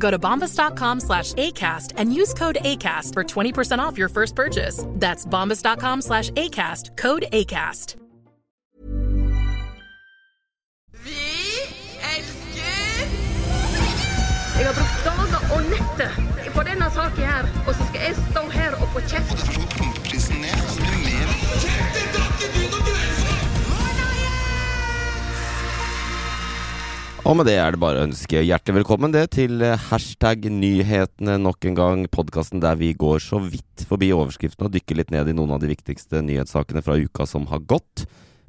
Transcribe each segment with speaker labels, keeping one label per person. Speaker 1: Go to bombas.com slash ACAST and use code ACAST for 20% off your first purchase. That's bombas.com slash ACAST, code ACAST.
Speaker 2: Vi elsker
Speaker 3: Jeg har brukt dager og netter på denne saken her, og så skal jeg stå her og få kjeft.
Speaker 4: Derfor skal pumpeprisen ned. Så blir det mer
Speaker 5: Og med det er det bare å ønske hjertelig velkommen det til eh, hashtag nyhetene nok en gang. Podkasten der vi går så vidt forbi overskriften og dykker litt ned i noen av de viktigste nyhetssakene fra uka som har gått.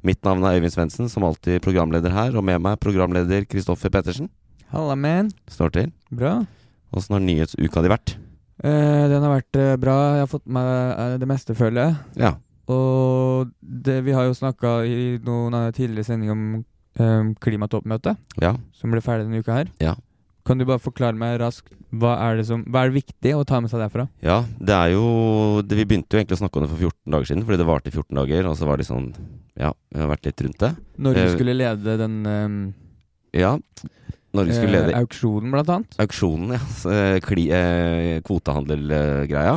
Speaker 5: Mitt navn er Øyvind Svendsen, som alltid programleder her. Og med meg programleder Kristoffer Pettersen.
Speaker 6: Halla, man.
Speaker 5: Står til.
Speaker 6: Bra.
Speaker 5: Åssen har nyhetsuka di vært?
Speaker 6: Eh, den har vært eh, bra. Jeg har fått med eh, det meste, føler jeg.
Speaker 5: Ja.
Speaker 6: Og det, vi har jo snakka i noen av tidligere sendinger om eh, klimatoppmøtet,
Speaker 5: Ja.
Speaker 6: som ble ferdig denne uka her.
Speaker 5: Ja.
Speaker 6: Kan du bare forklare meg raskt hva er det som Hva er det viktig å ta med seg derfra?
Speaker 5: Ja, det er jo det, Vi begynte jo egentlig å snakke om det for 14 dager siden, fordi det varte i 14 dager. Og så var det sånn Ja, vi har vært litt rundt det.
Speaker 6: Norge
Speaker 5: Eh,
Speaker 6: skulle lede den eh,
Speaker 5: Ja. Norge skulle lede
Speaker 6: eh, auksjonen, blant annet.
Speaker 5: auksjonen, ja. så, eh, Kli, eh, kvotehandelgreia.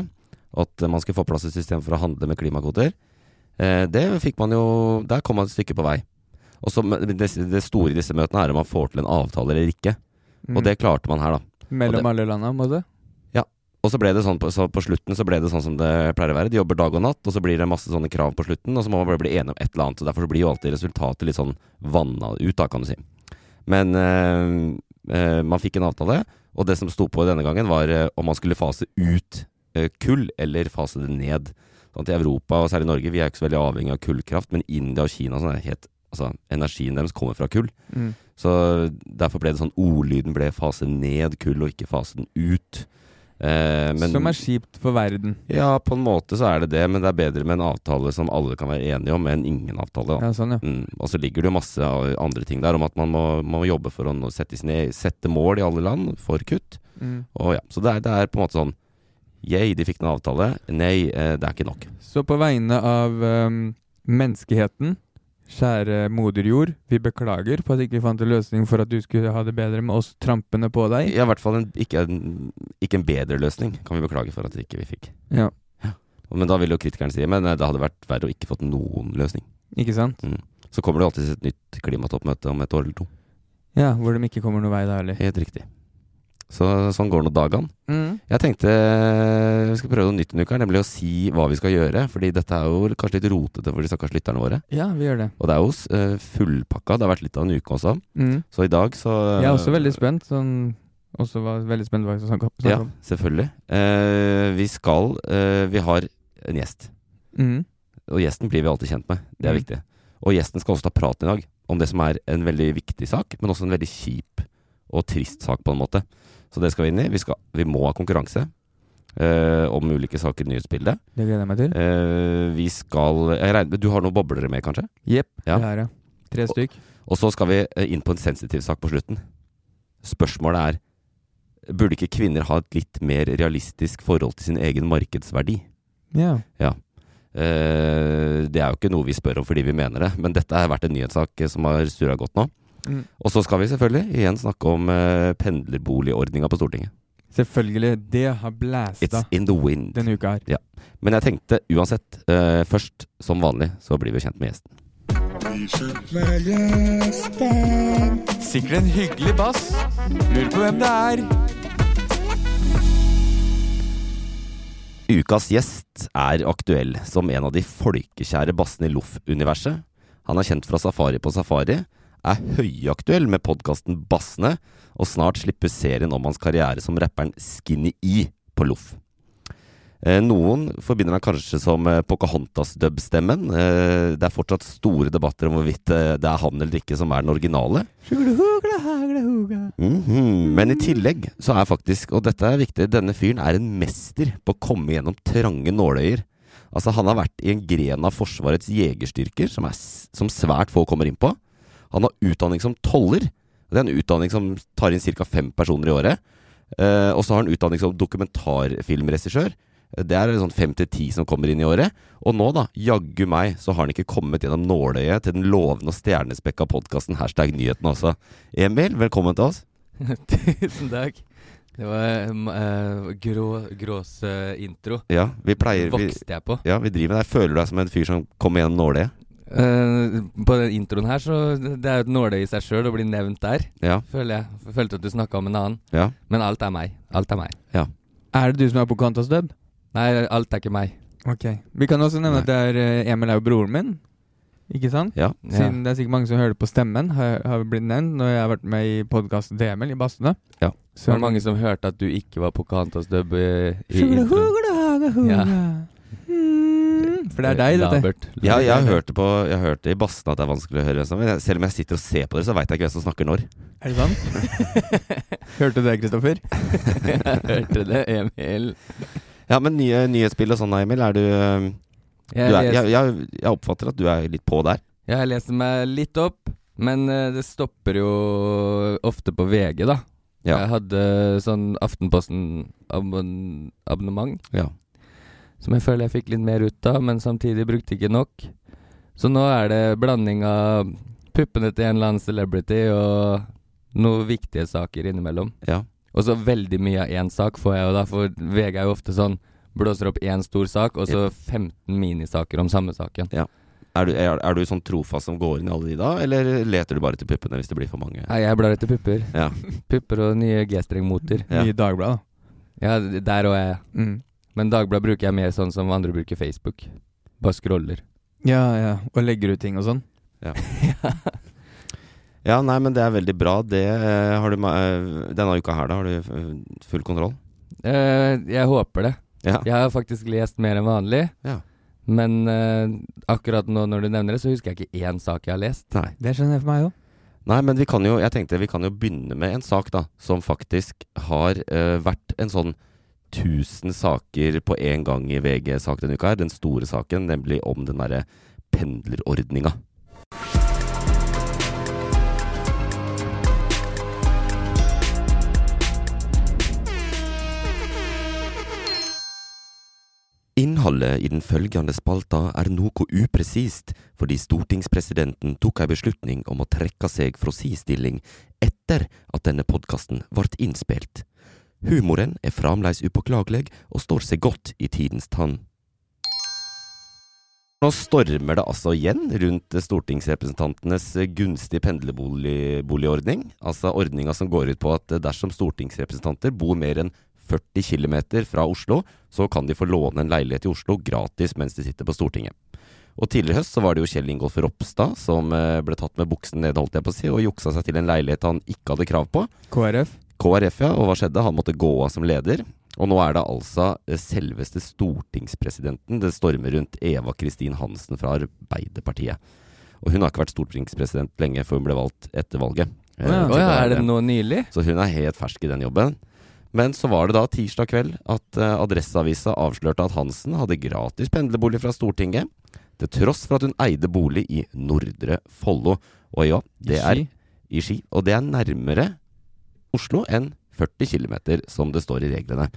Speaker 5: At eh, man skulle få på plass et system for å handle med klimakvoter. Eh, det fikk man jo Der kom man et stykke på vei. Og så, men det, det store i disse møtene er om man får til en avtale eller ikke.
Speaker 6: Mm.
Speaker 5: Og det klarte man her, da. og
Speaker 6: Mellom
Speaker 5: det-
Speaker 6: alle landa, på en måte.
Speaker 5: Og så ble det sånn på, så på slutten så ble det sånn som det pleier å være. De jobber dag og natt, og så blir det masse sånne krav på slutten, og så må man bare bli enig om et eller annet. Så derfor så blir jo alltid resultatet litt sånn vanna ut, da, kan du si. Men eh, eh, man fikk en avtale, og det som sto på denne gangen, var eh, om man skulle fase ut eh, kull, eller fase det ned. Sånn at I Europa, og særlig Norge, vi er jo ikke så veldig avhengig av kullkraft, men India og Kina og sånn er helt Altså, energien deres kommer fra kull.
Speaker 6: Mm.
Speaker 5: Så derfor ble det sånn ordlyden ble fase ned kull, og ikke fase den ut. Eh, men-
Speaker 6: Som er kjipt for verden.
Speaker 5: ja, på en måte så er det det, men det er bedre med en avtale som alle kan være enige om, enn ingen avtale. Da.
Speaker 6: Ja, sånn, ja.
Speaker 5: Mm. Og så ligger det jo masse av- andre ting der om at man må, man må jobbe for å nå sette, sine, e, sette mål i alle land for kutt.
Speaker 6: Mm.
Speaker 5: Og ja, Så det er, det er på en måte sånn Yeah, de fikk en avtale. Nei, eh, det er ikke nok.
Speaker 6: Så på vegne av ehm, menneskeheten, kjære moder jord, vi beklager på at ikke vi fant en løsning for at du skulle ha det bedre med oss trampene på deg.
Speaker 5: Ja, I hvert fall en, ikke, en, ikke en bedre løsning, kan vi beklage for at ikke vi fikk.
Speaker 6: Ja.
Speaker 5: Men da vil jo kritikeren si Men eh, det hadde vært verre å ikke fått noen løsning.
Speaker 6: Ikke sant?
Speaker 5: Så kommer det alltid et nytt klimatoppmøte om et år eller to.
Speaker 6: Ja, hvor de ikke kommer noen vei da heller.
Speaker 5: Helt riktig. Så sånn går nå dagene.
Speaker 6: Mm.
Speaker 5: Jeg tenkte vi skal prøve noe nytt denne uka, nemlig å si hva vi skal gjøre. Fordi dette er jo kanskje litt rotete for de stakkars lytterne våre.
Speaker 6: Ja, vi gjør det.
Speaker 5: Og det er jo eh, fullpakka. Det har vært litt av en uke også.
Speaker 6: Mm.
Speaker 5: Så i dag så
Speaker 6: Jeg er også veldig spent. Sånn, også var veldig spent hva jeg skal snakke snakke
Speaker 5: Ja,
Speaker 6: om.
Speaker 5: selvfølgelig. Eh, vi skal eh, Vi har en gjest.
Speaker 6: Mm.
Speaker 5: Og gjesten blir vi alltid kjent med. Det er
Speaker 6: Mm.
Speaker 5: viktig. Og gjesten skal også ta praten i dag om det som er en veldig viktig sak, men også en veldig kjip og trist sak, på en måte. Så det skal vi inn i. Vi, skal, vi må ha konkurranse eh, om ulike saker i nyhetsbildet.
Speaker 6: Det gleder jeg meg til.
Speaker 5: Eh, vi skal jeg regner, Du har noen boblere med, kanskje?
Speaker 6: Jepp.
Speaker 5: Ja.
Speaker 6: Det her, ja. Tre stykk.
Speaker 5: Og så skal vi eh, inn på en sensitiv sak på slutten. Spørsmålet er Burde ikke kvinner ha et litt mer realistisk forhold til sin egen markedsverdi?
Speaker 6: Ja.
Speaker 5: Eh, det er jo ikke noe vi spør om fordi vi mener det, men dette har vært en nyhetssak eh, som har surra godt nå.
Speaker 6: Mm.
Speaker 5: Og så skal vi selvfølgelig igjen snakke om eh, pendlerboligordninga på Stortinget.
Speaker 6: Selvfølgelig. Det har
Speaker 5: It's
Speaker 6: blæsta
Speaker 5: in the wind.
Speaker 6: denne uka her.
Speaker 5: Men jeg tenkte uansett, eh, først som vanlig, så blir vi kjent med gjesten.
Speaker 6: Sikkert en hyggelig bass. Lurer på hvem det er.
Speaker 5: Ukas gjest er aktuell som en av de folkekjære bassene i Loff-universet. Han er kjent fra Safari på Safari, er høyaktuell med podkasten Bassene, og snart slipper serien om hans karriere som rapperen Skinny E på loff. Eh, Noen forbinder han kanskje som eh, Pocahontas-dubstemmen. Eh, Det er fortsatt store debatter om hvorvidt eh, det er han eller ikke som er den originale. Mhm. Men i tillegg så er faktisk, og dette er viktig, denne fyren er en mester på å komme gjennom trange nåløyer. Altså Han har vært i en gren av Forsvarets jegerstyrker som, er, s- som svært få kommer inn på. Han har utdanning som toller. Det er en utdanning som tar inn ca. fem personer i året. Eh, og så har han utdanning som dokumentarfilmregissør. Det er sånn fem til ti som kommer inn i året. Og nå, da, jaggu meg, så har han ikke kommet gjennom nåløyet til den lovende og stjernespekka podkasten Hashtag nyheten også. Emil, velkommen til oss.
Speaker 7: Tusen takk. Det var um, eh, grå, grås eh, intro.
Speaker 5: Ja, vi pleier vi,
Speaker 7: Vokste jeg på.
Speaker 5: ja, vi driver med deg. Føler du deg som en fyr som kommer gjennom nåløyet?
Speaker 7: Eh, på den introen her, så det er jo et nåløye i seg sjøl å bli nevnt der,
Speaker 5: Ja.
Speaker 7: føler jeg. Følte at du snakka om en annen.
Speaker 5: ja.
Speaker 7: Men alt er meg. Alt er meg.
Speaker 6: Er det du som er på Kantas dub?
Speaker 7: Nei, alt er ikke meg.
Speaker 6: Ok. Vi kan også nevne
Speaker 5: Nei.
Speaker 6: at det er eh, Emil er jo broren min. Ikke sant?
Speaker 5: Ja.
Speaker 7: Ja.
Speaker 6: Siden det er sikkert mange som hører på stemmen, har, har blitt nevnt når jeg har vært med i podkasten til Emil i Bastene.
Speaker 5: Ja.
Speaker 7: Det
Speaker 6: Så
Speaker 7: var mange som hørte at du ikke var Pocahontas dub eh, i introen. Ja.
Speaker 6: Mm, For det er deg, dette.
Speaker 7: Labert.
Speaker 5: Ja, jeg hørte, på, jeg hørte i bassen at det er vanskelig å høre hvem som men jeg- Selv om jeg sitter og ser på dere, så veit jeg ikke hvem som snakker når.
Speaker 6: Er det sant? Hørte du det, Kristoffer?
Speaker 7: jeg hørte det, Emil.
Speaker 5: Ja, men nye, nyhetsbilde og sånn, Emil. Er du, øhm, du er,
Speaker 7: Jeg, leser-
Speaker 5: jeg, jeg, jeg oppfatter at du er litt på der.
Speaker 7: Jeg leser meg litt opp, men eh, det stopper jo ofte på VG, da.
Speaker 5: Ja.
Speaker 7: Jeg hadde sånn Aftenposten-abonnement,
Speaker 5: Ja.
Speaker 7: som jeg føler jeg fikk litt mer ut av, men samtidig brukte ikke nok. Så nå er det blanding av puppene til en eller annen celebrity og noen viktige saker innimellom.
Speaker 5: Ja.
Speaker 7: Og så veldig mye av én sak får jeg jo da, for VG er jo ofte sånn Blåser opp én stor sak, og så 15 minisaker om samme saken.
Speaker 5: Er, du, er, er du sånn trofast som går inn i alle de da, eller leter du bare til puppene hvis det blir for mange?
Speaker 7: Nei, jeg blar etter pupper.
Speaker 5: Ja.
Speaker 7: Pupper og nye G-strengmoter.
Speaker 5: Ja.
Speaker 6: Mye Dagbladet. da.
Speaker 7: Ja, d- der òg er jeg.
Speaker 6: Mm.
Speaker 7: Men Dagbladet bruker jeg mer sånn som andre bruker Facebook. Bare scroller.
Speaker 6: Ja, ja. Og legger ut ting og sånn.
Speaker 5: Ja, nei, men det er veldig bra. Det eh, har du ma- eh, Denne uka her, da, har du eh, full kontroll?
Speaker 7: Eh, jeg håper det.
Speaker 5: Ja.
Speaker 7: Jeg har faktisk lest mer enn vanlig.
Speaker 5: Ja.
Speaker 7: Men eh, akkurat nå når du nevner det, så husker jeg ikke én sak jeg har lest.
Speaker 5: Nei.
Speaker 6: Det skjønner jeg for meg òg.
Speaker 5: Nei, men vi kan jo, jeg tenkte vi kan jo begynne med en sak da, som faktisk har eh, vært en sånn 1000 saker på en gang i VG-sak denne uka her. Den store saken, nemlig om den derre pendlerordninga. Innholdet i den følgende spalta er noe upresist, fordi stortingspresidenten tok ei beslutning om å trekke seg fra si stilling etter at denne podkasten ble innspilt. Humoren er fremdeles upåklagelig og står seg godt i tidens tann. Nå stormer det altså igjen rundt stortingsrepresentantenes gunstige pendlerboligordning, altså ordninga som går ut på at dersom stortingsrepresentanter bor mer enn 40 km fra Oslo, så kan de få låne en leilighet i Oslo gratis mens de sitter på Stortinget. Og tidligere i høst så var det jo Kjell Ingolf Ropstad som eh, ble tatt med buksen nede, holdt jeg på å si, og juksa seg til en leilighet han ikke hadde krav på.
Speaker 6: KrF.
Speaker 5: KrF, ja, og hva skjedde? Han måtte gå av som leder. Og nå er det altså eh, selveste stortingspresidenten det stormer rundt Eva Kristin Hansen fra Arbeiderpartiet. Og hun har ikke vært stortingspresident lenge, for hun ble valgt etter valget. Eh,
Speaker 7: Å
Speaker 5: så
Speaker 7: ja,
Speaker 5: da
Speaker 7: er det nå nylig?
Speaker 5: så hun er helt fersk i den jobben. Men så var det da tirsdag kveld at eh, Adresseavisa avslørte at Hansen hadde gratis pendlerbolig fra Stortinget, til tross for at hun eide bolig i Nordre Follo. Og ja, det er i Ski. Og det er nærmere Oslo enn 40 km, som det står i reglene.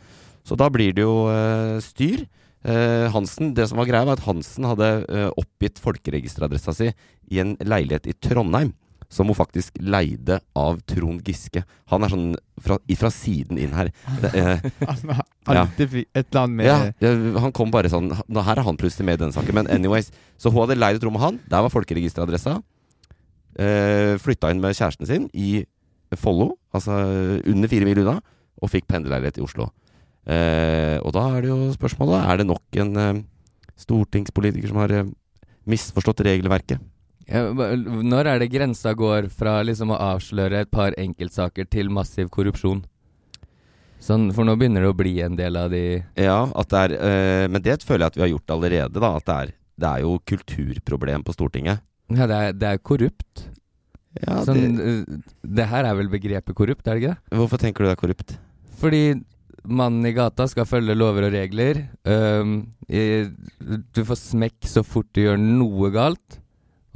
Speaker 5: Så da blir det jo eh, styr. Eh, Hansen, Det som var greia, var at Hansen hadde eh, oppgitt folkeregisteradressa si i en leilighet i Trondheim. Som hun faktisk leide av Trond Giske. Han er sånn fra, ifra siden inn her. Det, eh,
Speaker 6: Altså, alltid fi- et eller annet med
Speaker 5: ja, ja, han kom bare sånn nå, Her er han plutselig med i denne saken. Men anyways, så hun hadde leid et rom av han. Der var folkeregisteradressa. Eh, flytta inn med kjæresten sin i Follo, altså under fire mil unna, og fikk pendlerleilighet i Oslo. Eh, og da er det jo spørsmålet Er det nok en eh, stortingspolitiker som har eh, misforstått regelverket?
Speaker 7: Ja, hva- Når er det grensa går fra liksom å avsløre et par enkeltsaker til massiv korrupsjon? Sånn, for nå begynner det å bli en del av de
Speaker 5: Ja, at det er, eh, men det føler jeg at vi har gjort allerede. Da, at det er, det er jo kulturproblem på Stortinget.
Speaker 7: Ja, det er, det er korrupt.
Speaker 5: Ja,
Speaker 7: sånn, det... det her er vel begrepet korrupt, er det ikke det?
Speaker 5: det, hvorfor tenker du det er korrupt?
Speaker 7: Fordi mannen i gata skal følge lover og regler. Øhm, i, du får smekk så fort du gjør noe galt.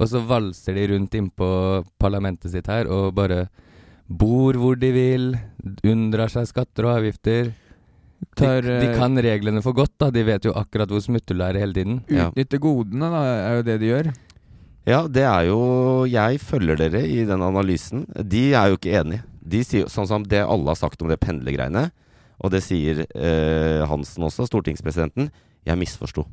Speaker 7: Og så valser de rundt innpå parlamentet sitt her og bare bor hvor de vil. Unndrar seg skatter og avgifter. De,
Speaker 6: Tar,
Speaker 7: de
Speaker 6: eh,
Speaker 7: kan reglene for godt, da. De vet jo akkurat hvor smutthull er hele tiden.
Speaker 5: Ja.
Speaker 6: Utnytte godene, da, er jo det de gjør.
Speaker 5: Ja, det er jo Jeg følger dere i den analysen. De er jo ikke enige. De sier jo sånn som det alle har sagt om det pendlergreiene, og det sier eh, Hansen også, stortingspresidenten. Jeg misforsto.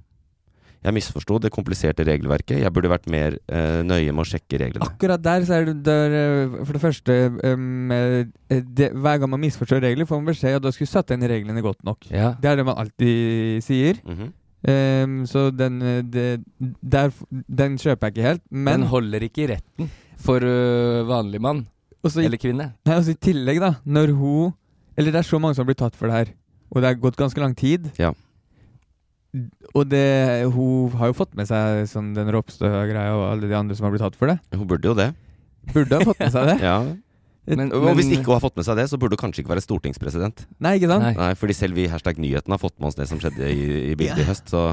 Speaker 5: Jeg misforsto det kompliserte regelverket. Jeg burde vært mer eh, nøye med å sjekke reglene.
Speaker 6: Akkurat der så er det der, eh, for det første em, eh, det, Hver gang man misforstår regler, får man beskjed om at du skulle satt inn reglene godt nok.
Speaker 7: Ja.
Speaker 6: Det er det man alltid sier.
Speaker 5: Mhm.
Speaker 6: Em, så den, eh, det, der, f- den kjøper jeg ikke helt. Men
Speaker 7: Den holder ikke i retten for øh, vanlig mann
Speaker 6: også i,
Speaker 7: eller kvinne.
Speaker 6: nei, også i tillegg, da, når hun Eller det er så mange som har blitt tatt for det her, og det er gått ganske lang tid.
Speaker 5: Ja.
Speaker 6: Og det, hun har jo fått med seg sånn, den Ropstø-greia og alle de andre som har blitt tatt for det.
Speaker 5: Hun burde jo det.
Speaker 6: Burde ha fått med seg det.
Speaker 5: Ja.
Speaker 7: Men-
Speaker 5: Og hvis ikke hun har fått med seg det, så burde hun kanskje ikke være stortingspresident.
Speaker 6: Nei, ikke sant?
Speaker 7: Nei.
Speaker 5: Nei, fordi selv vi i hashtag nyheten har fått med oss det som skjedde i, i bildet i høst, så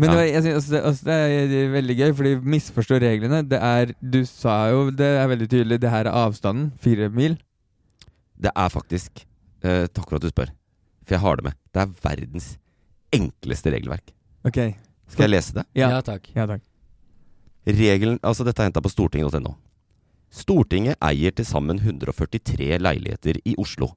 Speaker 6: Men
Speaker 5: Ja.
Speaker 6: det, var- jeg synes, også det, også det er veldig gøy, fordi misforstå reglene. Det er, du sa jo det er veldig tydelig, det her er avstanden. Fire mil.
Speaker 5: det er faktisk eh, Takk for at du spør, for jeg har det med. Det er verdens enkleste regelverk.
Speaker 6: Ok.
Speaker 5: Skal jeg lese det?
Speaker 6: Ja,
Speaker 7: ja
Speaker 6: ja.
Speaker 7: takk.
Speaker 6: takk.
Speaker 5: Regelen, altså Dette er henta på stortinget.no. Stortinget eier til sammen 143 leiligheter i Oslo.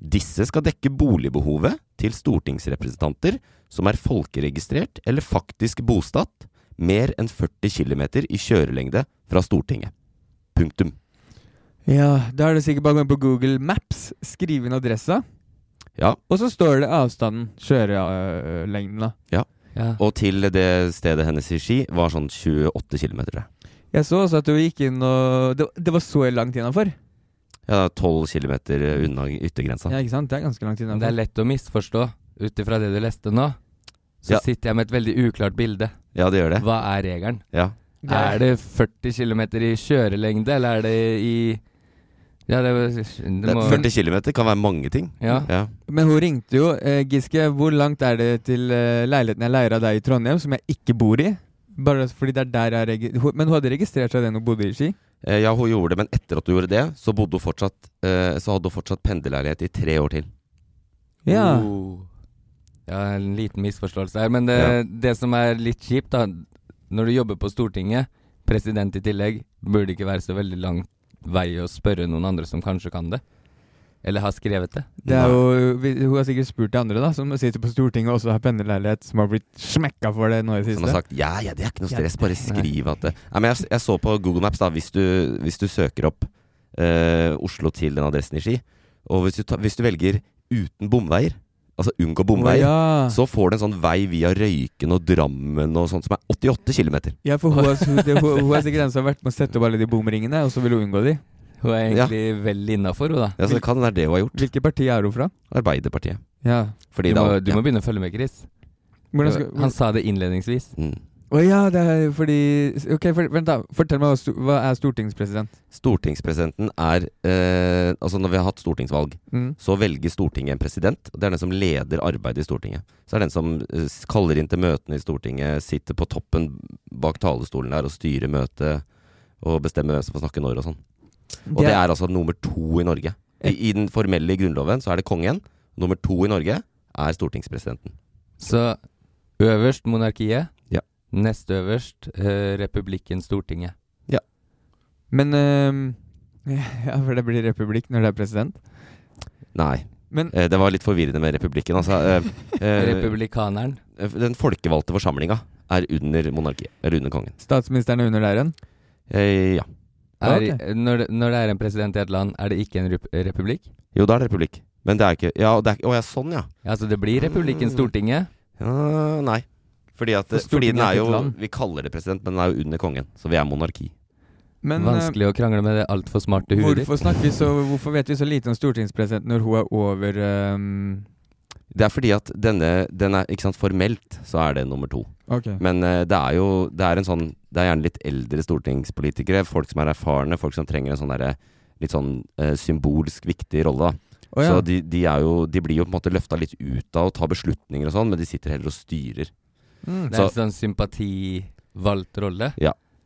Speaker 5: Disse skal dekke boligbehovet til stortingsrepresentanter som er folkeregistrert eller faktisk bosatt mer enn 40 km i kjørelengde fra Stortinget. Punktum.
Speaker 6: Ja, Da er det sikkert bare å gå inn på Google Maps, skrive inn adressa,
Speaker 5: Ja,
Speaker 6: og så står det avstanden. Kjørelengden, da.
Speaker 7: Ja.
Speaker 5: Og til det stedet hennes i Ski var sånn 28 km.
Speaker 6: Jeg så også at du gikk inn og Det, det var så langt innafor.
Speaker 5: Ja, 12 km unna yttergrensa.
Speaker 6: Ja, ikke sant? Det er ganske langt
Speaker 7: Men Det er
Speaker 6: innafor.
Speaker 7: lett å misforstå ut ifra det du leste nå. Så
Speaker 5: Ja.
Speaker 7: sitter jeg med et veldig uklart bilde.
Speaker 5: Ja, det gjør det.
Speaker 7: Hva er regelen?
Speaker 5: Ja.
Speaker 7: Er det 40 km i kjørelengde, eller er det i Ja, det, det må
Speaker 5: 40 km kan være mange ting.
Speaker 7: Ja.
Speaker 5: Ja.
Speaker 6: Men hun ringte jo. Eh, Giske, hvor langt er det til eh, leiligheten jeg leier av deg i Trondheim, som jeg ikke bor i? Bare fordi det er der jeg regi- hun- Men hun hadde registrert seg den hun bodde i Ski?
Speaker 5: Eh, ja, hun gjorde det, men etter at hun gjorde det, så, bodde hun fortsatt, eh, så hadde hun fortsatt pendlerleilighet i tre år til.
Speaker 6: Ja.
Speaker 7: Oh. ja, en liten misforståelse her. Men det,
Speaker 5: Ja.
Speaker 7: det som er litt kjipt, da Når du jobber på Stortinget, president i tillegg, burde det ikke være så veldig lang vei å spørre noen andre som kanskje kan det. Eller har skrevet det.
Speaker 6: Det er jo, vi- hun har sikkert spurt de andre da som sitter på Stortinget og også har pendlerleilighet, som har blitt smekka for det nå i det
Speaker 5: Som har
Speaker 6: siste.
Speaker 5: sagt ja, ja, det er ikke noe
Speaker 6: Ja.
Speaker 5: stress, bare skriv at det Nei, men jeg, jeg så på Google Maps, da, hvis du, hvis du søker opp eh, Oslo til den adressen i Ski, og hvis du, ta, hvis du velger uten bomveier, altså unngå
Speaker 6: Å,
Speaker 5: bomveier,
Speaker 6: ja.
Speaker 5: så får du en sånn vei via Røyken og Drammen og sånt som er 88 km.
Speaker 6: ja, for hun, har, hun, det, hun, hun er sikkert den som har vært med å sette opp alle de bomringene, og så vil hun unngå de.
Speaker 7: Hun er egentlig vel innafor, hun da.
Speaker 5: Ja, så det kan være det hun har gjort.
Speaker 6: Hvilket parti er hun fra?
Speaker 5: Arbeiderpartiet.
Speaker 6: Ja.
Speaker 5: Fordi
Speaker 7: Du
Speaker 5: da,
Speaker 7: må, du
Speaker 5: ja.
Speaker 7: må begynne å følge med, Chris.
Speaker 6: Hvordan skal,
Speaker 7: Eh, Han sa det innledningsvis.
Speaker 5: Mm.
Speaker 6: Å ja, det er fordi Ok, for, vent da. Fortell meg hva, sto- hva er stortingspresident?
Speaker 5: Stortingspresidenten er eh, Altså når vi har hatt stortingsvalg,
Speaker 6: Mm.
Speaker 5: så velger Stortinget en president. og Det er den som leder arbeidet i Stortinget. Så er det den som eh, s- kaller inn til møtene i Stortinget, sitter på toppen bak talerstolen der og styrer møtet. Og bestemmer hvem som får snakke når og sånn.
Speaker 6: Mm.
Speaker 5: Og det er altså nummer to i Norge. I, I den formelle grunnloven så er det kongen. Nummer to i Norge er stortingspresidenten.
Speaker 7: Så øverst monarkiet,
Speaker 5: Ja.
Speaker 7: nest øverst eh, republikken Stortinget.
Speaker 6: Men ehm, Ja, for det blir republikk når det er president.
Speaker 5: Nei.
Speaker 6: Men
Speaker 5: Eh, det var litt forvirrende med republikken, altså. Eh, eh,
Speaker 7: Republikaneren.
Speaker 5: den folkevalgte forsamlinga er under monarkiet, eller under kongen.
Speaker 6: statsministeren er under der igjen?
Speaker 5: Eh, ja.
Speaker 7: Er,
Speaker 6: Ja, ok.
Speaker 7: når, det, når det er en president i et land, er det ikke en rup- republikk?
Speaker 5: Jo, da er det republikk. Men det er ikke Ja, det er, ikke- å ja, sånn, ja.
Speaker 7: Ja, Altså, det blir republikken
Speaker 5: Mm.
Speaker 7: Stortinget,
Speaker 5: ja nei. Fordi, at,
Speaker 6: For
Speaker 5: fordi den
Speaker 6: Stortinget er
Speaker 5: er
Speaker 6: ikke
Speaker 5: jo
Speaker 6: et land.
Speaker 5: Vi kaller det president, men den er jo under kongen. Så vi er monarki.
Speaker 6: Men eh,
Speaker 7: Vanskelig å krangle med det altfor smarte huet ditt.
Speaker 6: hvorfor, snakker vi så, hvorfor vet vi så lite om stortingspresidenten når hun er over ehm,
Speaker 5: Det er fordi at denne den er, Ikke sant, formelt så er det nummer to.
Speaker 6: Ok.
Speaker 5: Men eh, det er jo Det er en sånn Det er gjerne litt eldre stortingspolitikere. Folk som er erfarne. Folk som trenger en sånn derre litt sånn eh, symbolsk viktig rolle. da.
Speaker 6: Å ja.
Speaker 5: Så de, de, er jo, de blir jo på en måte løfta litt ut av å ta beslutninger og sånn, men de sitter heller og styrer.
Speaker 6: mm.
Speaker 7: Det er en sånn sympativalgt rolle.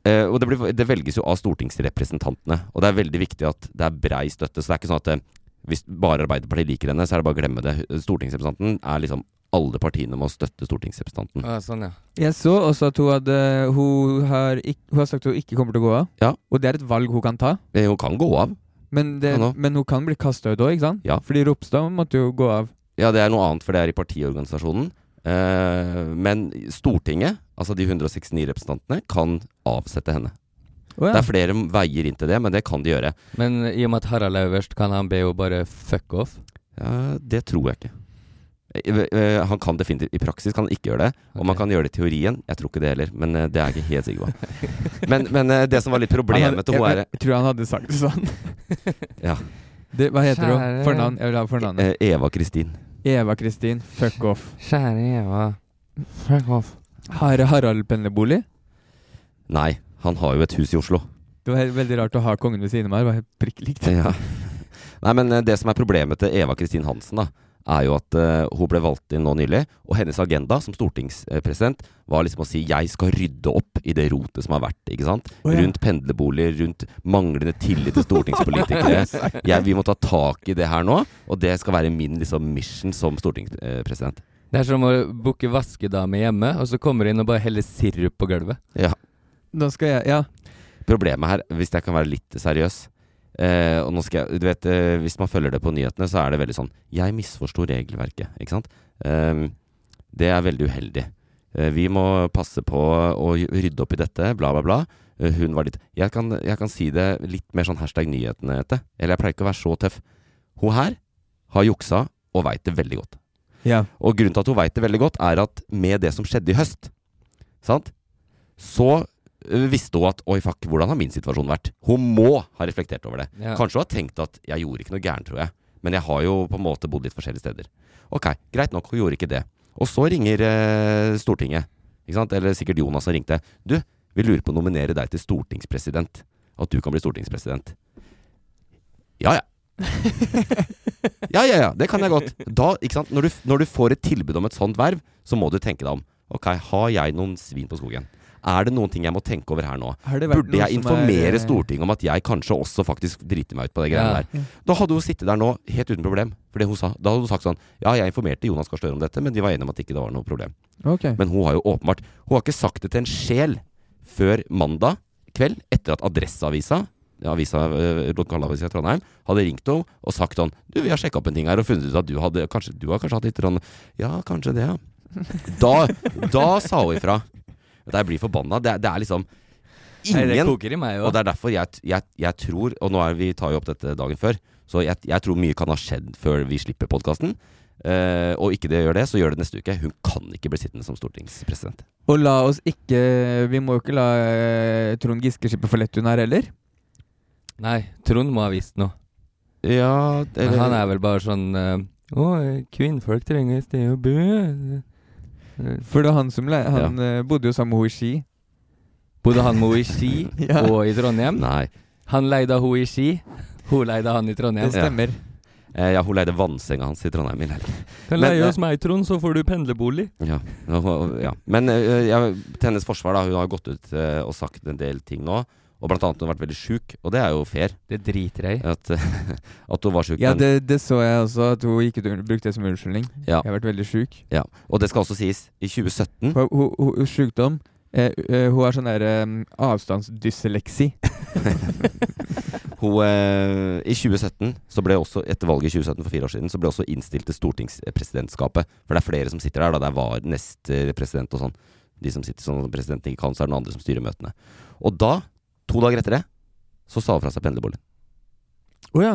Speaker 5: Eh, og det, blir, det velges jo av stortingsrepresentantene, og det er veldig viktig at det er brei støtte. Så det er ikke sånn at eh, hvis bare Arbeiderpartiet liker henne, så er det bare å glemme det. Stortingsrepresentanten er liksom alle partiene må støtte stortingsrepresentanten.
Speaker 7: Ah, sånn, ja.
Speaker 6: Jeg så også at hun hadde Hun har, ikk, hun har sagt at hun ikke kommer til å gå av.
Speaker 5: Ja.
Speaker 6: Og det er et valg hun kan ta.
Speaker 5: Eh, Hun kan gå av.
Speaker 6: Men, det,
Speaker 5: Ja, nå.
Speaker 6: men hun kan bli kasta ut òg, ikke sant?
Speaker 5: Ja.
Speaker 6: Fordi Ropstad måtte jo gå av.
Speaker 5: Ja, det er noe annet, for det er i partiorganisasjonen. Eh, men Stortinget, altså de 169 representantene, kan avsette henne.
Speaker 6: Å
Speaker 5: Det
Speaker 6: ja.
Speaker 5: er flere veier inn til det, men det kan de gjøre.
Speaker 7: Men eh, i og med at Harald er øverst, kan han be henne bare fuck off?
Speaker 5: Ja, det tror jeg ikke. Eh, eh, Han kan definitivt I praksis kan han ikke gjøre det. Og man
Speaker 7: Ok.
Speaker 5: kan gjøre det i teorien. Jeg tror ikke det heller, men eh, det er jeg ikke helt sikker på. Men, men eh, det som var litt problemet til
Speaker 6: jeg,
Speaker 5: henne,
Speaker 6: jeg tror han hadde sagt det sånn.
Speaker 5: Ja.
Speaker 6: Det, hva heter hun?
Speaker 7: Kjære-
Speaker 6: Fornavn? Jeg vil ha fornavnet.
Speaker 5: er eh, Eva Kristin.
Speaker 6: Eva Kristin. Fuck off.
Speaker 7: Kjære Eva, fuck off.
Speaker 6: Har Harald pendlerbolig?
Speaker 5: Nei, han har jo et hus i Oslo.
Speaker 6: Det var helt, veldig rart å ha kongen ved siden av meg. Det var helt prikk likt.
Speaker 5: Ja. Nei, men eh, det som er problemet til Eva Kristin Hansen, da, er jo at eh, hun ble valgt inn nå nylig, og hennes agenda som stortingspresident var liksom å si 'jeg skal rydde opp i det rotet som har vært', ikke sant?
Speaker 6: Å, ja.
Speaker 5: Rundt pendlerboliger, rundt manglende tillit til stortingspolitikere. jeg, vi må ta tak i det her nå, og det skal være min liksom, mission som stortingspresident.
Speaker 7: Det er som å booke vaskedame hjemme, og så kommer du inn og bare heller sirup på gulvet.
Speaker 5: Ja.
Speaker 6: Nå skal jeg Ja.
Speaker 5: Problemet her, hvis jeg kan være litt seriøs eh, og nå skal jeg, du vet, eh, Hvis man følger det på nyhetene, så er det veldig sånn Jeg misforsto regelverket, ikke sant? Ehm, det er veldig uheldig. Eh, vi må passe på å rydde opp i dette, bla, bla, bla. Eh, hun var litt jeg kan, jeg kan si det litt mer sånn hashtag nyhetene, Ete. Eller jeg pleier ikke å være så tøff. Hun her har juksa og veit det veldig godt.
Speaker 6: ja.
Speaker 5: Og grunnen til at hun veit det veldig godt, er at med det som skjedde i høst, sant? så øh, visste hun at oi, fuck, hvordan har min situasjon vært? Hun må ha reflektert over det.
Speaker 7: Ja.
Speaker 5: Kanskje hun har tenkt at jeg gjorde ikke noe gærent, tror jeg. Men jeg har jo på en måte bodd litt forskjellige steder. Ok, greit nok, hun gjorde ikke det. Og så ringer eh, Stortinget, ikke sant? eller sikkert Jonas som ringte. Du, vi lurer på å nominere deg til stortingspresident. At du kan bli stortingspresident. Ja ja. ja ja ja, det kan jeg godt. Da, ikke sant? Når, du, når du får et tilbud om et sånt verv, så må du tenke deg om. Ok, har jeg noen svin på skogen? Er det noen ting jeg må tenke over her nå?
Speaker 6: Har det vært
Speaker 5: Burde
Speaker 6: noe
Speaker 5: jeg
Speaker 6: som er,
Speaker 5: informere
Speaker 6: eh,
Speaker 5: Stortinget om at jeg kanskje også faktisk driter meg ut på det
Speaker 7: Ja.
Speaker 5: greiene
Speaker 6: Mm.
Speaker 5: der? Da hadde hun sittet der nå helt uten problem. For det hun sa, da hadde hun sagt sånn Ja, jeg informerte Jonas Gahr Støre om dette, men de var enige om at ikke det var noe problem.
Speaker 6: Ok.
Speaker 5: Men hun har jo åpenbart Hun har ikke sagt det til en sjel før mandag kveld, etter at Adresseavisa Avisa eh, lokalavisa i Trondheim hadde ringt henne og sagt sånn Du, vi har sjekka opp en ting her og funnet ut at du hadde Kanskje du har kanskje hatt litt sånn Ja, kanskje det, ja. Da, da sa hun ifra. Vet du, Jeg blir forbanna. Det, er- det er liksom
Speaker 7: Nei, det
Speaker 5: Ingen
Speaker 7: koker i meg
Speaker 5: og
Speaker 7: òg.
Speaker 5: det er derfor jeg, jeg, jeg tror Og nå er vi tar jo opp dette dagen før Så jeg, jeg tror mye kan ha skjedd før vi slipper podcasten Eh, Og ikke det gjør det, så gjør det neste uke Hun kan ikke bli sittende som stortingspresident
Speaker 6: Og la oss ikke Vi må jo ikke la eh, Trond Giske slippe for lett hun er heller.
Speaker 7: Nei, Trond må ha visst noe.
Speaker 5: Ja,
Speaker 7: Men han er vel bare sånn eh, Å, kvinnfolk trenger et sted å bo.
Speaker 6: For det var han som le Han eh, bodde jo sammen med henne i Ski.
Speaker 7: Bodde han med henne i Ski
Speaker 6: Ja.
Speaker 7: og i Trondheim?
Speaker 5: Nei,
Speaker 7: Han leide av henne i Ski, hun leide han i
Speaker 6: Det
Speaker 7: Trondheim.
Speaker 6: stemmer.
Speaker 5: Eh, ja, hun leide vannsenga hans i Trondheim i helgen.
Speaker 7: Kan
Speaker 5: Men,
Speaker 7: leie
Speaker 5: eh,
Speaker 7: hos meg, Trond, så får du pendlerbolig.
Speaker 5: ja. nå- ja. Men eh, jeg, til hennes forsvar da Hun har gått ut eh, og sagt en del ting nå Og blant annet hun har vært veldig syk Og det er jo fair
Speaker 7: Det driter jeg i.
Speaker 5: At, at hun var syk
Speaker 6: Ja,
Speaker 5: men-
Speaker 6: det, det så jeg også, at hun gikk ut og brukte det som unnskyldning.
Speaker 5: Ja.
Speaker 6: Jeg har vært veldig sjuk.
Speaker 5: ja. Og det skal også sies I 2017
Speaker 6: Hun, hun, hun, hun sjukdom eh, eh, Hun har sånn der eh, avstandsdysleksi.
Speaker 5: Hun, eh, I 2017, så ble også, etter valget i 2017 for fire år siden, så ble også innstilt til stortingspresidentskapet. For det er flere som sitter der, da. Det er var neste president og sånn. De som sitter sånn som presidenten ikke kan, så er det noen andre som styrer møtene. Og da, to dager etter det, så sa hun fra seg pendlerboligen.
Speaker 6: Å ja.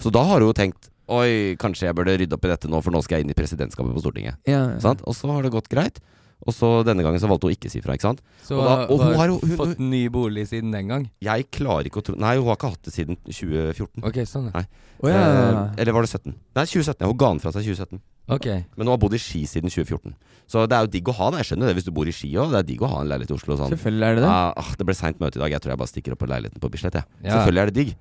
Speaker 5: Så da har hun jo tenkt Oi, kanskje jeg burde rydde opp i dette nå, for nå skal jeg inn i presidentskapet på Stortinget.
Speaker 6: ja.
Speaker 5: Sant? Og så har det gått greit. Og så denne gangen så valgte hun ikke å si fra, ikke sant?
Speaker 7: Så
Speaker 5: Og da- og hun
Speaker 7: har
Speaker 5: har jo- hun-
Speaker 7: fått ny bolig siden den gang.
Speaker 5: Jeg klarer ikke å tro Nei, hun har ikke hatt det siden 2014.
Speaker 7: Ok, sånn ja.
Speaker 6: Å ja.
Speaker 5: Eh, eller var det 17? Nei, 2017. Hun ga den fra seg 2017.
Speaker 7: Ok.
Speaker 5: Men hun har bodd i Ski siden 2014. Så det er jo digg å ha den. Jeg skjønner det hvis du bor i Ski òg. Det er digg å ha en leilighet i Oslo. Sånn.
Speaker 6: Selvfølgelig er det det.
Speaker 5: Ah, ah, det ble seint møte i dag. Jeg tror jeg bare stikker opp på leiligheten på Bislett. jeg.
Speaker 7: Ja.
Speaker 5: Selvfølgelig er det digg,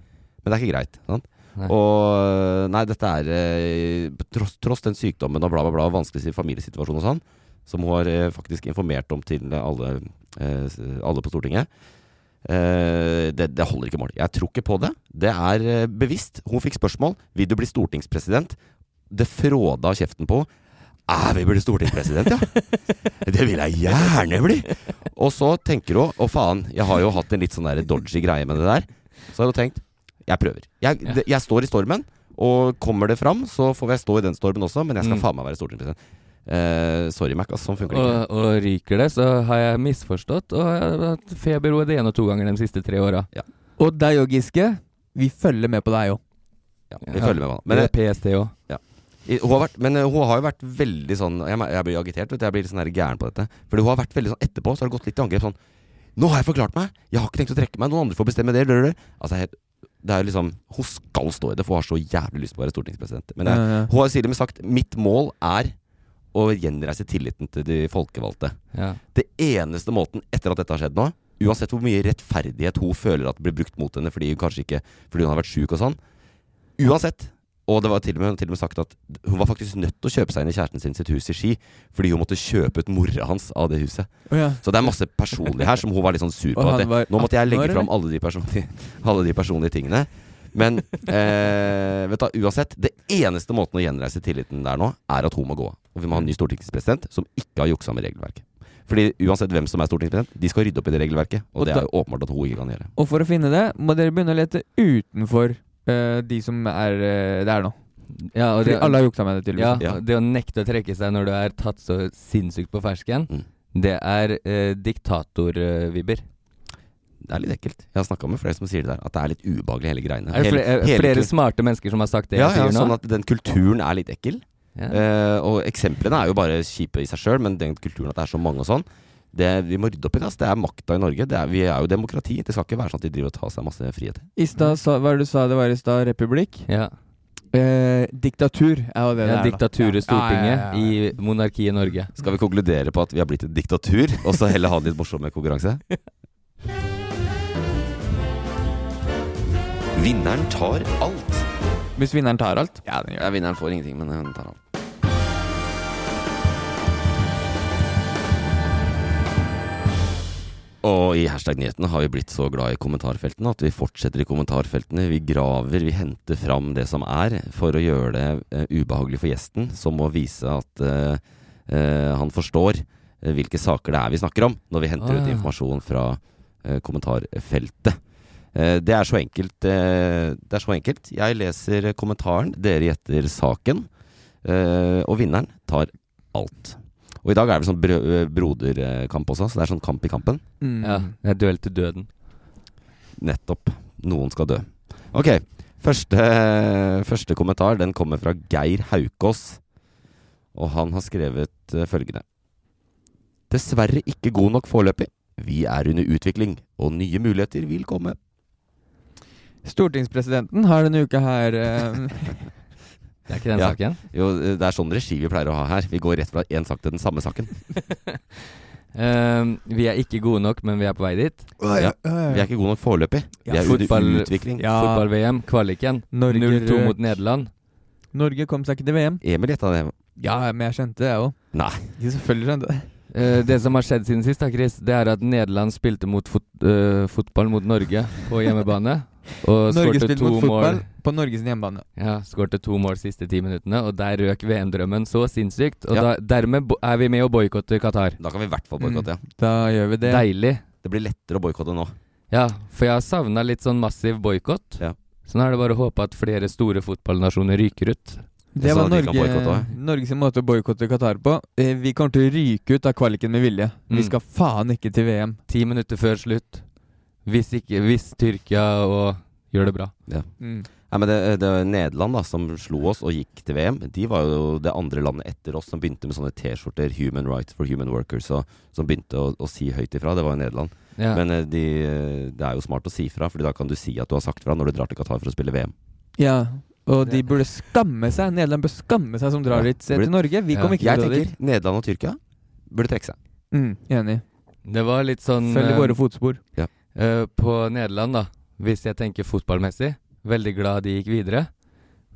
Speaker 5: men det er ikke greit. Sant?
Speaker 7: Nei.
Speaker 5: Og nei, dette er eh, på tross, tross den sykdommen og bla, bla, bla, og vanskelig familiesituasjon og sånn, som hun har eh, faktisk informert om til alle, eh, s- alle på Stortinget. Eh, det, det holder ikke mål. Jeg tror ikke på det. Det er eh, bevisst. Hun fikk spørsmål. Vil du bli stortingspresident? Det fråda kjeften på henne. Æh, vi blir stortingspresident, ja! Det vil jeg gjerne bli! Og så tenker hun Å faen, jeg har jo hatt en litt sånn der dodgy greie med det der. Så har hun tenkt Jeg prøver. Jeg,
Speaker 7: Ja.
Speaker 5: det- jeg står i stormen, og kommer det fram, så får jeg stå i den stormen også, men jeg skal
Speaker 7: Mm.
Speaker 5: faen meg være stortingspresident. Eh, sorry, Mac. Altså, sånn funker det
Speaker 7: Og,
Speaker 5: ikke.
Speaker 7: og ryker det, så har jeg misforstått, og jeg har hatt feber både én og to ganger de siste tre åra.
Speaker 6: Og deg og Giske, vi følger med på deg òg.
Speaker 5: Ja, vi følger med henne. Men
Speaker 7: Men det er PST òg.
Speaker 5: I- Hun har vært, men eh, hun har jo vært veldig sånn Jeg, mer- jeg blir agitert, vet du. Jeg blir litt sånn her gæren på dette. Fordi hun har vært veldig sånn etterpå, så har hun gått litt til angrep sånn Nå har jeg forklart meg! Jeg har ikke tenkt å trekke meg! Noen andre får bestemme det! Blablabla. Altså, jeg, det er jo liksom Hun skal stå i det, for hun har så jævlig lyst på å være stortingspresident. Men jeg, hun har sier det med sagt Mitt mål er å gjenreise tilliten til de folkevalgte.
Speaker 7: Ja.
Speaker 5: Det eneste måten etter at dette har skjedd nå Uansett hvor mye rettferdighet hun føler at blir brukt mot henne fordi hun kanskje ikke Fordi hun har vært syk og sånn Uansett Og det var til og med, til og med sagt at Hun var faktisk nødt til å kjøpe seg inn i kjæresten sin sitt hus i Ski Fordi hun måtte kjøpe ut mora hans av det huset
Speaker 6: Å ja.
Speaker 5: Så det er masse personlig her som hun var litt sånn sur på
Speaker 6: Og han
Speaker 5: at det,
Speaker 6: var
Speaker 5: Nå måtte jeg
Speaker 6: 18 år,
Speaker 5: legge fram alle de personlige, alle de personlige tingene men eh, vet du, uansett, det eneste måten å gjenreise tilliten der nå, er at hun må gå av. Og vi må ha en ny stortingspresident som ikke har juksa med regelverket. Fordi uansett hvem som er stortingspresident, de skal rydde opp i det regelverket. Og,
Speaker 6: Og
Speaker 5: det
Speaker 6: da-
Speaker 5: er jo åpenbart at hun ikke kan gjøre.
Speaker 6: Og for å finne det, må dere begynne å lete utenfor eh, de som er eh, der nå.
Speaker 7: Ja, og
Speaker 6: Fordi
Speaker 7: det,
Speaker 6: alle har juksa med det,
Speaker 7: ja,
Speaker 6: tydeligvis.
Speaker 5: Ja.
Speaker 7: det å nekte å trekke seg når du er tatt så sinnssykt på fersken,
Speaker 5: Mm.
Speaker 7: det er eh, diktatorvibber.
Speaker 5: Det er litt ekkelt. Jeg har snakka med flere som sier det der, at det er litt ubehagelig, hele greiene.
Speaker 7: Er det
Speaker 5: Hele-
Speaker 7: flere, er
Speaker 5: hele
Speaker 7: flere
Speaker 5: kul-
Speaker 7: smarte mennesker som har sagt det
Speaker 5: ja,
Speaker 7: jeg
Speaker 5: ja,
Speaker 7: sier nå?
Speaker 5: sånn at den kulturen er litt ekkel.
Speaker 7: ja.
Speaker 5: Eh, og eksemplene er jo bare kjipe i seg sjøl, men den kulturen at det er så mange og sånn det, Vi må rydde opp i det. ass. Det er makta i Norge. Det er, vi er jo demokrati. Det skal ikke være sånn at de driver og tar seg masse friheter.
Speaker 6: I stad sa Hva er det du sa det var i stad? Republikk?
Speaker 7: Ja.
Speaker 6: Eh, diktatur er jo det det
Speaker 7: ja,
Speaker 6: er. da.
Speaker 7: diktaturet Stortinget
Speaker 6: Ja, ja, ja, ja.
Speaker 7: i monarkiet Norge.
Speaker 5: Skal vi konkludere på at vi har blitt et diktatur, og så heller ha en litt morsom konkurranse? Vinneren tar alt.
Speaker 6: Hvis vinneren tar alt.
Speaker 5: Ja, vinneren får ingenting, men hun tar alt. Og i hashtag-nyhetene har vi blitt så glad i kommentarfeltene at vi fortsetter i kommentarfeltene. Vi graver, vi henter fram det som er, for å gjøre det eh, ubehagelig for gjesten, som må vise at eh, eh, han forstår eh, hvilke saker det er vi snakker om, når vi henter
Speaker 7: Ah.
Speaker 5: ut informasjon fra eh, kommentarfeltet. Eh, Det er så enkelt. eh, Det er så enkelt. Jeg leser kommentaren, dere gjetter saken. eh, Og vinneren tar alt. Og i dag er det sånn brø- broderkamp også, så det er sånn kamp i kampen.
Speaker 6: Mm.
Speaker 7: Ja. Det er duell til døden.
Speaker 5: Nettopp. Noen skal dø. Ok. Første, første kommentar den kommer fra Geir Haukås. Og han har skrevet eh, følgende. Dessverre ikke god nok foreløpig. Vi er under utvikling, og nye muligheter vil komme.
Speaker 6: Stortingspresidenten har denne uka her eh,
Speaker 7: Det er ikke den
Speaker 5: Ja.
Speaker 7: saken?
Speaker 5: Jo, det er sånn regi vi pleier å ha her. Vi går rett fra én sak til den samme saken.
Speaker 7: Ehm, vi er ikke gode nok, men vi er på vei dit.
Speaker 5: Ja, vi er ikke gode nok foreløpig. Vi er under
Speaker 7: fotball-
Speaker 5: utvikling.
Speaker 6: Ja.
Speaker 7: Fotball-VM, kvaliken.
Speaker 6: Norge, eh,
Speaker 7: 0-2 mot Nederland.
Speaker 6: Norge kom seg ikke til VM.
Speaker 5: Emil gjetta det.
Speaker 6: Ja, men jeg skjønte det, jeg òg.
Speaker 5: Nei.
Speaker 6: Selvfølgelig skjønte jeg det.
Speaker 7: Eh, det som har skjedd siden sist, da, Chris, det er at Nederland spilte mot fot eh, fotball mot Norge på hjemmebane. Og
Speaker 6: Norge
Speaker 7: skårte
Speaker 6: spilte
Speaker 7: to
Speaker 6: mot fotball
Speaker 7: mål
Speaker 6: på Norges hjemmebane.
Speaker 7: Ja, skårte to mål siste ti minuttene, og der røk VM-drømmen så sinnssykt. Og
Speaker 5: Ja.
Speaker 7: da, dermed bo- er vi med og boikotter Qatar.
Speaker 5: Da kan vi i hvert fall boikotte. Ja.
Speaker 6: Da gjør vi det.
Speaker 7: Deilig.
Speaker 5: Det blir lettere å boikotte nå.
Speaker 7: Ja, for jeg har savna litt sånn massiv boikott.
Speaker 5: Ja.
Speaker 7: Så nå er det bare å håpe at flere store fotballnasjoner ryker ut.
Speaker 6: Det
Speaker 5: Så
Speaker 6: var
Speaker 5: de kan boikotte
Speaker 6: Norge,
Speaker 5: også.
Speaker 6: Norges måte å boikotte Qatar på. Eh, Vi kommer til å ryke ut av kvaliken med vilje.
Speaker 7: Mm.
Speaker 6: Vi skal faen ikke til VM.
Speaker 7: Ti minutter før slutt. Hvis, ikke, hvis Tyrkia og gjør det bra.
Speaker 6: Mm.
Speaker 5: Nei, men det, det var Nederland da, som slo oss og gikk til VM, de var jo det andre landet etter oss som begynte med sånne T-skjorter, 'Human Rights for Human Workers', og, som begynte å, å si høyt ifra. Det var jo Nederland.
Speaker 7: Ja.
Speaker 5: Men eh, de, eh, det er jo smart å si fra, Fordi da kan du si at du har sagt fra når du drar til Qatar for å spille VM.
Speaker 6: Ja, og de burde skamme seg. Nederland bør skamme seg som drar
Speaker 5: Ja,
Speaker 6: dit. Se til
Speaker 5: burde-
Speaker 6: Norge, vi
Speaker 7: Ja.
Speaker 6: kommer ikke
Speaker 5: Jeg
Speaker 6: til å dra
Speaker 5: tenker
Speaker 6: dit.
Speaker 5: Nederland og Tyrkia burde trekke seg.
Speaker 6: Mm, enig.
Speaker 7: det var litt sånn
Speaker 6: Følger
Speaker 7: eh,
Speaker 6: våre fotspor.
Speaker 7: Eh, på Nederland, da, hvis jeg tenker fotballmessig, veldig glad de gikk videre.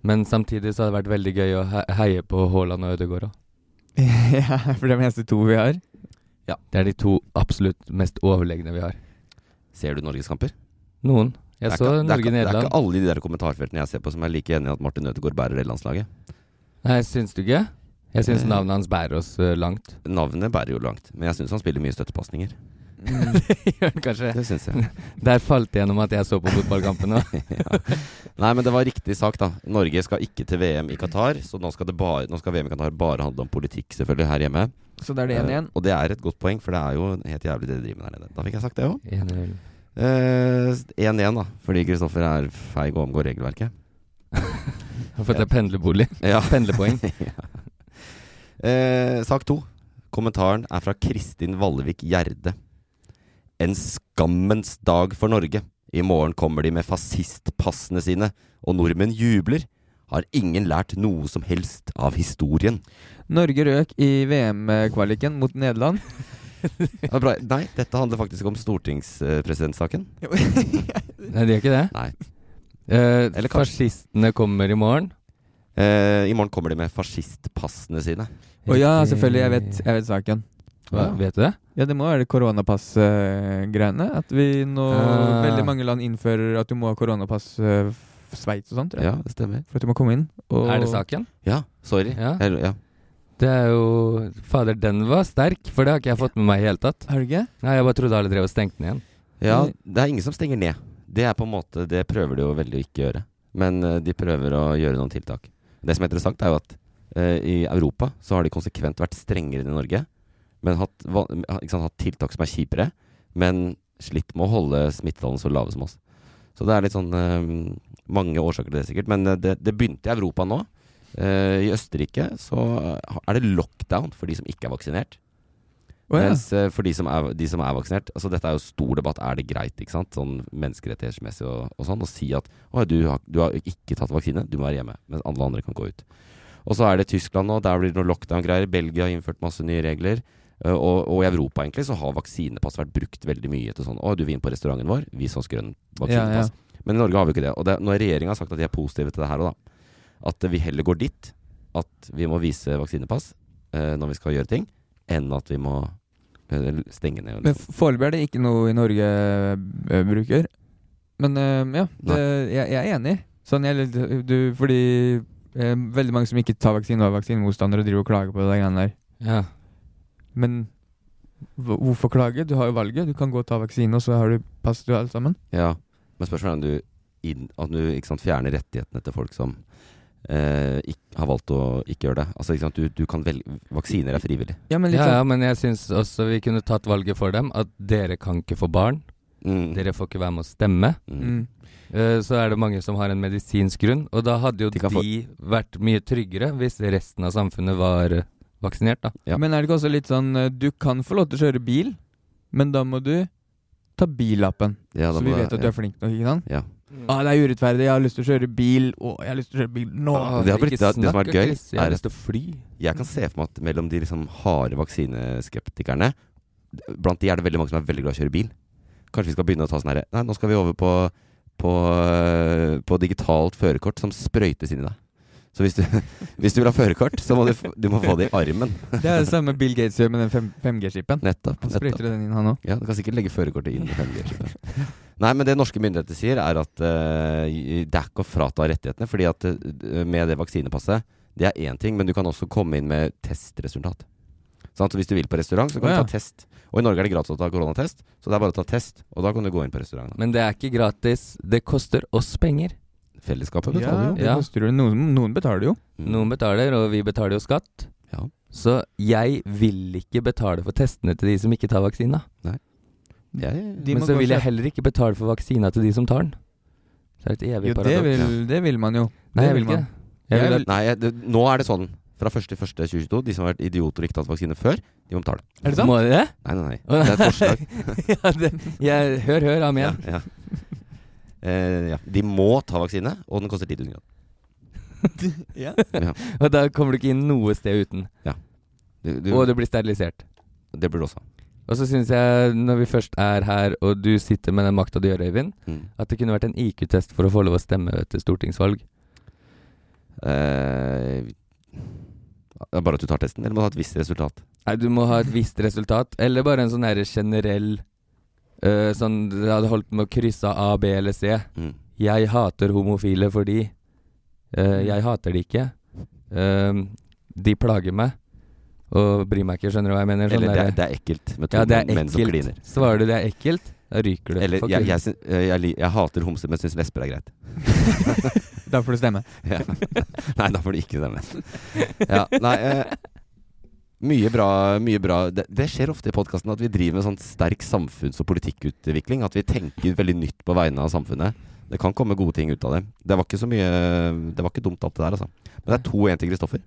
Speaker 7: Men samtidig så har det vært veldig gøy å he- heie på Haaland og Ødegaard òg.
Speaker 6: ja, for det er de eneste to vi har.
Speaker 7: Det er de to absolutt mest overlegne vi har.
Speaker 5: Ser du Norgeskamper?
Speaker 7: Noen. Jeg
Speaker 5: Det er ikke- det er
Speaker 7: så
Speaker 5: ikke- Det er
Speaker 7: Norge-Nederland.
Speaker 5: ikke alle i de der kommentarfeltene jeg ser på som er like enig i at Martin Ødegaard bærer det landslaget.
Speaker 7: Nei, syns du ikke? Jeg syns
Speaker 5: Eh.
Speaker 7: navnet hans bærer oss eh, langt.
Speaker 5: Navnet bærer jo langt, men jeg syns han spiller mye støttepasninger. Mm.
Speaker 7: Mm. Gjør han kanskje.
Speaker 5: Det syns jeg.
Speaker 7: Der falt det gjennom at jeg så på fotballkampen òg.
Speaker 5: ja. Nei, men det var riktig sak, da. Norge skal ikke til VM i Qatar, så nå skal, det bare, nå skal VM i Qatar bare handle om politikk, selvfølgelig, her hjemme.
Speaker 6: Så da er det 1-1.
Speaker 5: Eh, og det er et godt poeng, for det er jo helt jævlig det de driver med der nede. Da fikk jeg sagt det Eh, òg.
Speaker 7: Ja,
Speaker 5: 1-1, da, fordi Kristoffer er feig og omgår regelverket.
Speaker 7: For det er pendlerbolig.
Speaker 5: Ja.
Speaker 7: Pendlerpoeng.
Speaker 5: Eh, sak to. Kommentaren er fra Kristin Vallevik Gjerde. En skammens dag for Norge. I morgen kommer de med fascistpassene sine, og nordmenn jubler. Har ingen lært noe som helst av historien?
Speaker 6: Norge røk i VM-kvaliken mot Nederland.
Speaker 5: Ja, bra. Nei, dette handler faktisk om eh, stortingspresidentsaken.
Speaker 7: Nei, de gjør ikke det.
Speaker 5: Nei.
Speaker 7: Eh,
Speaker 5: Eller kanskje.
Speaker 7: fascistene kommer i morgen.
Speaker 5: Eh, I morgen kommer de med fascistpassene sine.
Speaker 6: Å ja, selvfølgelig. Jeg vet, jeg vet saken.
Speaker 7: Hva, vet du det?
Speaker 6: Ja, det må være det koronapass-greiene. At vi nå
Speaker 7: Ah.
Speaker 6: Veldig mange land innfører at du må ha koronapass eh, f- Sveits og sånt, tror jeg.
Speaker 5: Ja, det stemmer.
Speaker 6: For at du må komme inn. Og
Speaker 7: Er det saken?
Speaker 5: Ja, sorry.
Speaker 7: Ja.
Speaker 5: Jeg- ja.
Speaker 7: Det er jo Fader, den var sterk, for det har ikke jeg fått med meg i det hele tatt.
Speaker 6: Er det ikke?
Speaker 7: Nei, Jeg bare trodde alle drev og stengte den igjen.
Speaker 5: Ja, det er ingen som stenger ned. Det er på en måte, det prøver de jo veldig å ikke gjøre. Men eh, de prøver å gjøre noen tiltak. Det som er interessant, er jo at eh, i Europa så har de konsekvent vært strengere enn i Norge. Men hatt, va- ikke sant, hatt tiltak som er kjipere, men slitt med å holde smittetallene så lave som oss. Så det er litt sånn eh, mange årsaker til det, sikkert. Men eh, det, det begynte i Europa nå. Eh, I Østerrike så eh, er det lockdown for de som ikke er vaksinert.
Speaker 6: Å ja.
Speaker 5: Mens eh, for de som, er, de som er vaksinert Altså dette er jo stor debatt, er det greit, ikke sant? Sånn menneskerettighetsmessig og, og sånn Å si at «Å, du, har, du har ikke tatt vaksine, du må være hjemme Mens alle andre kan gå ut Og så er det Tyskland nå, der blir det noen lockdown-greier Belgia har innført masse nye regler Eh, og, og i Europa egentlig så har vaksinepass vært brukt veldig mye til sånn Å, du vil inn på restauranten vår, vis oss grønn
Speaker 6: Ja, ja.
Speaker 5: vaksinepass Men i Norge har vi ikke det Og det, når regjeringen har sagt at de er positive til det her og da At eh, vi heller går dit At vi må vise vaksinepass eh, Når vi skal gjøre ting Enn at vi må eller stenge ned.
Speaker 6: Men
Speaker 5: Liksom.
Speaker 6: f- foreløpig er det ikke noe i Norge eh, bruker. Men eh, ja, det, jeg, jeg er enig. Sånn, jeg, er litt- du, fordi eh, veldig mange som ikke tar vaksine, og er vaksinemotstandere, driver og klager på de greiene der.
Speaker 7: Ja.
Speaker 6: Men hv- hvorfor klage? Du har jo valget. Du kan gå og ta vaksine, og så har du pass du har alt sammen.
Speaker 5: Ja. Men spørsmålet er om du, inn, om du ikke sant, fjerner rettighetene til folk som eh, ikk- har valgt å ikke gjøre det. Altså, ikke sant, du, du kan velge Vaksiner er frivillig.
Speaker 6: Ja, men litt
Speaker 7: ja, ja,
Speaker 6: sånn
Speaker 7: men jeg syns også vi kunne tatt valget for dem. At dere kan ikke få barn.
Speaker 5: Mm.
Speaker 7: Dere får ikke være med å stemme.
Speaker 5: Mm.
Speaker 6: mm.
Speaker 7: Eh, Så er det mange som har en medisinsk grunn, og da hadde jo
Speaker 5: De
Speaker 7: de,
Speaker 5: kan få-
Speaker 7: vært mye tryggere hvis resten av samfunnet var eh, vaksinert, da.
Speaker 5: Ja.
Speaker 6: Men er det ikke også litt sånn eh, Du kan få lov til å kjøre bil, men da må du ta billappen.
Speaker 5: Ja, da
Speaker 6: så
Speaker 5: må
Speaker 6: vi vet at du
Speaker 5: ja.
Speaker 6: er flink nok, ikke sant?
Speaker 5: Ja.
Speaker 6: Ah, det er urettferdig. Jeg har lyst til å kjøre bil. Å, jeg har lyst til å kjøre bil nå.
Speaker 5: Ja, det har blitt- det- det som har vært gøy,
Speaker 7: Jeg
Speaker 5: er-
Speaker 7: har lyst til å fly.
Speaker 5: Jeg kan se for meg at mellom de liksom harde vaksineskeptikerne Blant de er det veldig mange som er veldig glad i å kjøre bil. Kanskje vi skal begynne å ta sånn herre Nei, nå skal vi over på, på, eh, på digitalt førerkort som sprøytes inn i deg. Så hvis du, hvis du vil ha førerkort, så må du, f- du må få det i armen.
Speaker 6: Det er det samme Bill Gates gjør med den 5G-skipen.
Speaker 5: Nettopp.
Speaker 6: Han
Speaker 5: nettopp.
Speaker 6: sprøyter den inn, han òg.
Speaker 5: Ja, Du kan sikkert legge førerkortet inn i 5G-skipet. Nei, men det norske myndigheter sier, er at eh, det er ikke å frata rettighetene. fordi at eh, med det vaksinepasset, det er én ting, men du kan også komme inn med testresultat. Sant? så hvis du vil på restaurant, så kan
Speaker 6: Å, ja.
Speaker 5: du ta test. Og i Norge er det gratis å ta koronatest, så det er bare å ta test. Og da kan du gå inn på restauranten.
Speaker 7: Men det er ikke gratis. Det koster oss penger.
Speaker 5: Fellesskapet
Speaker 6: Ja,
Speaker 5: betaler jo.
Speaker 6: det
Speaker 7: Ja.
Speaker 6: koster jo. Noen, noen betaler jo.
Speaker 5: Mm.
Speaker 7: Noen betaler, og vi betaler jo skatt.
Speaker 5: Ja.
Speaker 7: Så jeg vil ikke betale for testene til de som ikke tar vaksina.
Speaker 5: Jeg,
Speaker 6: De
Speaker 7: Men
Speaker 6: må
Speaker 7: så
Speaker 6: gå og
Speaker 7: vil jeg
Speaker 6: kjøpe-
Speaker 7: heller ikke betale for vaksina til de som tar den. Så det er et evig
Speaker 6: Jo, det
Speaker 7: paradoks.
Speaker 6: vil, det vil man jo.
Speaker 7: Nei,
Speaker 6: det
Speaker 7: jeg
Speaker 6: vil
Speaker 7: vil ikke
Speaker 6: man.
Speaker 7: det. Jeg vil
Speaker 6: Jeg
Speaker 7: at-
Speaker 6: vil-
Speaker 5: Nei, jeg- det, nå er det sånn. Fra 1.1.2022, de som har vært idioter og ikke tatt vaksine før, de må betale.
Speaker 6: Er det sant?
Speaker 7: Må de det?
Speaker 5: Nei, nei, nei. Det er et forslag.
Speaker 7: ja, det, jeg, hør, hør,
Speaker 5: Ja,
Speaker 7: amen.
Speaker 5: ja. Eh, ja. De må ta vaksine, og den koster 10 000 kroner.
Speaker 7: Og da kommer du ikke inn noe sted uten.
Speaker 5: Du,
Speaker 7: Og
Speaker 5: du,
Speaker 7: du blir sterilisert.
Speaker 5: det burde du også ha.
Speaker 7: Og så syns jeg, når vi først er her, og du sitter med den makta du gjør, Øyvind,
Speaker 5: Mm.
Speaker 7: at det kunne vært en IQ-test for å få lov å stemme til stortingsvalg.
Speaker 5: Eh, det er bare at du tar testen, eller må du ha et visst resultat?
Speaker 7: Nei, du må ha et visst resultat, eller bare en sånn her generell øh, Sånn det hadde holdt med å krysse av A, B eller C.
Speaker 5: Mm.
Speaker 7: Jeg hater homofile fordi øh, Jeg hater de ikke. Ehm, de plager meg og bryr meg ikke, skjønner du hva jeg mener? Sånn
Speaker 5: Eller det
Speaker 7: derre-
Speaker 5: er, det er ekkelt med to
Speaker 7: Ja, det er
Speaker 5: menn som
Speaker 7: ekkelt.
Speaker 5: kliner.
Speaker 7: Svarer du det er ekkelt, da ryker du.
Speaker 5: Eller
Speaker 7: Fuck
Speaker 5: jeg,
Speaker 7: you.
Speaker 5: jeg, syn- eh, jeg, li- jeg hater homser, men syns lesber er greit.
Speaker 6: Da får det stemme.
Speaker 5: Ja. Nei, da får det ikke stemme. Ja, nei, eh, mye bra. Mye bra. Det, det skjer ofte i podkasten at vi driver med sånn sterk samfunns- og politikkutvikling. At vi tenker veldig nytt på vegne av samfunnet. Det kan komme gode ting ut av det. Det var ikke så mye Det var ikke dumt, alt det der, altså. Men det er to en til Kristoffer.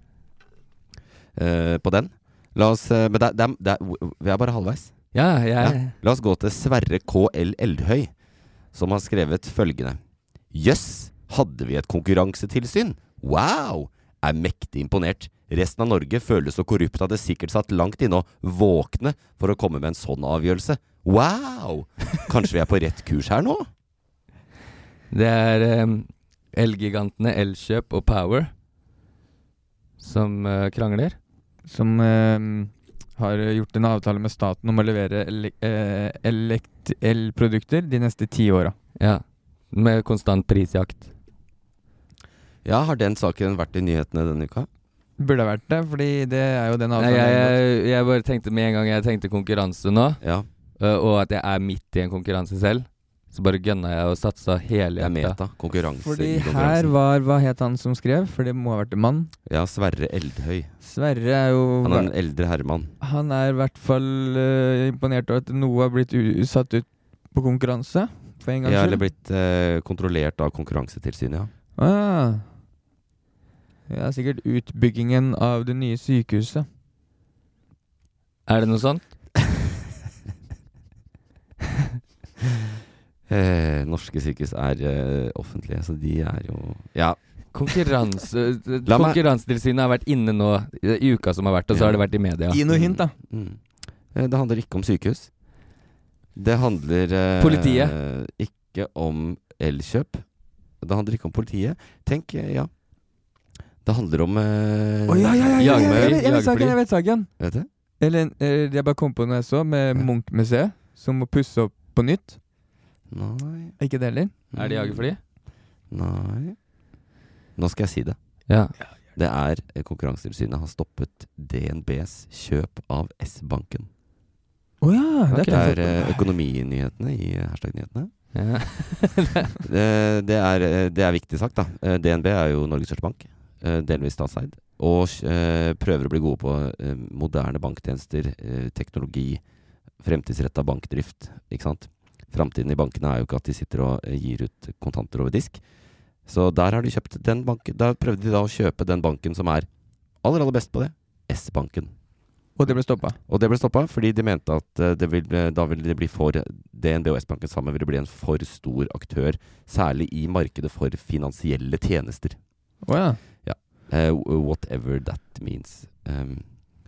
Speaker 5: Eh, på den. La oss eh, Men det, er- det, er- det, er- vi er bare halvveis.
Speaker 7: Ja, jeg
Speaker 5: Ja. La oss gå til Sverre KL Eldhøy, som har skrevet følgende. Jøss, hadde vi et konkurransetilsyn? Wow! Er mektig imponert. Resten av Norge føles så korrupt at det sikkert satt langt inne å våkne for å komme med en sånn avgjørelse. Wow! Kanskje vi er på rett kurs her nå?
Speaker 7: Det er em, Elgigantene Elkjøp og Power som eh, krangler.
Speaker 6: Som eh, har gjort en avtale med staten om å levere ele eh, elekt elprodukter de neste ti åra.
Speaker 7: Ja. Med konstant prisjakt.
Speaker 5: Ja, har den saken vært i nyhetene denne uka?
Speaker 6: Burde ha vært det, fordi det er jo den
Speaker 7: Nei,
Speaker 6: avtalen.
Speaker 7: jeg, jeg, jeg bare tenkte med en gang jeg tenkte konkurranse nå,
Speaker 5: Ja,
Speaker 7: eh, og at jeg er midt i en konkurranse selv, så bare gønna jeg og satsa hele
Speaker 5: det er
Speaker 7: hjertet.
Speaker 5: meta. Konkurranse
Speaker 6: fordi
Speaker 5: i
Speaker 6: her
Speaker 5: konkurransen.
Speaker 6: var Hva het han som skrev? For det må ha vært en mann.
Speaker 5: Ja, Sverre Eldhøy.
Speaker 6: Sverre er jo
Speaker 5: Han er en eldre herremann.
Speaker 6: Han er i hvert fall eh, imponert over at noe har blitt u satt ut på konkurranse. For en gangs
Speaker 5: Ja,
Speaker 6: skyld.
Speaker 5: eller blitt eh, kontrollert av Konkurransetilsynet, ja.
Speaker 6: Ah. Ja, sikkert utbyggingen av det nye sykehuset.
Speaker 7: Er det noe sånt?
Speaker 5: Eh, norske sykehus er eh, offentlige, så de er jo Ja.
Speaker 7: Konkurranse eh,
Speaker 5: La meg-
Speaker 7: Konkurransetilsynet har vært inne nå i i uka som har vært, og så
Speaker 5: Ja.
Speaker 7: har det vært i media.
Speaker 6: Gi noe hint, da.
Speaker 5: Mm. Eh, det handler ikke om sykehus. Det handler eh,
Speaker 7: Politiet.
Speaker 5: eh, Ikke om Elkjøp. Det handler ikke om politiet. Tenk, eh, ja. Det handler om eh,
Speaker 6: Å, ja, ja, ja, ja, ja, jeg
Speaker 5: jagerfly.
Speaker 6: vet- jeg vet saken! jeg vet saken
Speaker 5: Vet du?
Speaker 6: Eller eh, jeg bare kom på noe jeg så, med
Speaker 5: Ja.
Speaker 6: Munch-museet, som må pusse opp på nytt.
Speaker 5: Nei.
Speaker 6: Ikke det heller.
Speaker 7: Er det jagerfly?
Speaker 5: Nei. Nå skal jeg si det.
Speaker 7: Ja.
Speaker 5: Det er eh, Konkurransetilsynet har stoppet DNBs kjøp av S-banken.
Speaker 6: Å ja!
Speaker 7: Ok.
Speaker 6: dette
Speaker 5: Det
Speaker 6: er
Speaker 5: er eh, økonominyhetene i eh, hashtag-nyhetene.
Speaker 7: ja.
Speaker 5: Eh, Det er, det er viktig sagt, da. Eh, DNB er jo Norges største bank, eh, delvis statseid. Og eh, prøver å bli gode på eh, moderne banktjenester, eh, teknologi, fremtidsretta bankdrift. Ikke sant? Framtiden i bankene er jo ikke at de sitter og eh, gir ut kontanter over disk. Så der har de kjøpt den banken. Der prøvde de da å kjøpe den banken som er aller, aller best på det. S-banken.
Speaker 6: Og det ble stoppa.
Speaker 5: Og det ble stoppa fordi de mente at eh, det vil, eh, da ville det bli for DNB og S-banken sammen ville bli en for stor aktør, særlig i markedet for finansielle tjenester.
Speaker 6: Å ja.
Speaker 5: Eh, whatever that means. Um,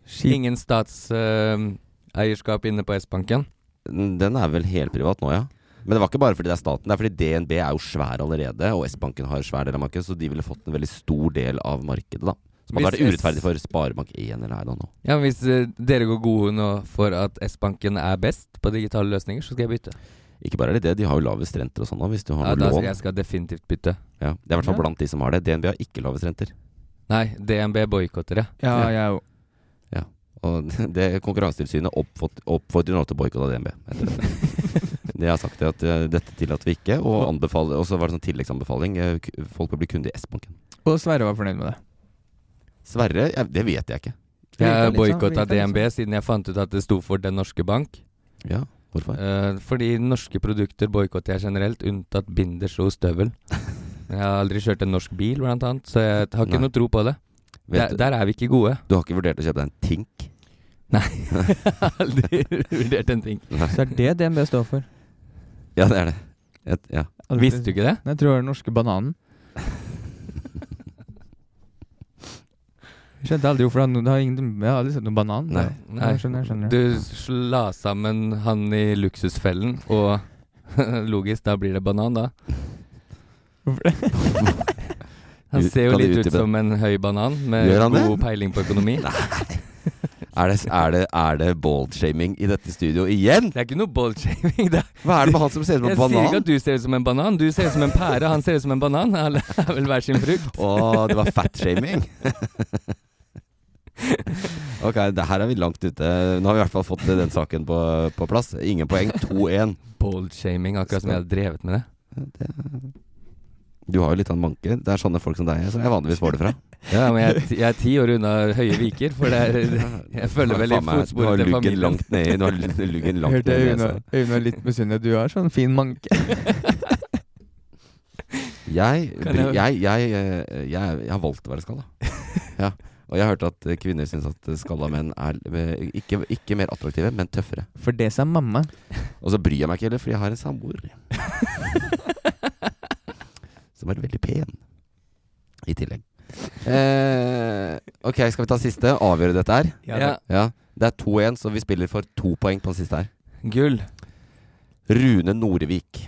Speaker 6: Skip.
Speaker 7: Ingen statseierskap inne på S-banken.
Speaker 5: den er vel helprivat nå, ja. Men det var ikke bare fordi det er staten. Det er fordi DNB er jo svær allerede, og S-banken har svær del av markedet, så de ville fått en veldig stor del av markedet, da. Som hadde vært
Speaker 7: Hvis S-
Speaker 5: urettferdig for Sparebank1 eller her da nå.
Speaker 7: Ja, men Hvis eh, dere går gode nå for at S-banken er best på digitale løsninger, så skal jeg bytte.
Speaker 5: Ikke bare er det det, de har jo lavest renter og sånn nå, hvis du har
Speaker 7: Ja,
Speaker 5: noe
Speaker 7: da skal
Speaker 5: lån.
Speaker 7: jeg skal definitivt bytte.
Speaker 5: Ja, det er i hvert fall
Speaker 6: Ja.
Speaker 5: blant de som har det. DNB har ikke lavest renter.
Speaker 7: Nei, DNB boikotter det.
Speaker 6: Ja, jeg òg.
Speaker 5: Og det Konkurransetilsynet oppfot- oppfordrer nå til boikott av DNB. etter dette. Det jeg har sagt er at eh, dette tillater vi ikke, og, anbefaler, og så var det sånn tilleggsanbefaling. eh, k- Folk bør bli kunde i S-banken.
Speaker 6: Og Sverre var fornøyd med det.
Speaker 5: Sverre, jeg- det vet jeg ikke.
Speaker 6: Det virker
Speaker 7: Jeg
Speaker 6: litt sånn,
Speaker 7: boikotta
Speaker 6: det virker litt
Speaker 7: DNB siden jeg fant ut at det sto for Den norske bank.
Speaker 5: Ja. Hvorfor?
Speaker 7: Eh, fordi norske produkter boikotter jeg generelt, unntatt binders og støvel. Jeg har aldri kjørt en norsk bil, blant annet, så jeg har ikke
Speaker 5: Nei.
Speaker 7: noe tro på det. Der,
Speaker 5: Vet, du-
Speaker 7: der er vi ikke gode.
Speaker 5: du har ikke vurdert å kjøpe deg en Tink?
Speaker 7: aldri vurdert en ting.
Speaker 6: Så er det DNB står for.
Speaker 5: Ja, det er det. Et, ja.
Speaker 7: Visste du ikke det?
Speaker 6: Nei, Jeg tror det er den norske bananen. Jeg skjønte aldri hvorfor det har no- det har ingen, Jeg har aldri sett noen banan.
Speaker 5: Nei.
Speaker 6: Nei, jeg skjønner, jeg skjønner.
Speaker 7: Du sla sammen han i luksusfellen, og logisk, da blir det banan, da. Han
Speaker 5: Du-
Speaker 7: ser jo
Speaker 5: kan du
Speaker 7: litt ut
Speaker 5: utdype det?
Speaker 7: som en høy banan, med
Speaker 5: Gjør han det?
Speaker 7: god peiling på økonomi.
Speaker 5: Er det, er det, er det bald-shaming i dette studio igjen?
Speaker 7: Det er ikke noe ball-shaming. det er-
Speaker 5: Hva er det med han som ser ut som
Speaker 7: Jeg
Speaker 5: en
Speaker 7: sier ikke
Speaker 5: banan?
Speaker 7: at du ser ut som en banan. Du ser ut som en pære, han ser ut som en banan. Alle er vel hver sin frukt.
Speaker 5: Å, det var fat-shaming. ok, det her er vi langt ute. Nå har vi i hvert fall fått den saken på, på plass. Ingen poeng. 2-1.
Speaker 7: Ball-shaming, akkurat som jeg har drevet med det.
Speaker 5: Du har jo litt av en manke. Det er sånne folk som deg som jeg vanligvis får det fra.
Speaker 7: Ja, men jeg, er ti- jeg er ti år unna Høye Viker, for det er, jeg følger vel i
Speaker 5: Faen meg,
Speaker 7: fotsporet
Speaker 5: Du har
Speaker 7: til
Speaker 5: luggen
Speaker 7: familien.
Speaker 5: langt ned i Du har luggen langt
Speaker 6: Hørte
Speaker 5: ned i
Speaker 6: jeg
Speaker 5: nesa.
Speaker 6: Aune- Aune er litt misunnelig. Du har sånn fin manke.
Speaker 5: Jeg,
Speaker 7: Kan
Speaker 5: bry-
Speaker 7: jeg-
Speaker 5: jeg, jeg, eh, jeg, jeg har valgt å være skalla. Ja. Og jeg hørte at eh, kvinner syns at eh, skalla menn er eh, ikke, ikke mer attraktive, men tøffere.
Speaker 6: For det sa mamma.
Speaker 5: Og så bryr jeg meg ikke heller, fordi jeg har en samboer som er veldig pen. I tillegg. Eh, ok, skal vi ta siste? Avgjøre dette her?
Speaker 7: Ja,
Speaker 5: Ja. Det er 2-1, så vi spiller for to poeng på den siste her.
Speaker 7: gull.
Speaker 5: Rune Norevik.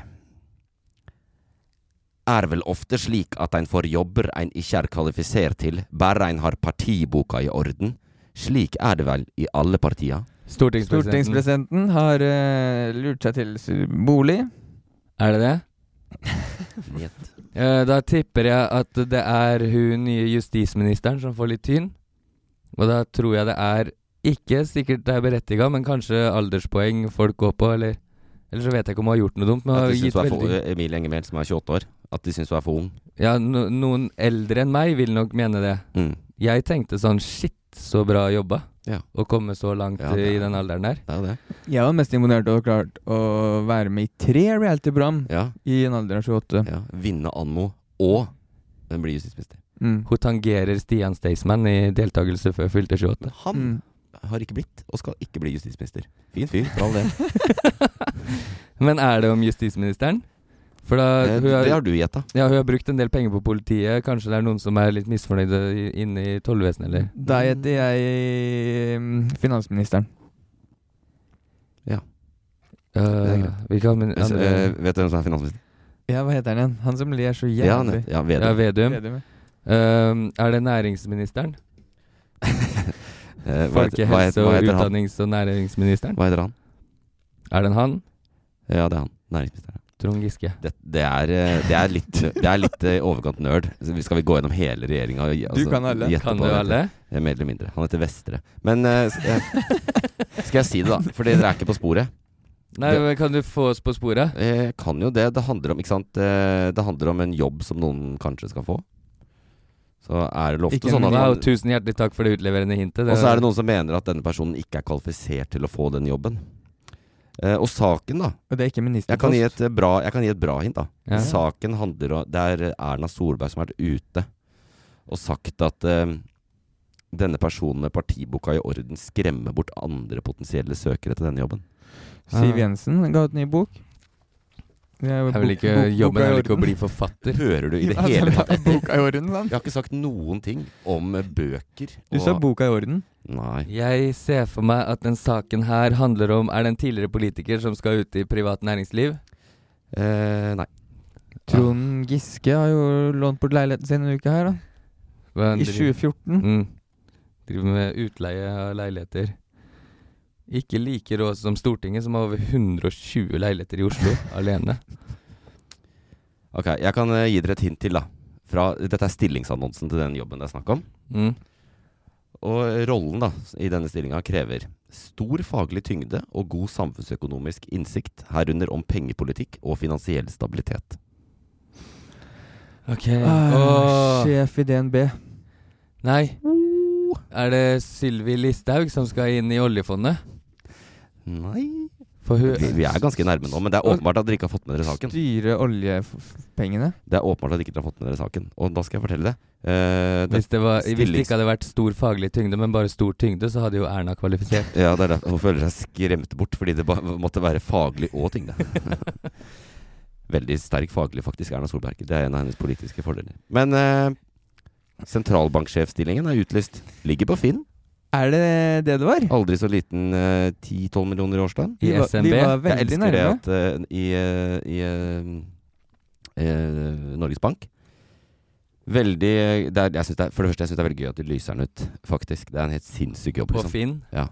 Speaker 5: Er vel ofte slik at ein får jobber ein ikke er kvalifisert til, bare ein har partiboka i orden. Slik er det vel i alle partier.
Speaker 7: Stortingspresidenten.
Speaker 6: Stortingspresidenten har eh, lurt seg til s- bolig.
Speaker 7: Er det det?
Speaker 5: Njet.
Speaker 7: Eh, Da tipper jeg at det er hun nye justisministeren som får litt tyn. Og da tror jeg det er ikke sikkert det er berettiga, men kanskje alderspoeng folk går på, eller Eller så vet jeg ikke om hun har gjort noe dumt, men hun
Speaker 5: At
Speaker 7: har
Speaker 5: de syns
Speaker 7: gitt
Speaker 5: hun er for
Speaker 7: veldig
Speaker 5: Emilie Enger Mehl, som er 28 år, at de syns hun er for ung.
Speaker 7: Ja, no, noen eldre enn meg vil nok mene det.
Speaker 5: Mm.
Speaker 7: Jeg tenkte sånn shit, så bra jobba.
Speaker 5: Ja.
Speaker 7: Å komme så langt
Speaker 5: Ja, det
Speaker 7: eh, i
Speaker 5: er-
Speaker 7: den alderen der.
Speaker 5: Det er jo det.
Speaker 6: Jeg var mest imponert over å ha klart å være med i tre reality-program
Speaker 5: Ja,
Speaker 6: i en alder av 28.
Speaker 5: ja. Vinne Anmo og den blir justisminister.
Speaker 6: Mm.
Speaker 7: Hun tangerer Stian Staysman i deltakelse før fylte 28.
Speaker 5: Men han
Speaker 6: Mm.
Speaker 5: har ikke blitt, og skal ikke bli justisminister. Fin fyr, for all del.
Speaker 7: Men er det om justisministeren? For da
Speaker 5: Eh,
Speaker 7: hun har,
Speaker 5: Det har du gjetta.
Speaker 7: Ja, hun har brukt en del penger på politiet. Kanskje det er noen som er litt misfornøyde i- inne i tollvesenet, eller?
Speaker 6: Da heter jeg mm, finansministeren.
Speaker 7: Øh,
Speaker 5: det er greit.
Speaker 7: vi kan men,
Speaker 5: Eh,
Speaker 7: andre,
Speaker 5: Vet du hvem som er finansminister?
Speaker 6: Ja, hva heter han igjen? Han som ler så
Speaker 5: Ja, han
Speaker 6: jævlig.
Speaker 5: heter- ja,
Speaker 7: ja,
Speaker 5: Vedum.
Speaker 7: Vedum.
Speaker 6: Vedum, ja.
Speaker 7: Øhm, er det næringsministeren?
Speaker 5: Eh, hva heter- hva
Speaker 7: Folkehelse-
Speaker 5: heter- hva
Speaker 7: og
Speaker 5: heter han?
Speaker 7: utdannings- og næringsministeren?
Speaker 5: Hva heter han?
Speaker 7: Er det en han?
Speaker 5: Ja, det er han. Næringsministeren.
Speaker 7: Trond Giske.
Speaker 5: Det, det, er, eh, det er litt Det er litt eh, i overkant nerd. Så vi- Skal vi gå gjennom hele regjeringa? og gi- altså
Speaker 6: Du kan alle.
Speaker 5: gjette på
Speaker 7: Kan du
Speaker 5: det?
Speaker 7: alle?
Speaker 5: Eh, Mer eller mindre. Han heter Vestre. Men eh, s- eh, skal jeg si det, da? Fordi dere er ikke på sporet.
Speaker 7: Nei,
Speaker 5: Det-
Speaker 7: men kan du få oss på sporet?
Speaker 5: Eh, Jeg kan jo det. Det handler om Ikke sant? Eh, Det handler om en jobb som noen kanskje skal få. Så er det vel ofte
Speaker 6: Ikke
Speaker 5: sånn at
Speaker 7: Wow,
Speaker 5: man,
Speaker 7: tusen hjertelig takk for det utleverende hintet.
Speaker 5: Og så er det noen som mener at denne personen ikke er kvalifisert til å få den jobben. Eh, Og saken, da.
Speaker 6: Og det er ikke
Speaker 5: Jeg kan,
Speaker 6: ministerpost.
Speaker 5: gi et eh, bra, jeg kan gi et bra hint, da.
Speaker 7: Ja.
Speaker 5: Saken handler om Det er Erna Solberg som har vært ute og sagt at eh, denne personen med partiboka i orden skremmer bort andre potensielle søkere til denne jobben.
Speaker 6: Siv Jensen ga ut ny bok. Det jo
Speaker 7: Jeg vil
Speaker 6: bok-
Speaker 7: ikke,
Speaker 6: bok-
Speaker 7: jobben
Speaker 6: boka i
Speaker 7: er vel ikke å
Speaker 6: orden.
Speaker 7: bli forfatter?
Speaker 5: Hører du i det
Speaker 6: Ja,
Speaker 5: hele
Speaker 6: den
Speaker 5: tatt
Speaker 6: er
Speaker 5: etter?
Speaker 6: Boka i orden,
Speaker 5: Jeg
Speaker 6: sant?
Speaker 5: har ikke sagt noen ting om eh, bøker.
Speaker 6: Du sa boka i orden.
Speaker 5: Nei.
Speaker 7: Jeg ser for meg at den saken her handler om Er det en tidligere politiker som skal ut i privat næringsliv?
Speaker 5: Eh, nei.
Speaker 6: Trond Giske har jo lånt bort leiligheten sin en uke her, da.
Speaker 7: Hva
Speaker 6: I
Speaker 7: driver-
Speaker 6: 2014.
Speaker 7: Mm. Driver med utleie av leiligheter. Ikke like rå som Stortinget, som har over 120 leiligheter i Oslo alene.
Speaker 5: Ok, jeg kan eh, gi dere et hint til, da. Fra, dette er stillingsannonsen til den jobben det er snakk om.
Speaker 7: Mm.
Speaker 5: Og rollen da, i denne stillinga krever stor faglig tyngde og god samfunnsøkonomisk innsikt, herunder om pengepolitikk og finansiell stabilitet.
Speaker 7: Ok.
Speaker 6: Ah,
Speaker 7: Åh.
Speaker 6: sjef i DNB.
Speaker 7: Nei. Er det Sylvi Listhaug som skal inn i oljefondet?
Speaker 5: Nei
Speaker 7: For hun
Speaker 5: Vi, vi er ganske nærme nå, men det er åpenbart at dere ikke har fått med dere saken.
Speaker 6: Styre oljepengene?
Speaker 5: Det er åpenbart at dere ikke har fått med dere saken. Og da skal jeg fortelle det. Eh, det
Speaker 7: hvis det, var, hvis det
Speaker 5: Stillings-
Speaker 7: ikke hadde vært stor faglig tyngde, men bare stor tyngde, så hadde jo Erna kvalifisert.
Speaker 5: ja, det er derfor hun føler seg skremt bort, fordi det ba- måtte være faglig og tyngde. Veldig sterk faglig, faktisk, Erna Solberg. Det er en av hennes politiske fordeler. Men eh, sentralbanksjefstillingen er utlyst. Ligger på Finn.
Speaker 6: Er det det det var?
Speaker 5: Aldri så liten eh, 10-12 millioner i årslønn.
Speaker 7: I
Speaker 6: Vi var-
Speaker 7: SMB.
Speaker 6: Vi var
Speaker 5: Jeg
Speaker 6: veldig
Speaker 5: elsker det
Speaker 6: nærme.
Speaker 5: at eh, i, eh, i eh, eh, Norges Bank Veldig eh, det er, jeg synes det er, For det første, jeg syns det er veldig gøy at de lyser den ut, faktisk. Det er en helt sinnssyk jobb,
Speaker 7: På
Speaker 5: liksom.
Speaker 7: Finn.
Speaker 5: Ja.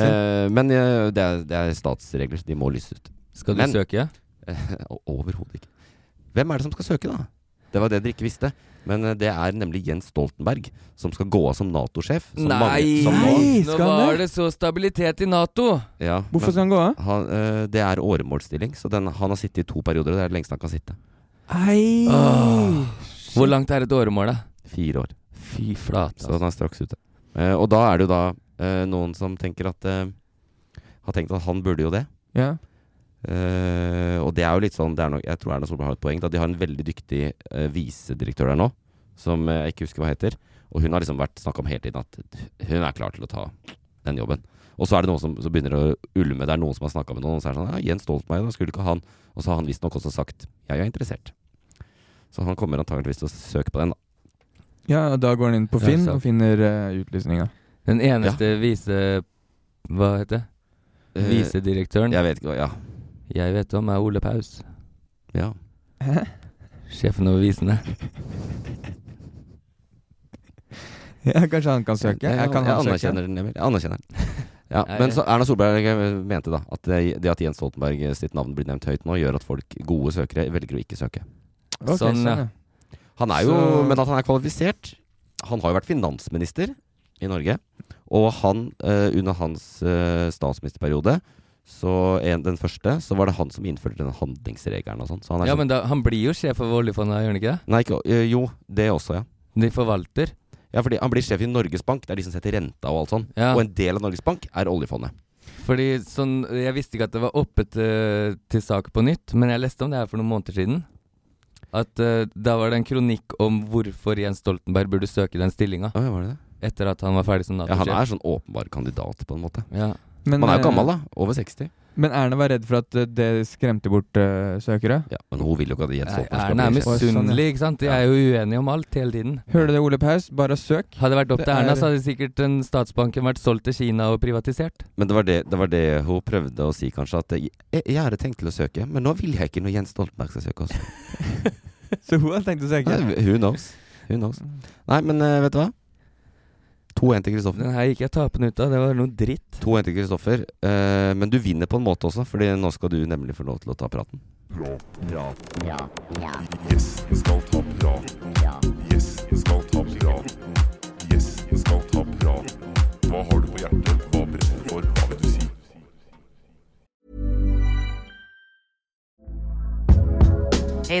Speaker 5: Eh, men eh, det, er, det er statsregler, så de må lyse ut.
Speaker 7: Skal du
Speaker 5: Men-
Speaker 7: søke?
Speaker 5: Eh, o- Overhodet ikke. Hvem er det som skal søke, da? Det var det dere ikke visste. Men eh, det er nemlig Jens Stoltenberg som skal gå av som Nato-sjef. som mange- som nå-
Speaker 6: Nei!
Speaker 7: Nå
Speaker 6: skal han
Speaker 7: var
Speaker 6: det?
Speaker 7: det så stabilitet i Nato!
Speaker 5: Ja, men
Speaker 6: Hvorfor skal han gå av?
Speaker 5: han, eh, det er åremålsstilling, så den, han har sittet i to perioder, og det er det lengste han kan sitte.
Speaker 6: Hei!
Speaker 7: Åh. Hvor langt er et åremål, da?
Speaker 5: Fire år.
Speaker 7: Fy flate.
Speaker 5: Så
Speaker 7: Altså.
Speaker 5: han er straks ute. Eh, og da er det jo da eh, noen som tenker at eh, Har tenkt at han burde jo det.
Speaker 6: Ja.
Speaker 5: Eh, og det er jo litt sånn det er nok, Jeg tror Erna Solberg har et poeng. Da. De har en veldig dyktig eh, visedirektør der nå, som eh, jeg ikke husker hva heter. Og hun har liksom vært snakka om hele tiden at hun er klar til å ta den jobben. Og så er det noen som så begynner å ulme. Det er noen som har snakka med noen, og så er det sånn ja, 'Jens Stoltenberg, da skulle ikke han.' Og så har han visstnok også sagt 'jeg er interessert'. Så han kommer antakeligvis til å søke på den, da.
Speaker 6: ja, og da går han inn på
Speaker 7: Ja,
Speaker 6: Finn
Speaker 7: sant.
Speaker 6: og finner uh, utlysninga.
Speaker 7: Den eneste vise... Hva heter det?
Speaker 5: Eh,
Speaker 7: Visedirektøren
Speaker 5: Jeg vet ikke hva Ja.
Speaker 7: jeg vet om, er Ole Paus.
Speaker 5: ja.
Speaker 7: Sjefen over visene.
Speaker 6: Ja, kanskje han kan søke?
Speaker 5: Jeg,
Speaker 6: Ja, kan han søke?
Speaker 5: anerkjenner den, Emil. Jeg anerkjenner den. Ja,
Speaker 7: Nei,
Speaker 5: men
Speaker 7: jeg-
Speaker 5: så Erna Solberg eh, mente da at det, det at Jens Stoltenberg eh, sitt navn blir nevnt høyt nå, gjør at folk, gode søkere, velger å ikke søke.
Speaker 6: Ok,
Speaker 7: Sånn, ja.
Speaker 6: ja.
Speaker 5: Han er jo,
Speaker 6: Så-
Speaker 5: Men at han er kvalifisert Han har jo vært finansminister i Norge. Og han, eh, under hans eh, statsministerperiode, så en, den første, så var det han som innførte den handlingsregelen og sånn. Så han er
Speaker 7: Ja,
Speaker 5: sånn
Speaker 7: men da, han blir jo sjef over oljefondet, gjør han ikke det?
Speaker 5: Nei, ikke, eh, jo, det også, ja.
Speaker 7: De forvalter.
Speaker 5: Ja, fordi Han blir sjef i Norges Bank, det er de som setter renta og alt sånn.
Speaker 7: Ja.
Speaker 5: Og en del av Norges Bank er oljefondet.
Speaker 7: Fordi sånn, Jeg visste ikke at det var oppe til, til sak på nytt, men jeg leste om det her for noen måneder siden. At eh, Da var det en kronikk om hvorfor Jens Stoltenberg burde søke den stillinga
Speaker 5: Å, ja, var det det?
Speaker 7: etter at han var ferdig som
Speaker 5: Ja, han
Speaker 7: Nato-sjef.
Speaker 5: er sånn åpenbar kandidat, på en måte.
Speaker 7: Ja,
Speaker 6: Men,
Speaker 5: Man er jo
Speaker 6: eh,
Speaker 5: gammel, da. Over 60.
Speaker 6: Men Erna var redd for at eh, det skremte bort eh, søkere.
Speaker 5: Ja, men hun vil jo ikke at Jens
Speaker 7: Nei,
Speaker 5: Stoltenberg
Speaker 7: Erna er
Speaker 5: skal bli sjef.
Speaker 6: Å, sånn, ja.
Speaker 7: misunnelig, ikke sant? De er jo uenige om alt hele tiden.
Speaker 6: Hører du det, Ole Paus? Bare søk.
Speaker 7: Hadde det vært opp
Speaker 6: Det
Speaker 7: til Erna,
Speaker 6: er-
Speaker 7: så hadde sikkert den statsbanken vært solgt til Kina og privatisert.
Speaker 5: Men det var det, det var det hun prøvde å si, kanskje. At jeg, jeg hadde tenkt til å søke, men nå vil jeg ikke når Jens Stoltenberg skal søke også.
Speaker 6: Så hun hadde tenkt å søke.
Speaker 5: Nei, Who knows? Who knows?
Speaker 6: Mm.
Speaker 5: Nei, men eh, vet du hva? 2-1 til Kristoffer.
Speaker 7: Den her gikk jeg tapende ut av. Det var noe dritt.
Speaker 5: 2-1 til Kristoffer. eh, men du vinner på en måte også, Fordi nå skal du nemlig få lov til å ta praten.
Speaker 8: Gjesten skal ta prat. Gjesten skal ta prat. Gjesten skal ta prat. Hva har du på hjertet? Hva brenner du for? Hva vil du si?
Speaker 9: Hey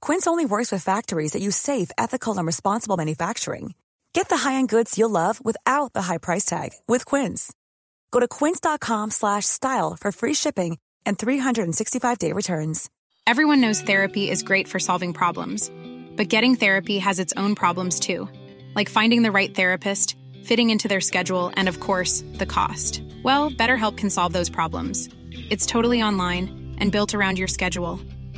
Speaker 8: Quince only works with factories that use safe, ethical, and responsible manufacturing. Get the high-end goods you'll love without the high price tag with Quince. Go to quince.com slash style for free shipping and 365-day returns.
Speaker 9: Everyone knows therapy is great for solving problems, but getting therapy has its own problems too, like finding the right therapist, fitting into their schedule, and of course, the cost. Well, BetterHelp can solve those problems. It's totally online and built around your schedule.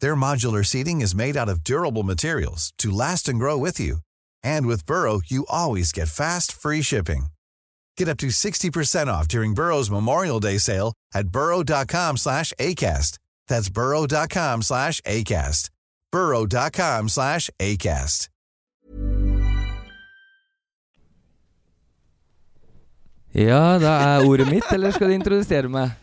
Speaker 10: Their modular seating is made out of durable materials to last and grow with you. And with Burrow, you always get fast, free shipping. Get up to 60% off during Burrow's Memorial Day sale at burrow.com slash ACAST. That's burrow.com slash ACAST. burrow.com slash ACAST.
Speaker 7: Ja, da er ordet mitt, eller skal du introdusere meg?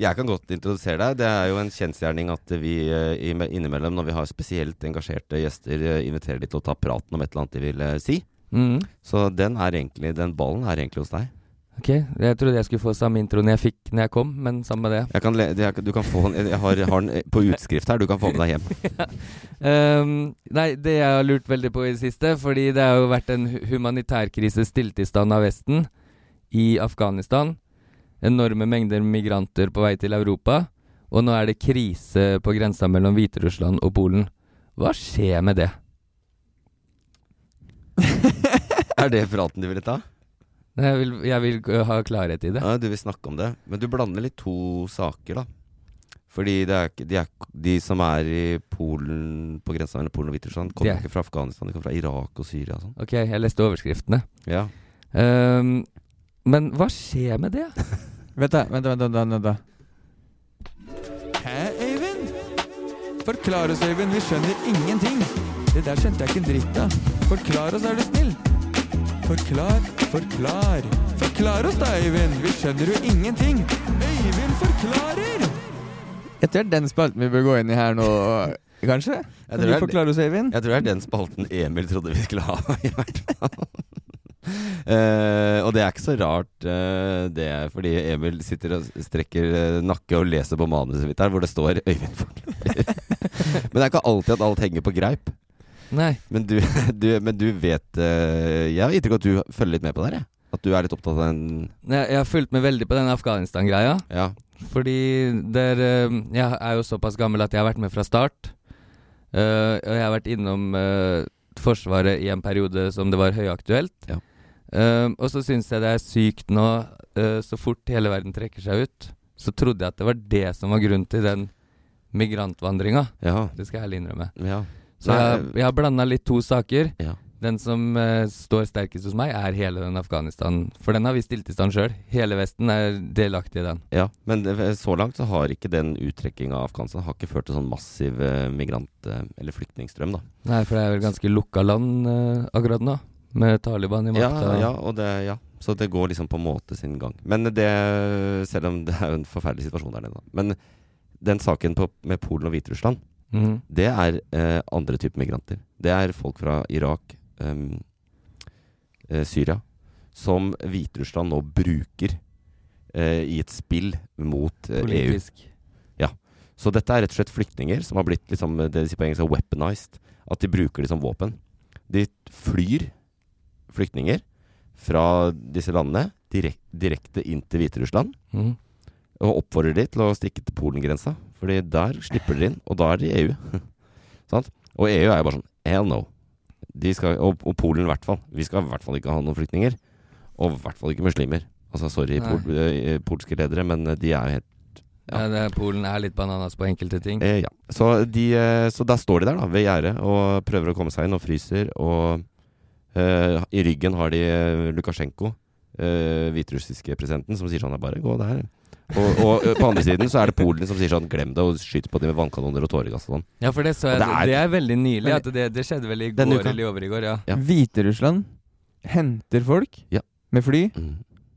Speaker 5: Jeg kan godt introdusere deg. Det er jo en kjensgjerning at vi eh, i- innimellom, når vi har spesielt engasjerte gjester, eh, inviterer de til å ta praten om et eller annet de vil eh, si.
Speaker 7: Mhm.
Speaker 5: Så den er egentlig Den ballen er egentlig hos deg.
Speaker 7: Ok, jeg trodde jeg skulle få samme introen jeg fikk når jeg kom, men samme det.
Speaker 5: Jeg kan le, jeg, du kan få den Jeg har, har den på utskrift her. Du kan få med deg hjem.
Speaker 7: Ehm, nei, det jeg har lurt veldig på i det siste, fordi det har jo vært en hu- humanitær krise stilt i stand av Vesten i Afghanistan. Enorme mengder migranter på vei til Europa. Og nå er det krise på grensa mellom Hviterussland og Polen. Hva skjer med det?
Speaker 5: Er det praten du ville ta?
Speaker 7: Nei, Jeg vil, jeg vil øh, ha klarhet i det.
Speaker 5: Ja, du vil snakke om det. Men du blander litt to saker, da. Fordi det er, ikke- de, er, de som er i Polen, på grensa mellom Polen og Hviterussland, kommer
Speaker 7: De er-
Speaker 5: ikke fra Afghanistan. De kommer fra Irak og Syria og sånn.
Speaker 7: Ok, jeg leste overskriftene.
Speaker 5: Ja.
Speaker 7: Ehm, men hva skjer med det?
Speaker 6: Vent, da. Vent, da, vent, da, vent, da, vent, da. Hæ, Øyvind? Forklar oss, Øyvind. Vi skjønner ingenting. Det der skjønte jeg ikke en dritt av. Forklar oss, er du snill. Forklar, forklar. Forklar oss da, Øyvind. Vi skjønner jo ingenting. Øyvind forklarer! Jeg tror det er den spalten vi bør gå inn i her nå, kanskje?
Speaker 5: Jeg tror
Speaker 6: Kan du
Speaker 5: det er-
Speaker 6: forklare oss, Øyvind?
Speaker 5: Jeg tror det er den spalten Emil trodde vi skulle ha, i hvert fall. Eh, og det er ikke så rart, eh, det er fordi Emil sitter og strekker eh, nakke og leser på manuset mitt her, hvor det står 'Øyvind forklarer'. Men det er ikke alltid at alt henger på greip.
Speaker 7: Nei.
Speaker 5: Men du, du, men du vet eh, Jeg har inntrykk av at du følger litt med på det her, jeg. At du er litt opptatt av den
Speaker 7: Nei, Jeg har fulgt med veldig på den Afghanistan-greia.
Speaker 5: Ja.
Speaker 7: Fordi der eh, Jeg er jo såpass gammel at jeg har vært med fra start. Eh, og jeg har vært innom eh, Forsvaret i en periode som det var høyaktuelt. Eh, og så syns jeg det er sykt nå, eh, så fort hele verden trekker seg ut, så trodde jeg at det var det som var grunnen til den migrantvandringa.
Speaker 5: Ja.
Speaker 7: Det skal jeg ærlig innrømme.
Speaker 5: Ja.
Speaker 7: Så
Speaker 5: Nei,
Speaker 7: jeg, jeg har blanda litt to saker.
Speaker 5: Ja.
Speaker 7: Den som eh, står sterkest hos meg, er hele den Afghanistan. For den har vi stilt i stand sjøl. Hele Vesten er delaktig i den.
Speaker 5: Ja, men det- så langt så har ikke den uttrekkinga av Afghanistan har ikke ført til sånn massiv eh, migrant- eh, eller flyktningstrøm, da.
Speaker 7: Nei, for det er vel ganske lukka land eh, akkurat nå, med Taliban i makta.
Speaker 5: Ja, ja, og det, ja, så det går liksom på en måte sin gang. Men det, selv om det er jo en forferdelig situasjon der nede, da. Men den saken på, med Polen og Hviterussland,
Speaker 7: Mhm.
Speaker 5: det er eh, andre typer migranter. Det er folk fra Irak, em, eh, Syria, som Hviterussland nå bruker eh, i et spill mot eh,
Speaker 7: Politisk.
Speaker 5: EU. Ja. Så dette er rett og slett flyktninger som har blitt liksom, det de sier på engelsk, er weaponized. At de bruker det som våpen. De flyr flyktninger fra disse landene direk, direkte inn til Hviterussland.
Speaker 7: Mhm.
Speaker 5: Og oppfordrer de til å stikke til Polengrensa, Fordi der slipper de inn, og da er de i EU. Sant? Og EU er jo bare sånn Hell no. De skal, og, og Polen i hvert fall. Vi skal i hvert fall ikke ha noen flyktninger. Og i hvert fall ikke muslimer. Altså, sorry,
Speaker 7: Nei.
Speaker 5: pol, eh, polske ledere, men de er jo helt
Speaker 7: Ja, det, er- Polen er litt bananas på enkelte ting.
Speaker 5: Eh, ja. så, de, eh, så da står de der da, ved gjerdet og prøver å komme seg inn og fryser. Og eh, i ryggen har de eh, Lukasjenko, eh, hviterussiske presidenten, som sier sånn «Ja, Bare gå der. Og, og eh, på andre siden så er det Polen som sier sånn Glem det, og skyter på dem med vannkanoner og tåregass og sånn.
Speaker 7: Ja, for det så jeg.
Speaker 5: Og
Speaker 7: Det
Speaker 5: det
Speaker 7: er,
Speaker 5: er-
Speaker 7: veldig nylig.
Speaker 5: Men-
Speaker 7: At det, det skjedde vel i
Speaker 5: Denne
Speaker 7: går
Speaker 5: uka.
Speaker 7: eller i overgår. Ja.
Speaker 6: Hviterussland henter folk
Speaker 5: Ja.
Speaker 6: med fly
Speaker 5: Mm.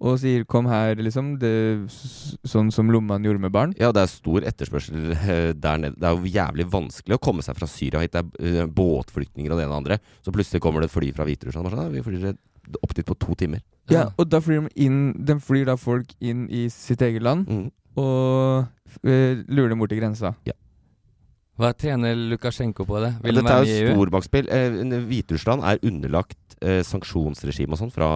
Speaker 6: og sier 'kom her', liksom. Det, s- sånn som Lomman gjorde med barn.
Speaker 5: Ja, det er stor etterspørsel eh, der nede. Det er jo jævlig vanskelig å komme seg fra Syria hit. Det er eh, båtflyktninger og det ene og det andre. Så plutselig kommer det et fly fra Hviterussland. Bare sånn, «Ja, Vi flyr opp dit på to timer.
Speaker 6: Ja, og da flyr de inn De flyr da folk inn i sitt eget land
Speaker 5: Mm.
Speaker 6: og eh, lurer dem bort til grensa.
Speaker 5: Ja.
Speaker 7: Hva trener Lukasjenko på det? Vil han
Speaker 5: Dette er
Speaker 7: være med i
Speaker 5: jo
Speaker 7: EU?
Speaker 5: stormaktspill. Eh, Hviterussland er underlagt eh, sanksjonsregime og sånn fra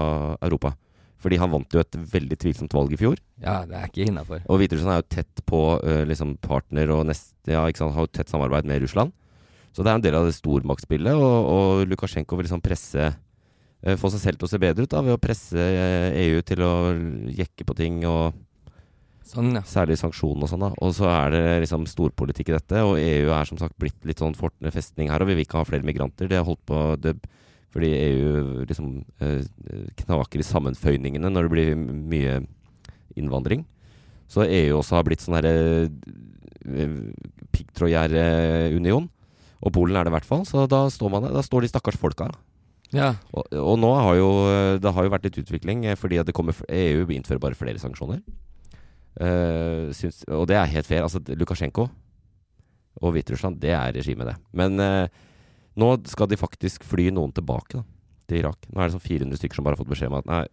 Speaker 5: Europa. Fordi han vant jo et veldig tvilsomt valg i fjor.
Speaker 7: Ja, det er ikke innafor.
Speaker 5: Og Hviterussland er jo tett på eh, liksom partner og nest, ja, ikke sant, har jo tett samarbeid med Russland. Så det er en del av det stormaktspillet, og, og Lukasjenko vil liksom presse eh, Få seg selv til å se bedre ut da, ved å presse eh, EU til å jekke på ting og Særlig sanksjonene og sånn, da. Og så er det liksom storpolitikk i dette, og EU er som sagt blitt litt sånn fortende festning her, og vi vil ikke ha flere migranter. Det har holdt på det, fordi EU liksom eh, knaker i sammenføyningene når det blir m- mye innvandring. Så EU også har blitt sånn herre piggtrådgjerdeunion. Og Polen er det i hvert fall, så da står, man, der. da står de stakkars folka.
Speaker 7: Ja.
Speaker 5: Og, og nå har jo eh, det har jo vært litt utvikling, eh, fordi at det kommer, fl- EU innfører bare flere sanksjoner. Eh, syns, og det er helt fair. Altså, Lukasjenko og Hviterussland, det er regimet, det. Men eh, nå skal de faktisk fly noen tilbake da, til Irak. Nå er det sånn 400 stykker som bare har fått beskjed om at nei,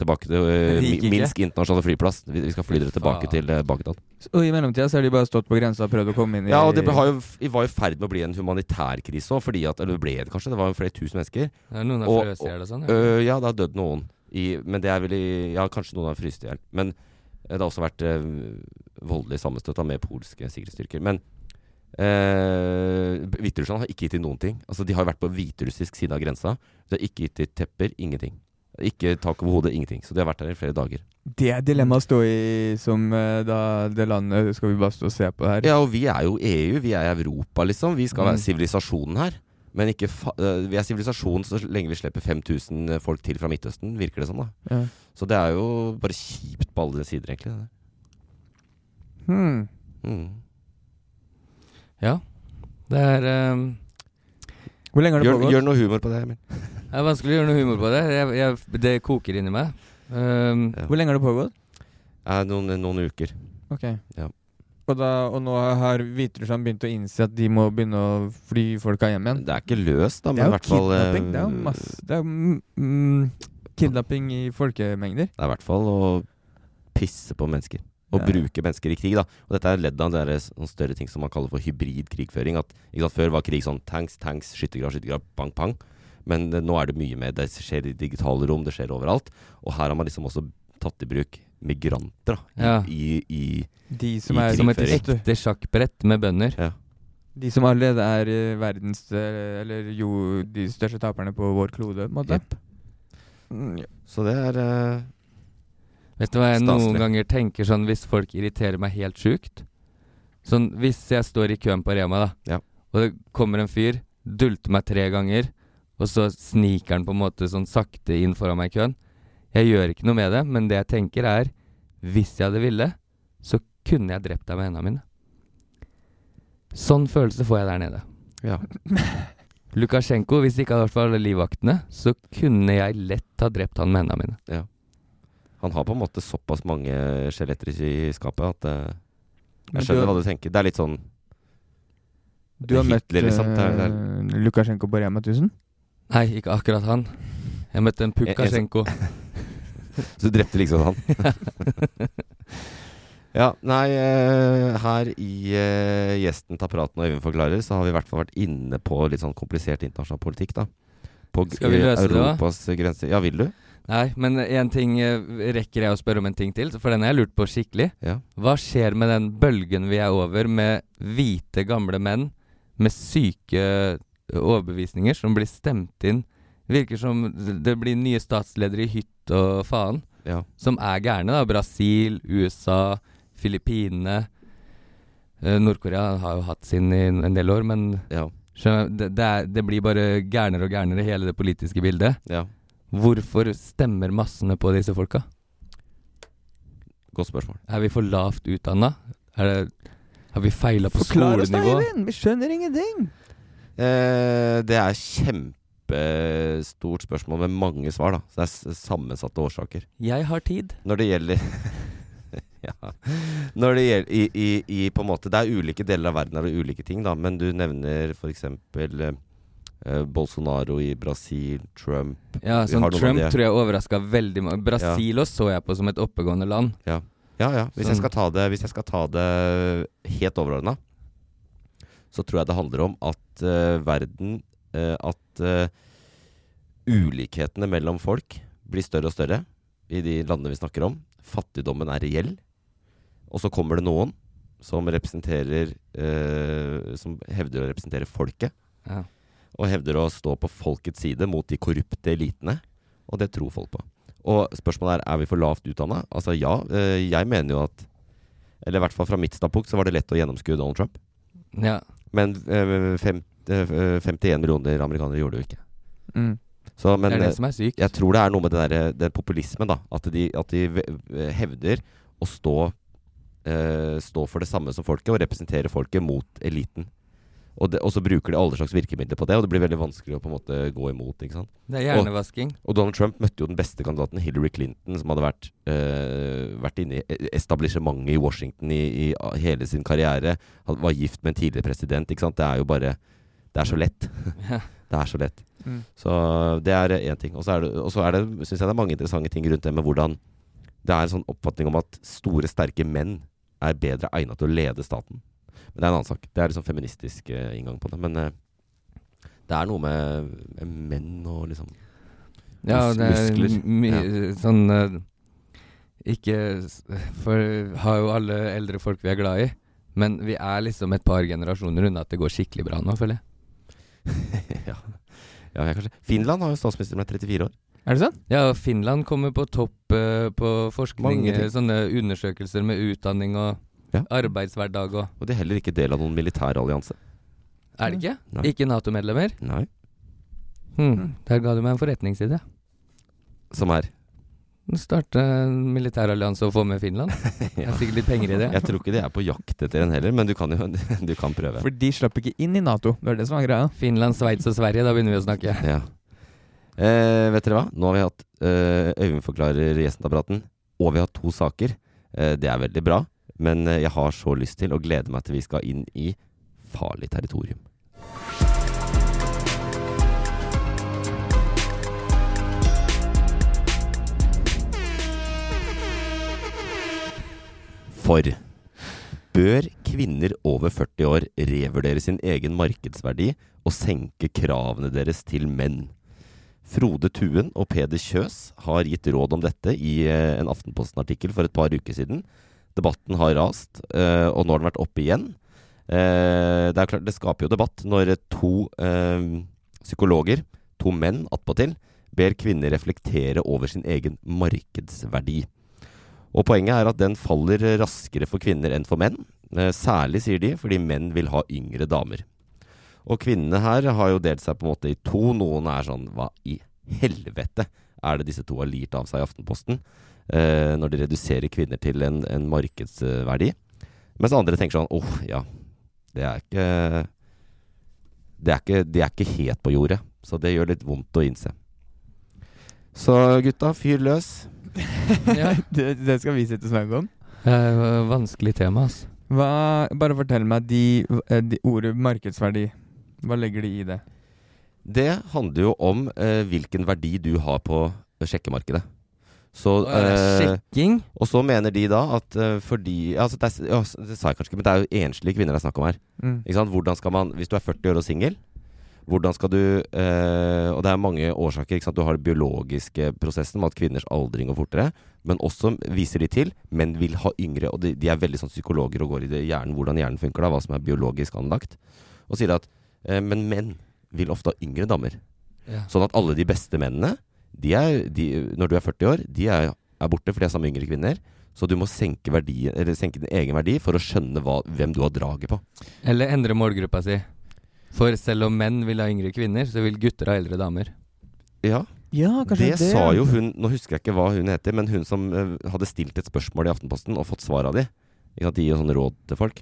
Speaker 5: tilbake til eh,
Speaker 6: Det gikk ikke.
Speaker 5: Minsk internasjonale flyplass. Vi, vi skal fly dere tilbake til eh, Bagdad. Eh,
Speaker 6: Og i mellomtida så har de bare stått på grensa og prøvd å komme inn i
Speaker 5: Ja, og det ble- har jo, f- var i ferd med å bli en humanitær krise òg, fordi at Eller ble det kanskje, det var jo flere tusen mennesker.
Speaker 7: Ja, noen har
Speaker 5: Og-
Speaker 7: fryst i hjel og sånn, ja.
Speaker 5: øh, Ja, det har dødd noen. I, men det er vel i Ja, kanskje noen har fryst i hjel. Men eh, det har også vært øh, voldelig sammenstøt da, med polske sikkerhetsstyrker. Men øh, Hviterussland har ikke gitt til noen ting. Altså, de har jo vært på hviterussisk side av grensa. De har ikke gitt til tepper, ingenting. Ikke tak over hodet, ingenting. Så de har vært der i flere dager.
Speaker 6: Det er dilemmaet å stå i som eh, da det landet Skal vi bare stå og se på det her?
Speaker 5: Ja, og vi er jo EU, vi er Europa, liksom. Vi skal
Speaker 6: Mm.
Speaker 5: være sivilisasjonen her. Men ikke fa eh, vi er sivilisasjon så lenge vi slipper 5000 folk til fra Midtøsten, virker det som. da
Speaker 6: Ja.
Speaker 5: Så det er jo bare kjipt på alle sider, egentlig. det Mm. der.
Speaker 6: Hmm.
Speaker 7: Ja. Det er um,
Speaker 6: Hvor lenge har det
Speaker 5: Gjør,
Speaker 6: pågått? Mm.
Speaker 5: gjør noe humor på det, Emil.
Speaker 7: Det er vanskelig å gjøre noe humor på det. Jeg, jeg, det koker inni meg. Um,
Speaker 6: Hvor lenge har det pågått?
Speaker 5: Eh, noen, noen uker.
Speaker 6: Ok.
Speaker 5: Ja.
Speaker 6: Og, da, og nå har Hviterussland begynt å innse at de må begynne å fly folka hjem igjen?
Speaker 5: Det er ikke løst, da,
Speaker 6: det
Speaker 5: men
Speaker 6: er
Speaker 5: i
Speaker 6: jo
Speaker 5: hvert fall eh,
Speaker 6: kidnapping. Det er jo masse Det er mm, mm, kidnapping i folkemengder.
Speaker 5: Det er i hvert fall å pisse på mennesker. Og
Speaker 6: Ja.
Speaker 5: bruke mennesker i krig, da. Og dette er ledd av det der sånn større ting som man kaller for hybridkrigføring. At ikke sant, Før var krig sånn tanks, tanks, skyttergrav, skyttergrav, bang, pang. Men eh, nå er det mye mer. Det skjer i digitale rom, det skjer overalt. Og her har man liksom også tatt i bruk migranter, da. I,
Speaker 7: Ja.
Speaker 5: i, i
Speaker 6: De som
Speaker 5: i
Speaker 6: er
Speaker 7: som et
Speaker 5: krigføring.
Speaker 7: ekte sjakkbrett med bønder.
Speaker 5: Ja.
Speaker 6: De som allerede er eh, verdens eh, Eller jo, de største taperne på vår klode, på en måte.
Speaker 5: Jepp.
Speaker 6: Mm, ja.
Speaker 5: Så det er eh,
Speaker 7: Vet du hva jeg
Speaker 5: Staselig.
Speaker 7: noen ganger tenker sånn hvis folk irriterer meg helt sjukt? Sånn hvis jeg står i køen på Rema,
Speaker 5: Ja.
Speaker 7: da, og det kommer en fyr, dulter meg tre ganger, og så sniker han på en måte sånn sakte inn foran meg i køen. Jeg gjør ikke noe med det, men det jeg tenker er Hvis jeg hadde ville, så kunne jeg drept deg med hendene mine. Sånn følelse får jeg der nede.
Speaker 5: Ja.
Speaker 7: Lukasjenko, hvis det ikke hadde vært for alle livvaktene, så kunne jeg lett ha drept han med hendene mine.
Speaker 5: ja. Han har på en måte såpass mange skjeletter i skapet at eh,
Speaker 6: Men
Speaker 5: Jeg
Speaker 6: du
Speaker 5: skjønner
Speaker 6: har-
Speaker 5: hva du tenker. Det er litt sånn
Speaker 6: Du har møtt
Speaker 5: Hitler, liksom. Det er, det er,
Speaker 6: eh, Lukasjenko på Rema 1000?
Speaker 7: Nei, ikke akkurat han. Jeg møtte en
Speaker 5: En- en som-
Speaker 7: Pukasjenko.
Speaker 5: Så du drepte liksom han? ja, nei, eh, her i eh, Gjesten tar praten og Øyvind forklarer, så har vi i hvert fall vært inne på litt sånn komplisert internasjonal politikk, da. På g-
Speaker 7: Skal vi løse det, da?
Speaker 5: Europas grenser. Ja, vil du?
Speaker 7: Nei, men en ting eh, rekker jeg å spørre om en ting til, for den har jeg lurt på skikkelig.
Speaker 5: Ja.
Speaker 7: Hva skjer med den bølgen vi er over med hvite, gamle menn med syke eh, overbevisninger som blir stemt inn? Virker som det blir nye statsledere i hytt og faen,
Speaker 5: Ja.
Speaker 7: som er gærne. da Brasil, USA, Filippinene. Eh, Nord-Korea har jo hatt sin i en del år, men skjønner, det, det, er, det blir bare gærnere og gærnere, hele det politiske bildet.
Speaker 5: Ja.
Speaker 7: Hvorfor stemmer massene på disse folka?
Speaker 5: Godt spørsmål.
Speaker 7: Er vi for lavt utdanna? Er det, har vi feila på
Speaker 6: Forklar oss da,
Speaker 7: skolenivå?
Speaker 6: Eivind! Vi skjønner ingenting!
Speaker 5: Eh, det er kjempestort spørsmål med mange svar, da. Så det er s- sammensatte årsaker.
Speaker 7: Jeg har tid.
Speaker 5: Når det gjelder Ja. Når det gjelder i, i, i på en måte Det er ulike deler av verden er det ulike ting, da, men du nevner f.eks. Eh, Bolsonaro i Brasil, Trump
Speaker 7: Ja,
Speaker 5: Vi
Speaker 7: sånn
Speaker 5: har noen av
Speaker 7: Trump
Speaker 5: de-
Speaker 7: tror jeg overraska veldig mange. Brasil også så jeg på som et oppegående land.
Speaker 5: Ja, ja. ja. Hvis,
Speaker 7: Sånn.
Speaker 5: jeg skal ta det, hvis jeg skal ta det helt overordna, så tror jeg det handler om at eh, verden eh, At eh, ulikhetene mellom folk blir større og større i de landene vi snakker om. Fattigdommen er reell. Og så kommer det noen som representerer eh, Som hevder å representere folket.
Speaker 7: Ja.
Speaker 5: Og hevder å stå på folkets side mot de korrupte elitene. Og det tror folk på. Og spørsmålet er er vi for lavt utdanna. Altså ja, eh, jeg mener jo at Eller i hvert fall fra mitt standpunkt så var det lett å gjennomskue Donald Trump.
Speaker 7: Ja.
Speaker 5: Men eh, fem, eh, 51 millioner amerikanere gjorde det jo ikke.
Speaker 6: Mm.
Speaker 5: Så, men,
Speaker 7: Det er det
Speaker 5: eh,
Speaker 7: som er sykt.
Speaker 5: Jeg tror det er noe med det der, den populismen, da. At de, at de ve- hevder å stå, eh, stå for det samme som folket, og representere folket mot eliten. Og, det, og så bruker de alle slags virkemidler på det, og det blir veldig vanskelig å på en måte gå imot. ikke sant?
Speaker 7: Det er hjernevasking.
Speaker 5: Og, og Donald Trump møtte jo den beste kandidaten, Hillary Clinton, som hadde vært, eh, vært inne i establishementet i Washington i, i hele sin karriere. Han var gift med en tidligere president. ikke sant? Det er jo bare Det er så lett.
Speaker 7: Ja.
Speaker 5: det er så lett.
Speaker 7: Mm.
Speaker 5: Så det er én ting. Og så er det, og så er det syns jeg det er mange interessante ting rundt det med hvordan det er en sånn oppfatning om at store, sterke menn er bedre egnet til å lede staten. Men det er en annen sak. Det er liksom feministisk eh, inngang på det. Men eh, det er noe med eh, menn og liksom
Speaker 7: Ja,
Speaker 5: mus-
Speaker 7: det er
Speaker 5: muskler.
Speaker 7: mye
Speaker 5: Ja.
Speaker 7: sånn eh, Ikke s- For har jo alle eldre folk vi er glad i. Men vi er liksom et par generasjoner unna at det går skikkelig bra nå, føler jeg.
Speaker 5: ja. ja, jeg kanskje Finland har jo statsminister som er 34 år.
Speaker 6: Er det sånn?
Speaker 7: Ja, og Finland kommer på topp eh, på forskning.
Speaker 5: Mange ting.
Speaker 7: eh, Sånne undersøkelser med utdanning og
Speaker 5: Ja.
Speaker 7: arbeidshverdag og
Speaker 5: Og de er heller ikke del av noen militær allianse.
Speaker 7: Er det ikke?
Speaker 5: Nei.
Speaker 7: Ikke Nato-medlemmer?
Speaker 5: Nei.
Speaker 7: Hm, der ga du meg en forretningsidé.
Speaker 5: Som er
Speaker 7: Starte en militærallianse og få med Finland. Det
Speaker 5: Ja.
Speaker 7: er sikkert litt penger i det.
Speaker 5: Jeg tror ikke de er på jakt etter en heller, men du kan jo du kan prøve.
Speaker 6: For de slapp ikke inn i Nato. Det var det som var greia.
Speaker 7: Finland, Sveits og Sverige, da begynner vi å snakke.
Speaker 5: Ja. Eh, vet dere hva? Nå har vi hatt eh, Øyvind forklarer gjesteapparaten, og vi har to saker. Eh, det er veldig bra, men eh, jeg har så lyst til og gleder meg til vi skal inn i farlig territorium. For bør kvinner over 40 år revurdere sin egen markedsverdi og senke kravene deres til menn? Frode Tuen og Peder Kjøs har gitt råd om dette i eh, en Aftenposten-artikkel for et par uker siden. Debatten har rast, eh, og nå har den vært oppe igjen. Eh, Det er klart, det skaper jo debatt når to eh, psykologer, to menn attpåtil, ber kvinner reflektere over sin egen markedsverdi. Og poenget er at den faller raskere for kvinner enn for menn. Eh, Særlig, sier de, fordi menn vil ha yngre damer. Og kvinnene her har jo delt seg på en måte i to. Noen er sånn Hva i helvete er det disse to har lirt av seg i Aftenposten? Eh, når de reduserer kvinner til en, en markedsverdi. Mens andre tenker sånn Åh, ja. Det er ikke det er ikke, De er ikke helt på jordet. Så det gjør litt vondt å innse. Så gutta, fyr løs.
Speaker 6: det, det skal vi sitte og snakke om.
Speaker 7: Eh, vanskelig tema,
Speaker 5: altså.
Speaker 7: ass.
Speaker 6: Hva, bare fortell meg de, eh, de ordet markedsverdi. Hva legger de i det?
Speaker 5: Det handler jo om eh, hvilken verdi du har på sjekkemarkedet. Så,
Speaker 7: Å, det er
Speaker 5: eh,
Speaker 7: sjekking?
Speaker 5: Og så mener de da at eh, fordi altså det, er, ja, det sa jeg kanskje ikke, men det er jo enslige kvinner det er snakk om her.
Speaker 6: Mm.
Speaker 5: Ikke sant? Hvordan skal man, Hvis du er 40 år og singel, hvordan skal du eh, Og det er mange årsaker. Ikke sant? Du har den biologiske prosessen med at kvinners aldring går fortere. Men også viser de til, men vil ha yngre. Og de, de er veldig sånn psykologer og går i det hjernen, hvordan hjernen funker, da, hva som er biologisk anlagt. Og sier at eh, men menn vil ofte ha yngre damer.
Speaker 7: Ja.
Speaker 5: Sånn at alle de beste mennene, de er, de, når du er 40 år, de er, er borte, for de er sammen med yngre kvinner. Så du må senke, verdi, eller senke din egen verdi for å skjønne hva, hvem du har draget på.
Speaker 7: Eller endre målgruppa si. For selv om menn vil ha yngre kvinner, så vil gutter ha eldre damer.
Speaker 5: Ja.
Speaker 6: Ja, kanskje
Speaker 5: det,
Speaker 6: det.
Speaker 5: sa jo hun Nå husker jeg ikke hva hun heter, men hun som eh, hadde stilt et spørsmål i Aftenposten og fått svar av de. Ikke sant, De gir jo sånne råd til folk.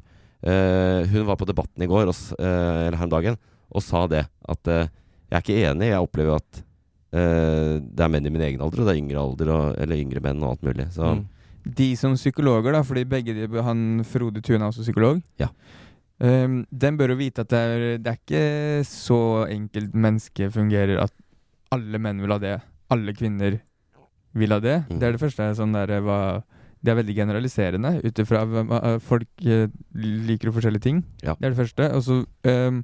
Speaker 5: Eh, hun var på Debatten i går, og, s- eh, eller her om dagen, og sa det. At eh, jeg er ikke enig, jeg opplever jo at eh, det er menn i min egen alder, og det er yngre alder, og, eller yngre menn og alt mulig. Så
Speaker 7: Mm.
Speaker 6: De som psykologer, da, fordi begge de Han Frode Tune er også psykolog.
Speaker 5: Ja.
Speaker 6: Ehm, den bør jo vite at det er, det er ikke så enkelt mennesket fungerer at alle menn vil ha det. Alle kvinner vil ha det.
Speaker 5: Mm.
Speaker 6: Det er det første. Sånn der, hva, Det er veldig generaliserende ut ifra hvem eh, folk eh, liker jo forskjellige ting.
Speaker 5: Ja.
Speaker 6: Det er det første. Og så ehm,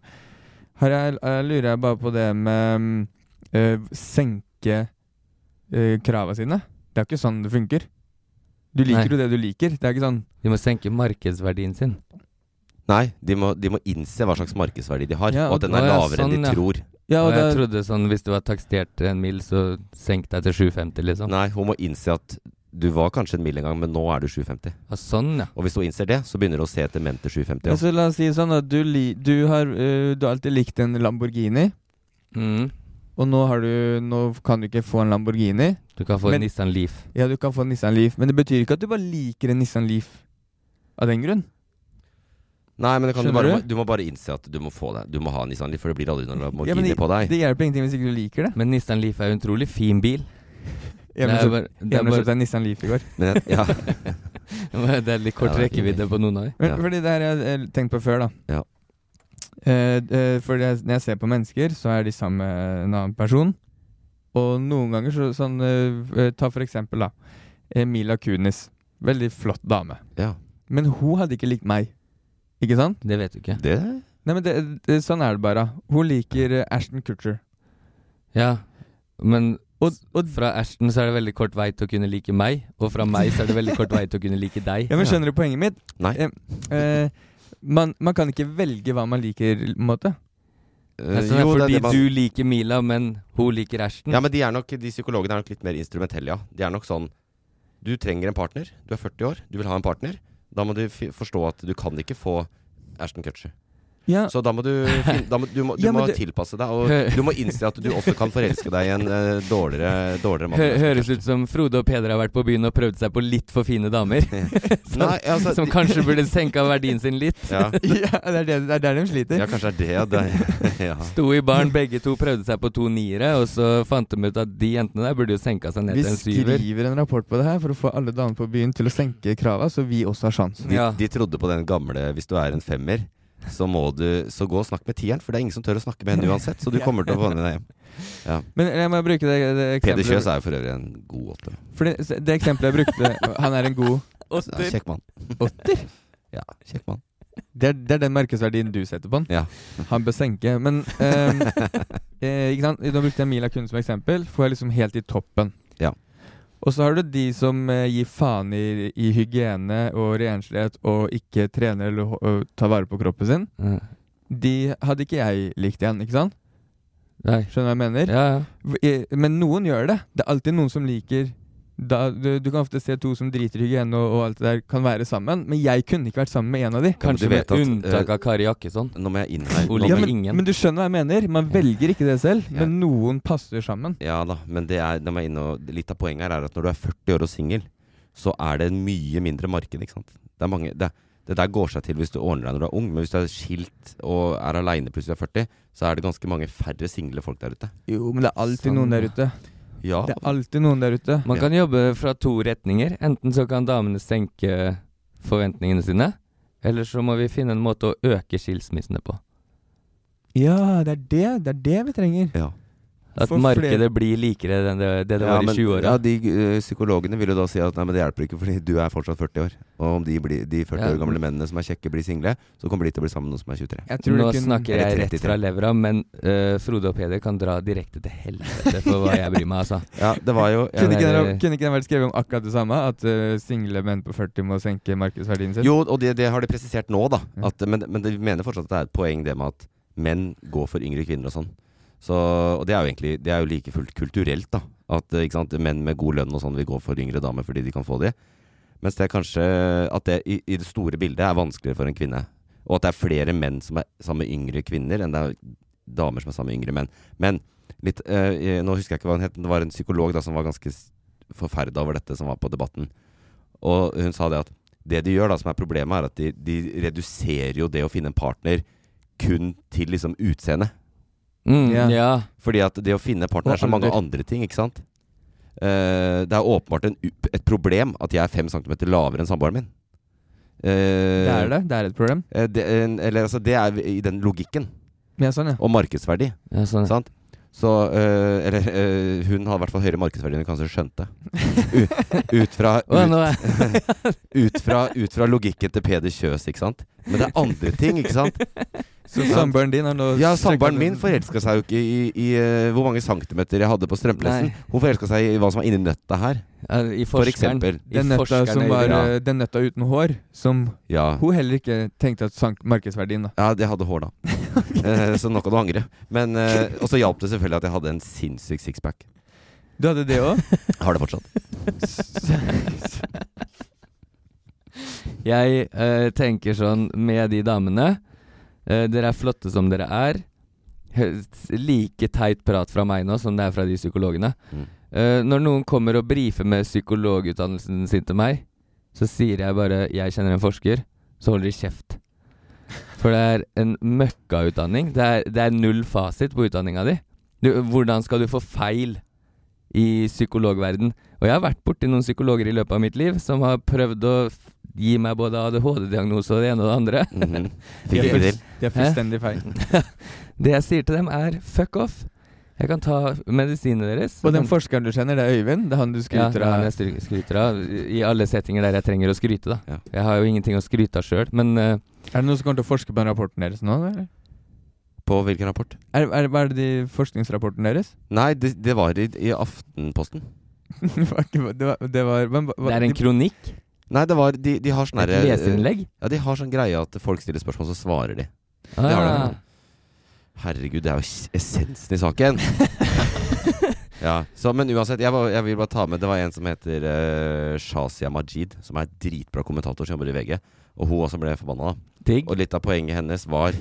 Speaker 6: har jeg, jeg lurer jeg bare på det med mm, eh, senke uh, krava sine. Det er jo ikke sånn det funker. Du liker jo det du liker. Det er ikke sånn
Speaker 7: De må senke markedsverdien sin.
Speaker 5: Nei, de må, de må innse hva slags markedsverdi de har,
Speaker 7: Ja,
Speaker 5: og at den er
Speaker 7: å ja,
Speaker 5: lavere enn
Speaker 7: sånn,
Speaker 5: de
Speaker 7: ja.
Speaker 5: tror.
Speaker 6: Ja, og
Speaker 7: og jeg
Speaker 6: det-
Speaker 7: trodde sånn hvis du var takstert en mil, så senk deg til 750, liksom.
Speaker 5: Nei, hun må innse at du var kanskje en mil en gang, men nå er du 750.
Speaker 7: sånn,
Speaker 5: Og hvis hun innser det, så begynner hun å se etter menn til 750.
Speaker 6: Altså, la oss si sånn at du, li, du, har, eh, du har alltid likt en Lamborghini.
Speaker 7: Mm.
Speaker 6: Og nå, har du, nå kan du ikke få en Lamborghini.
Speaker 7: Du kan få en Nissan Leaf.
Speaker 6: Ja, du kan få en Nissan Leaf. Men det betyr ikke at du bare liker en Nissan Leaf av den grunn.
Speaker 5: Nei, men det kan du,
Speaker 6: Skjønner
Speaker 5: bare,
Speaker 6: du?
Speaker 5: du må bare innse at du må få det. Du må ha en Nissan Leaf, for det blir aldri noen
Speaker 6: Ja,
Speaker 5: Lamborghini
Speaker 6: men det,
Speaker 5: på deg.
Speaker 6: det hjelper ingenting hvis ikke du liker det.
Speaker 7: Men Nissan Leaf er jo en utrolig fin bil.
Speaker 6: Jeg
Speaker 7: Det er
Speaker 6: ble
Speaker 7: bare-
Speaker 6: kjøpt-
Speaker 7: det er
Speaker 6: jeg ble
Speaker 7: bare-
Speaker 6: kjøpt en Nissan Leaf i går.
Speaker 5: Men jeg- ja.
Speaker 7: Det er litt kort
Speaker 5: Ja, det er
Speaker 7: rekkevidde
Speaker 5: fint.
Speaker 7: på noen av dem.
Speaker 6: Men, Fordi det her har jeg eh, tenkt på før, da.
Speaker 5: Ja.
Speaker 6: Eh, eh, fordi jeg, når jeg ser på mennesker, så er de sammen med en annen person. Og noen ganger så sånn eh, eh, Ta for eksempel, da. eh, Mila Kunis. Veldig flott dame.
Speaker 5: Ja.
Speaker 6: Men hun hadde ikke likt meg. Ikke sant?
Speaker 7: Det vet du ikke.
Speaker 5: Det?
Speaker 6: Nei, men det, det, Sånn er det bare. Hun liker eh, Ashton Kutcher.
Speaker 7: Ja, men fra Ashton så er det veldig kort vei til å kunne like meg, og fra meg så er det veldig kort vei til å kunne like deg.
Speaker 6: Ja, men Skjønner du poenget mitt?
Speaker 5: Nei.
Speaker 6: Eh, eh, man, man kan ikke velge hva man liker, på en måte.
Speaker 5: jo,
Speaker 7: Altså,
Speaker 5: det er
Speaker 7: fordi
Speaker 5: det man-
Speaker 7: du liker Mila, men hun liker Ashton.
Speaker 5: Ja, men de, er nok, de psykologene er nok litt mer instrumentelle, ja. De er nok sånn Du trenger en partner. Du er 40 år, du vil ha en partner. Da må du fi- forstå at du kan ikke få Ashton Kutcher.
Speaker 6: Ja.
Speaker 5: Så da må du, fin- da må, du, må, du
Speaker 7: Ja, men
Speaker 5: må
Speaker 7: det-
Speaker 5: tilpasse deg, og du må innse at du også kan forelske deg i en eh, dårligere, dårligere mann.
Speaker 7: Hø høres ut som Frode og Peder har vært på byen og prøvd seg på litt for fine damer. som,
Speaker 5: Nei, altså,
Speaker 7: som
Speaker 5: de-
Speaker 7: kanskje burde senka verdien sin litt.
Speaker 5: Ja.
Speaker 6: Ja, det er, det, det er der de sliter.
Speaker 5: Ja, kanskje det er det. det ja.
Speaker 7: Sto i baren, begge to prøvde seg på to niere, og så fant de ut at de jentene der burde jo senka seg ned
Speaker 6: Vi
Speaker 7: til en syver.
Speaker 6: skriver en rapport på det her for å få alle damene på byen til å senke krava, så vi også har sjans.
Speaker 5: De, de trodde på den gamle 'hvis du er en femmer', så må du Så gå og snakk med tieren, for det er ingen som tør å snakke med henne uansett, så du
Speaker 6: Ja.
Speaker 5: kommer til å få henne deg hjem. Ja.
Speaker 6: Men eh, jeg må bruke det, det
Speaker 5: Peder Kjøs
Speaker 6: eksempelet
Speaker 5: er jo for øvrig en god åtte.
Speaker 6: Fordi s- Det eksempelet jeg brukte Han er en god
Speaker 5: Ja, Kjekk mann.
Speaker 6: Åtter?
Speaker 5: Ja, kjekk mann.
Speaker 6: Det er, det er den markedsverdien du setter på han.
Speaker 5: Ja.
Speaker 6: Han bør senke. Men ehm, eh, ikke sant? Nå brukte jeg Mila Kun som eksempel. Får jeg liksom helt i toppen.
Speaker 5: Ja.
Speaker 6: Og så har du de som eh, gir faen i, i hygiene og renslighet og ikke trener eller ho- og tar vare på kroppen sin.
Speaker 7: Mm.
Speaker 6: De hadde ikke jeg likt igjen, ikke sant?
Speaker 7: Nei.
Speaker 6: Skjønner du hva jeg mener?
Speaker 7: Ja,
Speaker 6: V- eh, Men noen gjør det. Det er alltid noen som liker da, du, du kan ofte se to som driter i hygiene og, og alt det der, kan være sammen. Men jeg kunne ikke vært sammen med en av de.
Speaker 7: Kanskje med unntak
Speaker 5: eh,
Speaker 7: av Kari Jakkesson.
Speaker 5: Nå må jeg inn her.
Speaker 7: Hun
Speaker 5: Nå
Speaker 7: liker
Speaker 5: må-
Speaker 7: ingen.
Speaker 6: Men du skjønner hva jeg mener? Man velger ikke det selv,
Speaker 5: Ja.
Speaker 6: men noen passer sammen.
Speaker 5: Ja da, men det er, nå må jeg inn og, litt av poenget her er at når du er 40 år og singel, så er det en mye mindre marked, ikke sant. Det, er mange, det, det der går seg til hvis du ordner deg når du er ung, men hvis du er skilt og er aleine plutselig er 40, så er det ganske mange færre single folk der ute.
Speaker 6: Jo, men det er alltid noen der ute.
Speaker 5: Ja.
Speaker 6: Det er alltid noen der ute.
Speaker 7: Man kan jobbe fra to retninger. Enten så kan damene senke forventningene sine, eller så må vi finne en måte å øke skilsmissene på.
Speaker 6: Ja, det er det, det, er det vi trenger.
Speaker 5: Ja.
Speaker 7: At
Speaker 6: For
Speaker 7: markedet
Speaker 6: flere-
Speaker 7: blir likere enn det det, det
Speaker 5: Ja,
Speaker 7: var
Speaker 5: men-
Speaker 7: i 20-åra.
Speaker 5: Ja, de eh, psykologene vil jo da si at nei, men det hjelper ikke, fordi du er fortsatt 40 år. Og om de, blir, de 40
Speaker 7: Ja.
Speaker 5: år gamle mennene som er kjekke, blir single, så kommer de til å bli sammen med noen som er 23.
Speaker 6: Jeg tror
Speaker 7: Nå
Speaker 6: det kun-
Speaker 7: snakker
Speaker 5: Eller
Speaker 7: jeg rett
Speaker 5: 33.
Speaker 7: fra levra, men eh, Frode og Peder kan dra direkte til helvete for hva jeg bryr meg, altså.
Speaker 5: Ja, det var jo
Speaker 6: Kunne ikke,
Speaker 7: Jeg-
Speaker 6: den, kunne ikke den vært skrevet om akkurat det samme? At eh, single menn på 40 må senke markedsverdien sin?
Speaker 5: Jo, og det, det har de presisert nå, da. At, men, men de mener fortsatt at det er et poeng det med at menn går for yngre kvinner og sånn. Så, og det er jo egentlig det er jo like fullt kulturelt, da. At eh, ikke sant, menn med god lønn og sånn vil gå for yngre damer fordi de kan få de. Mens det er kanskje at det i, i det store bildet er vanskeligere for en kvinne. Og at det er flere menn som er sammen med yngre kvinner, enn det er damer som er sammen med yngre menn. Men litt, eh, eh, nå husker jeg ikke hva hun het, men det var en psykolog da, som var ganske s- forferda over dette, som var på Debatten. Og hun sa det at det de gjør da, som er problemet, er at de, de reduserer jo det å finne en partner kun til liksom utseende.
Speaker 7: Mm, Ja. ja.
Speaker 5: Fordi at det å finne en partner
Speaker 7: Og
Speaker 5: er så mange
Speaker 7: alder.
Speaker 5: andre ting, ikke sant? Eh, det er åpenbart en, u- et problem at jeg er fem centimeter lavere enn samboeren min. Eh,
Speaker 6: Det er det. Det er et problem.
Speaker 5: eh, det, en- eller altså, det er i den logikken.
Speaker 6: Ja, sånn, ja.
Speaker 5: Og markedsverdi.
Speaker 7: Ja, sånn, ja.
Speaker 5: Sant? Så øh, Eller øh, hun har i hvert fall høyere markedsverdi enn hun kanskje skjønte. U ut, fra,
Speaker 7: Å, nå
Speaker 5: ut, ut, fra, ut fra logikken til Peder Kjøs, ikke sant? Men det er andre ting, ikke sant?
Speaker 6: Så samboeren din har nå
Speaker 5: Ja,
Speaker 6: sjekket
Speaker 5: samboeren
Speaker 6: den-
Speaker 5: min forelska seg jo ikke i, i øh, hvor mange centimeter jeg hadde på strømplessen.
Speaker 7: Nei.
Speaker 5: Hun forelska seg i hva som var inni nøtta her.
Speaker 7: Ja, i
Speaker 5: for
Speaker 7: forskeren.
Speaker 5: eksempel.
Speaker 7: I
Speaker 6: Den nøtta,
Speaker 7: forskerne
Speaker 6: som
Speaker 7: i
Speaker 6: var,
Speaker 7: Iran.
Speaker 6: eh, den nøtta uten hår, som
Speaker 5: Ja.
Speaker 6: hun heller ikke tenkte at sank markedsverdien, da.
Speaker 5: Ja, jeg hadde hår da. Eh, så nå kan du angre. Men, eh, og så hjalp det selvfølgelig at jeg hadde en sinnssyk sixpack.
Speaker 6: Du hadde det òg?
Speaker 5: Har det fortsatt.
Speaker 7: Jeg eh, tenker sånn med de damene eh, Dere er flotte som dere er. Hø- Like teit prat fra meg nå som det er fra de psykologene.
Speaker 5: Mm.
Speaker 7: Eh, når noen kommer og brifer med psykologutdannelsen sin til meg, så sier jeg bare 'jeg kjenner en forsker', så holder de kjeft. For det er en møkkautdanning. Det er, det er null fasit på utdanninga di. Du, hvordan skal du få feil i psykologverden? Og jeg har vært borti noen psykologer i løpet av mitt liv som har prøvd å f- gi meg både ADHD-diagnose og det ene og det andre.
Speaker 5: Mhm.
Speaker 6: De er
Speaker 5: Fikk det
Speaker 6: fullst-
Speaker 5: til.
Speaker 6: de er fullstendig feil.
Speaker 7: det jeg sier til dem, er fuck off. Jeg kan ta medisinene deres.
Speaker 6: Og den
Speaker 7: Jeg kan-
Speaker 6: forskeren du kjenner, det er Øyvind. Det er han du
Speaker 7: ja, det
Speaker 6: skryter
Speaker 7: er han
Speaker 6: av.
Speaker 7: jeg skry- skryter av. I alle settinger der jeg trenger å skryte, da.
Speaker 5: Ja.
Speaker 7: Jeg har jo ingenting å skryte av sjøl, men eh,
Speaker 6: Er det noen som kommer til å forske på den rapporten deres nå? Eller?
Speaker 5: På hvilken rapport?
Speaker 6: Er, er, hva er det de forskningsrapporten deres?
Speaker 5: Nei, det, det var i, i Aftenposten.
Speaker 6: det var, ikke- det var, det var men, hva-
Speaker 7: det er en
Speaker 6: de-
Speaker 7: kronikk.
Speaker 5: Nei, det var De, de har sånn
Speaker 7: Et
Speaker 5: herre-
Speaker 7: leserinnlegg?
Speaker 5: Ja, de har sånn greie at folk stiller spørsmål, så svarer de.
Speaker 7: Ah,
Speaker 5: Det har de. Herregud, det er jo s- essensen i saken. ja, så, Men uansett, jeg, var, jeg vil bare ta med Det var en som heter eh, Shazia Majid, som er dritbra kommentator som jobber i VG. Og hun også ble forbanna.
Speaker 7: Digg.
Speaker 5: Og litt av poenget hennes var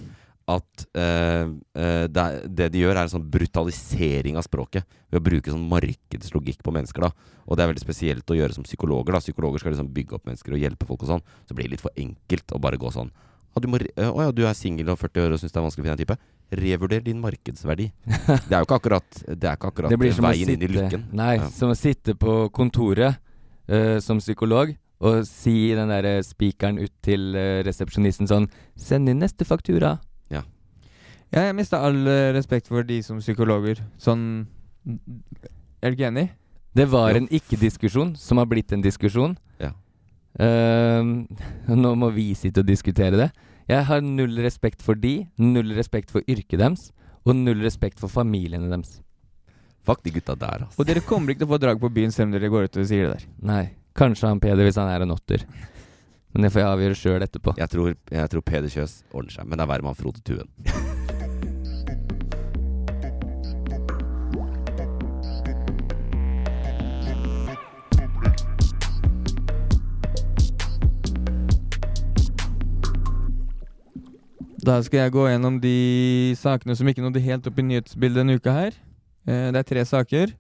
Speaker 5: at eh, eh, det, er- det de gjør, er en sånn brutalisering av språket. Ved å bruke sånn markedslogikk på mennesker. da Og det er veldig spesielt å gjøre som psykologer. da Psykologer skal liksom bygge opp mennesker og hjelpe folk og sånn. Så blir det litt for enkelt å bare gå sånn. Å du, må, re- eh, å ja, du er singel og 40 år og syns det er vanskelig å finne en type. Revurder din markedsverdi. Det er jo ikke akkurat, det er ikke akkurat
Speaker 7: Det blir som å
Speaker 5: veien inn i
Speaker 7: sitte,
Speaker 5: lykken.
Speaker 7: nei,
Speaker 5: Ja.
Speaker 7: som å sitte på kontoret eh, som psykolog og si den der eh, spikeren ut til eh, resepsjonisten sånn Send inn neste faktura.
Speaker 6: Ja, jeg mista all eh, respekt for de som psykologer. Sånn Er du ikke enig?
Speaker 7: Det var
Speaker 5: Jo.
Speaker 7: en ikke-diskusjon som har blitt en diskusjon.
Speaker 5: Ja.
Speaker 7: Ehm, nå må vi sitte og diskutere det. Jeg har null respekt for de, null respekt for yrket deres, og null respekt for familiene deres.
Speaker 5: Fuck de gutta der, altså.
Speaker 6: Og dere kommer ikke til å få drag på byen selv om dere går ut og sier det der.
Speaker 7: Nei. Kanskje han Peder hvis han er en åtter. Men det får jeg avgjøre sjøl etterpå.
Speaker 5: Jeg tror, jeg tror Peder Kjøs ordner seg, men det er verre med han Frode Tuen.
Speaker 6: Da skal jeg gå gjennom de sakene som ikke nådde helt opp i nyhetsbildet denne uka her. Eh, Det er tre saker.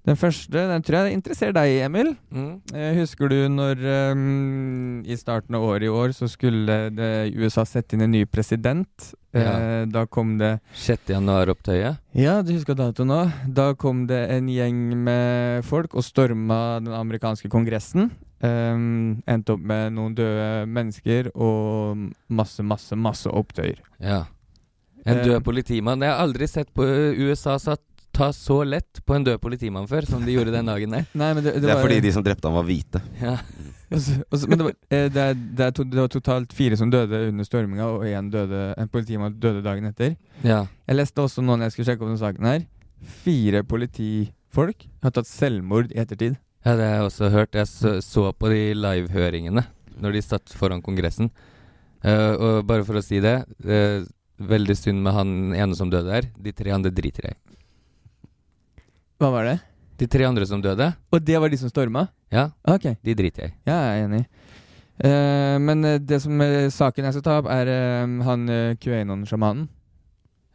Speaker 6: Den første den tror jeg interesserer deg, Emil.
Speaker 7: Mm.
Speaker 6: Eh, Husker du når ehm, i starten av året i år så skulle det, USA sette inn en ny president? Eh, Da kom det
Speaker 7: 6. januar-opptøyet.
Speaker 6: Ja, du husker datoen nå. Da kom det en gjeng med folk og storma den amerikanske kongressen. Ehm, endte opp med noen døde mennesker og masse, masse, masse opptøyer.
Speaker 7: Ja. En
Speaker 6: Eh,
Speaker 7: død politimann. Jeg har aldri sett på eh, USA satt ta så lett på en død politimann før som de gjorde den dagen der.
Speaker 6: Nei, men det, det,
Speaker 5: Det er
Speaker 6: var,
Speaker 5: fordi de som drepte han, var hvite.
Speaker 7: Ja.
Speaker 6: altså, altså, men det, var, eh, det, er, det, er to, det var totalt fire som døde under storminga, og en, døde, en politimann døde dagen etter.
Speaker 7: ja.
Speaker 6: Jeg leste også nå når jeg skulle sjekke opp den saken her. Fire politifolk har tatt selvmord i ettertid.
Speaker 7: Ja, det har jeg også hørt. Jeg så, så på de livehøringene når de satt foran Kongressen. Eh, og bare for å si det, eh, veldig synd med han ene som døde der. De tre andre driter jeg i.
Speaker 6: Hva var det?
Speaker 7: De tre andre som døde,
Speaker 6: Og det var de som storma?
Speaker 7: ja,
Speaker 6: Ok,
Speaker 7: de driter jeg i.
Speaker 6: ja, jeg er enig. Eh, men eh, det som eh, saken jeg skal ta opp, er eh, han eh, QAnon-sjamanen.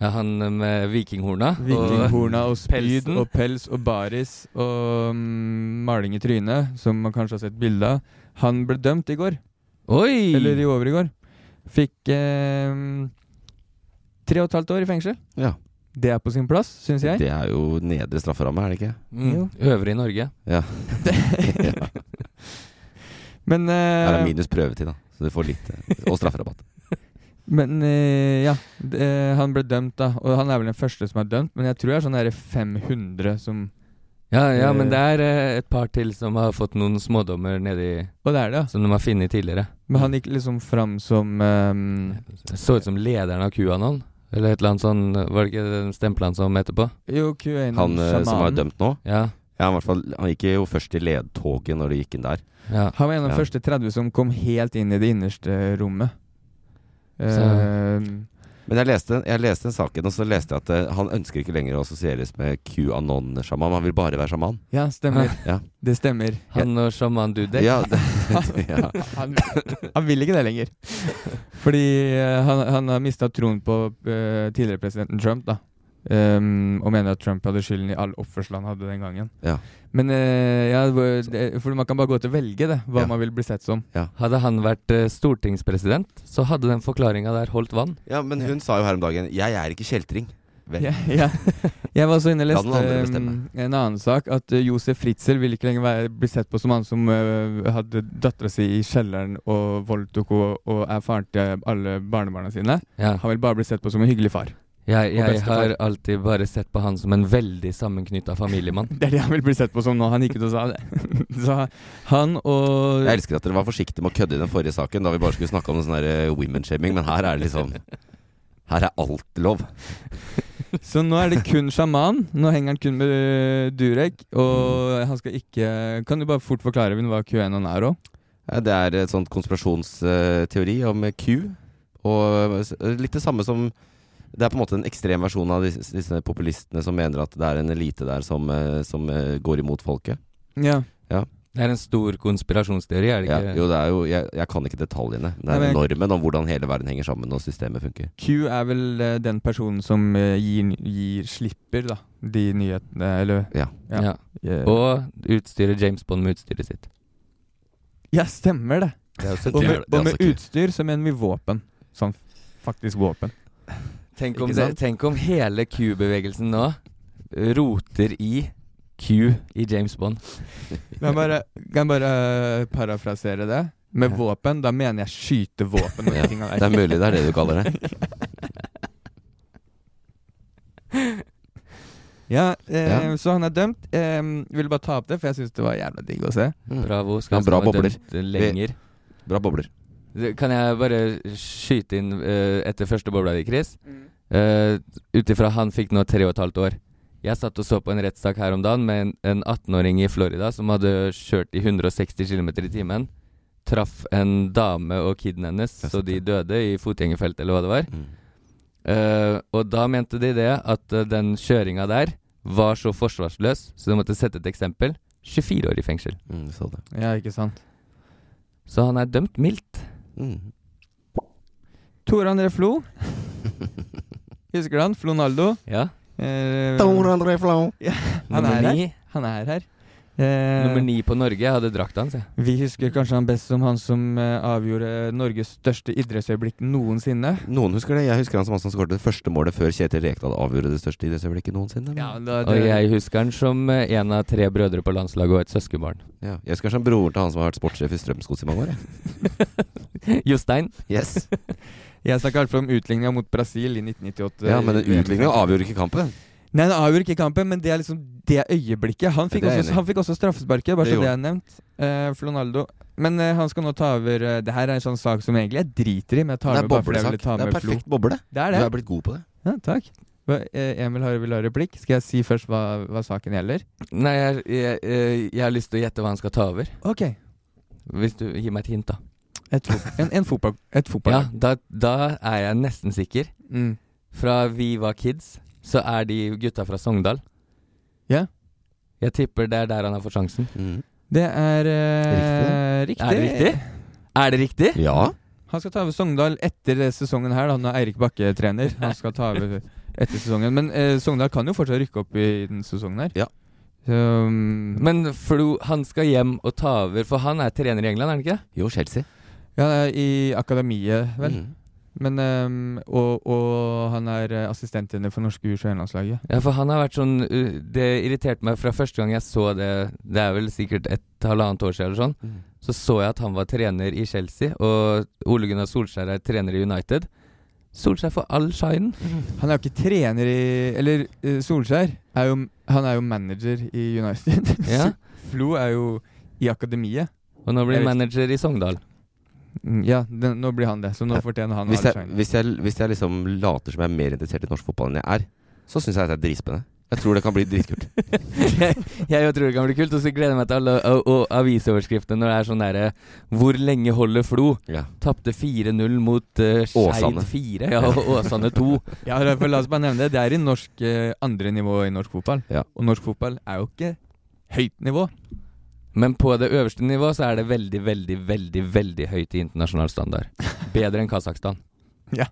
Speaker 7: Ja, han med vikinghorna. og-
Speaker 6: Vikinghorna og spyd
Speaker 7: pelsen.
Speaker 6: og pels og baris og mm, maling i trynet, som man kanskje har sett bilde av. Han ble dømt i går,
Speaker 7: Oi!
Speaker 6: eller i over i går. Fikk eh, tre og et halvt år i fengsel.
Speaker 5: Ja.
Speaker 6: Det er på sin plass, syns jeg.
Speaker 5: Det er jo nedre strafferamme, er det ikke?
Speaker 7: Mm, øvrig i Norge.
Speaker 5: Ja. ja.
Speaker 6: Men
Speaker 5: Her
Speaker 6: eh,
Speaker 5: er minus prøvetid, da. Så du får litt eh, Og eh, strafferabatt.
Speaker 6: Men eh, ja, d- eh, han ble dømt, da. Og han er vel den første som er dømt, men jeg tror det er sånn der 500 som
Speaker 7: Ja, ja, men det
Speaker 6: Eh,
Speaker 7: er eh, et par til som har fått noen smådommer nedi
Speaker 6: Og det er det, ja.
Speaker 7: Som de har funnet tidligere.
Speaker 6: Men han gikk liksom fram som ehm,
Speaker 7: Det så ut som lederen av QAnon, eller et eller annet sånn Var det ikke den stempla han som etterpå?
Speaker 6: Jo, QAnon,
Speaker 5: Han eh, som er
Speaker 6: sjamanen.
Speaker 5: dømt nå?
Speaker 7: Ja.
Speaker 5: han, i hvert fall, han gikk jo først i ledtoget når de gikk inn der.
Speaker 7: Ja.
Speaker 6: Han var en av de
Speaker 5: Ja.
Speaker 6: første 30 som kom helt inn i det innerste rommet.
Speaker 5: Så-
Speaker 6: Ehm,
Speaker 5: Men jeg leste, jeg leste den saken, og så leste jeg at eh, han ønsker ikke lenger å assosieres med QAnon-sjaman. Han vil bare være sjaman.
Speaker 6: ja, stemmer.
Speaker 5: Ja.
Speaker 6: Det stemmer.
Speaker 7: Han og sjaman Dudek.
Speaker 5: Ja, det, ja.
Speaker 6: han, han vil ikke det lenger. Fordi eh, han, han har mista troen på eh, tidligere presidenten Trump, da. Ehm, og mener at Trump hadde skylden i all oppførselen han hadde den gangen.
Speaker 5: Ja.
Speaker 6: Men eh, ja, hvor- det, for man kan bare gå til å velge det, hva man vil bli sett som.
Speaker 7: Hadde han vært eh, stortingspresident, så hadde den forklaringa der holdt vann.
Speaker 5: ja, men hun sa jo her om dagen 'Jeg er ikke kjeltring'. Vel.
Speaker 6: Ja, ja. Jeg var også inne og
Speaker 5: La den
Speaker 6: leste
Speaker 5: andre
Speaker 6: um,
Speaker 5: bestemme.
Speaker 6: en annen sak, at uh, Josef Fritzel vil ikke lenger være, bli sett på som han som uh, hadde dattera si i kjelleren og voldtok henne og er faren til alle barnebarna sine.
Speaker 7: Ja.
Speaker 6: Han vil bare bli sett på som en hyggelig far. Og
Speaker 7: Jeg, jeg
Speaker 6: bestefar.
Speaker 7: har alltid bare sett på han som en veldig sammenknytta familiemann.
Speaker 6: Det er det han vil bli sett på som nå. Han gikk ut og sa det. Så han og
Speaker 5: Jeg elsker at dere var forsiktige med å kødde i den forrige saken, da vi bare skulle snakke om sånn der, eh, women-shaming, men her er det liksom Her er alt lov.
Speaker 6: Så nå er det kun sjaman. Nå henger han kun med uh, Durek, og han skal ikke Kan du bare fort forklare hva QAnon er òg?
Speaker 5: Ja, Det er et sånt konspirasjonsteori om Q. Og s- litt det samme som Det er på en måte en ekstrem versjon av disse, disse populistene som mener at det er en elite der som, eh, som eh, går imot folket.
Speaker 6: Ja.
Speaker 5: Ja.
Speaker 7: Det er en stor konspirasjonsteori, er det
Speaker 5: Ja,
Speaker 7: ikke?
Speaker 5: jo, det er jo jeg, jeg kan ikke detaljene. Det
Speaker 6: Nei,
Speaker 5: er
Speaker 6: men-
Speaker 5: normen om hvordan hele verden henger sammen og systemet funker.
Speaker 6: Q er vel eh, den personen som eh, gir, gir slipper da, de nyhetene, eller
Speaker 5: Ja.
Speaker 7: Ja.
Speaker 6: Yeah.
Speaker 7: Og utstyre James Bond med utstyret sitt.
Speaker 6: Ja, stemmer det.
Speaker 7: Det er også
Speaker 6: og
Speaker 7: kul.
Speaker 5: altså
Speaker 6: med,
Speaker 7: Det er
Speaker 6: og med
Speaker 7: også kul.
Speaker 6: utstyr så mener vi våpen. Sånn f- faktisk våpen.
Speaker 7: Tenk om,
Speaker 6: Ikke
Speaker 7: det,
Speaker 6: sant?
Speaker 7: tenk om hele Q-bevegelsen nå roter i Q i James Bond.
Speaker 6: Kan jeg bare, kan jeg bare eh, parafrasere det? Med våpen, da mener jeg skyte våpen. og de
Speaker 5: Ja,
Speaker 6: tinga der.
Speaker 5: det er mulig det er det du kaller det.
Speaker 6: Ja, eh,
Speaker 5: Ja.
Speaker 6: så han er dømt. Eh, ville bare ta opp det, for jeg syns det var jævla digg å se.
Speaker 7: Bravo. Skal
Speaker 5: Ja,
Speaker 7: han
Speaker 5: bra
Speaker 7: være
Speaker 5: bobler.
Speaker 7: dømt
Speaker 5: Vi-
Speaker 7: lenger?
Speaker 5: Mm. Bra bobler.
Speaker 7: Kan jeg bare skyte inn eh, etter første bobla di, Chris? Uh, Ut ifra han fikk nå tre og et halvt år. Jeg satt og så på en rettssak her om dagen med en, en 18-åring i Florida som hadde kjørt i 160 km i timen. Traff en dame og kiden hennes, så de døde i fotgjengerfelt eller hva det var.
Speaker 5: Mm.
Speaker 7: Eh, og da mente de det at eh, den kjøringa der var så forsvarsløs, så de måtte sette et eksempel. 24 år i fengsel.
Speaker 5: Mm, så det.
Speaker 6: Ja, ikke sant.
Speaker 7: Så han er dømt mildt.
Speaker 5: Mm.
Speaker 6: Tore André Flo. Husker du han? Flonaldo.
Speaker 7: Ja.
Speaker 6: Eh,
Speaker 5: André Flau.
Speaker 6: Ja, han
Speaker 7: Nummer
Speaker 6: er
Speaker 7: ni.
Speaker 6: her. Han er her. Eh,
Speaker 7: Nummer ni på Norge. Jeg hadde drakta hans, jeg.
Speaker 6: Vi husker kanskje han best som han som eh, avgjorde Norges største idrettsøyeblikk noensinne.
Speaker 5: Noen husker det. Jeg husker han som han som skåret det første målet før Kjetil Rekdal avgjorde det største idrettsøyeblikket noensinne.
Speaker 6: Ja, da,
Speaker 7: Og jeg husker han som eh, en av tre brødre på landslaget og et søskenbarn.
Speaker 5: Ja, jeg husker han som broren til han som har vært sportssjef i Strømsgods i mange år. jeg.
Speaker 7: Jostein.
Speaker 5: Yes.
Speaker 6: jeg snakka i hvert fall om utligninga mot Brasil i Eh, 1998.
Speaker 5: Ja, men utligninga avgjorde ikke kampen.
Speaker 6: Nei, det avgjorde ikke kampen, men det er liksom det øyeblikket. Han fikk,
Speaker 5: Det er jeg enig
Speaker 6: også,
Speaker 5: i.
Speaker 6: han fikk også straffesparket, bare
Speaker 5: Det
Speaker 6: så det
Speaker 5: gjorde
Speaker 6: er nevnt. Eh, Flonaldo. Men eh, han skal nå ta over eh, Det her er en sånn sak som egentlig jeg driter i, men jeg tar
Speaker 5: Det er
Speaker 6: med bare fordi jeg
Speaker 5: boblesak.
Speaker 6: ville ta
Speaker 5: Det er
Speaker 6: med Flo.
Speaker 5: perfekt boble.
Speaker 6: Det
Speaker 5: Du
Speaker 6: er det.
Speaker 5: er blitt god på det.
Speaker 6: Ja, takk. Hva- eh, Emil har vil ha replikk. Skal jeg si først hva, hva saken gjelder?
Speaker 7: Nei, jeg, jeg, eh, jeg har lyst til å gjette hva han skal ta over.
Speaker 6: Ok.
Speaker 7: Hvis du gir meg et hint, da.
Speaker 6: Et, fo- en, en fotball, et
Speaker 7: Ja,
Speaker 6: fotballag.
Speaker 7: da, da er jeg nesten sikker.
Speaker 6: Mm.
Speaker 7: Fra vi var kids, så er de gutta fra Sogndal.
Speaker 6: Ja.
Speaker 7: Jeg tipper det er der han har fått sjansen.
Speaker 5: Mm.
Speaker 6: Det er eh, riktig.
Speaker 7: Er det riktig? Er det riktig?
Speaker 5: Ja.
Speaker 6: Han skal ta over Sogndal etter det sesongen her, da. Nå er Eirik Bakke trener. Han skal ta over etter sesongen. Men eh, Sogndal kan jo fortsatt rykke opp i den sesongen her.
Speaker 5: Ja.
Speaker 6: Så,
Speaker 7: Men Flo, han skal hjem og ta over, for han er trener i England, er han ikke? det?
Speaker 5: Jo, Chelsea.
Speaker 6: ja, det er i akademiet, vel.
Speaker 5: Mm.
Speaker 6: Men, ehm, og, og han er eh, assistenttrener for norske U- og landslaget
Speaker 7: Ja, for han har vært sånn uh, Det irriterte meg fra første gang jeg så det Det er vel sikkert et halvannet år siden eller sånn.
Speaker 5: Mm.
Speaker 7: Så så jeg at han var trener i Chelsea, og Ole Gunnar Solskjær er trener i United. Solskjær får all shinen.
Speaker 5: Mm.
Speaker 6: Han er jo ikke trener i Eller eh, Solskjær er jo, Han er jo manager i United.
Speaker 7: Ja.
Speaker 6: Flo er jo i akademiet.
Speaker 7: Og nå blir
Speaker 6: Jeg vet-
Speaker 7: manager i Sogndal.
Speaker 6: Mm, Ja, den, nå blir han det. Så nå fortjener han
Speaker 5: hvis
Speaker 6: all
Speaker 5: jeg,
Speaker 6: shine.
Speaker 5: hvis, jeg, hvis jeg liksom later som jeg er mer interessert i norsk fotball enn jeg er, så syns jeg at det er dritspennende. Jeg tror det kan bli dritkult.
Speaker 7: jeg jeg tror det kan bli kult, og så gleder jeg meg til alle og, og avisoverskriftene når det er sånn derre Hvor lenge holder Flo?
Speaker 5: Ja.
Speaker 7: Tapte 4-0 mot uh, Skeid
Speaker 5: Åsane.
Speaker 7: 4, ja, og Åsane 2.
Speaker 6: Ja, for La oss bare nevne det. Det er i norsk eh, andre nivå i norsk fotball.
Speaker 5: Ja.
Speaker 6: Og norsk fotball er jo ikke høyt nivå.
Speaker 7: Men på det øverste nivå så er det veldig, veldig, veldig veldig høyt i internasjonal standard. Bedre enn Kasakhstan.
Speaker 6: Ja.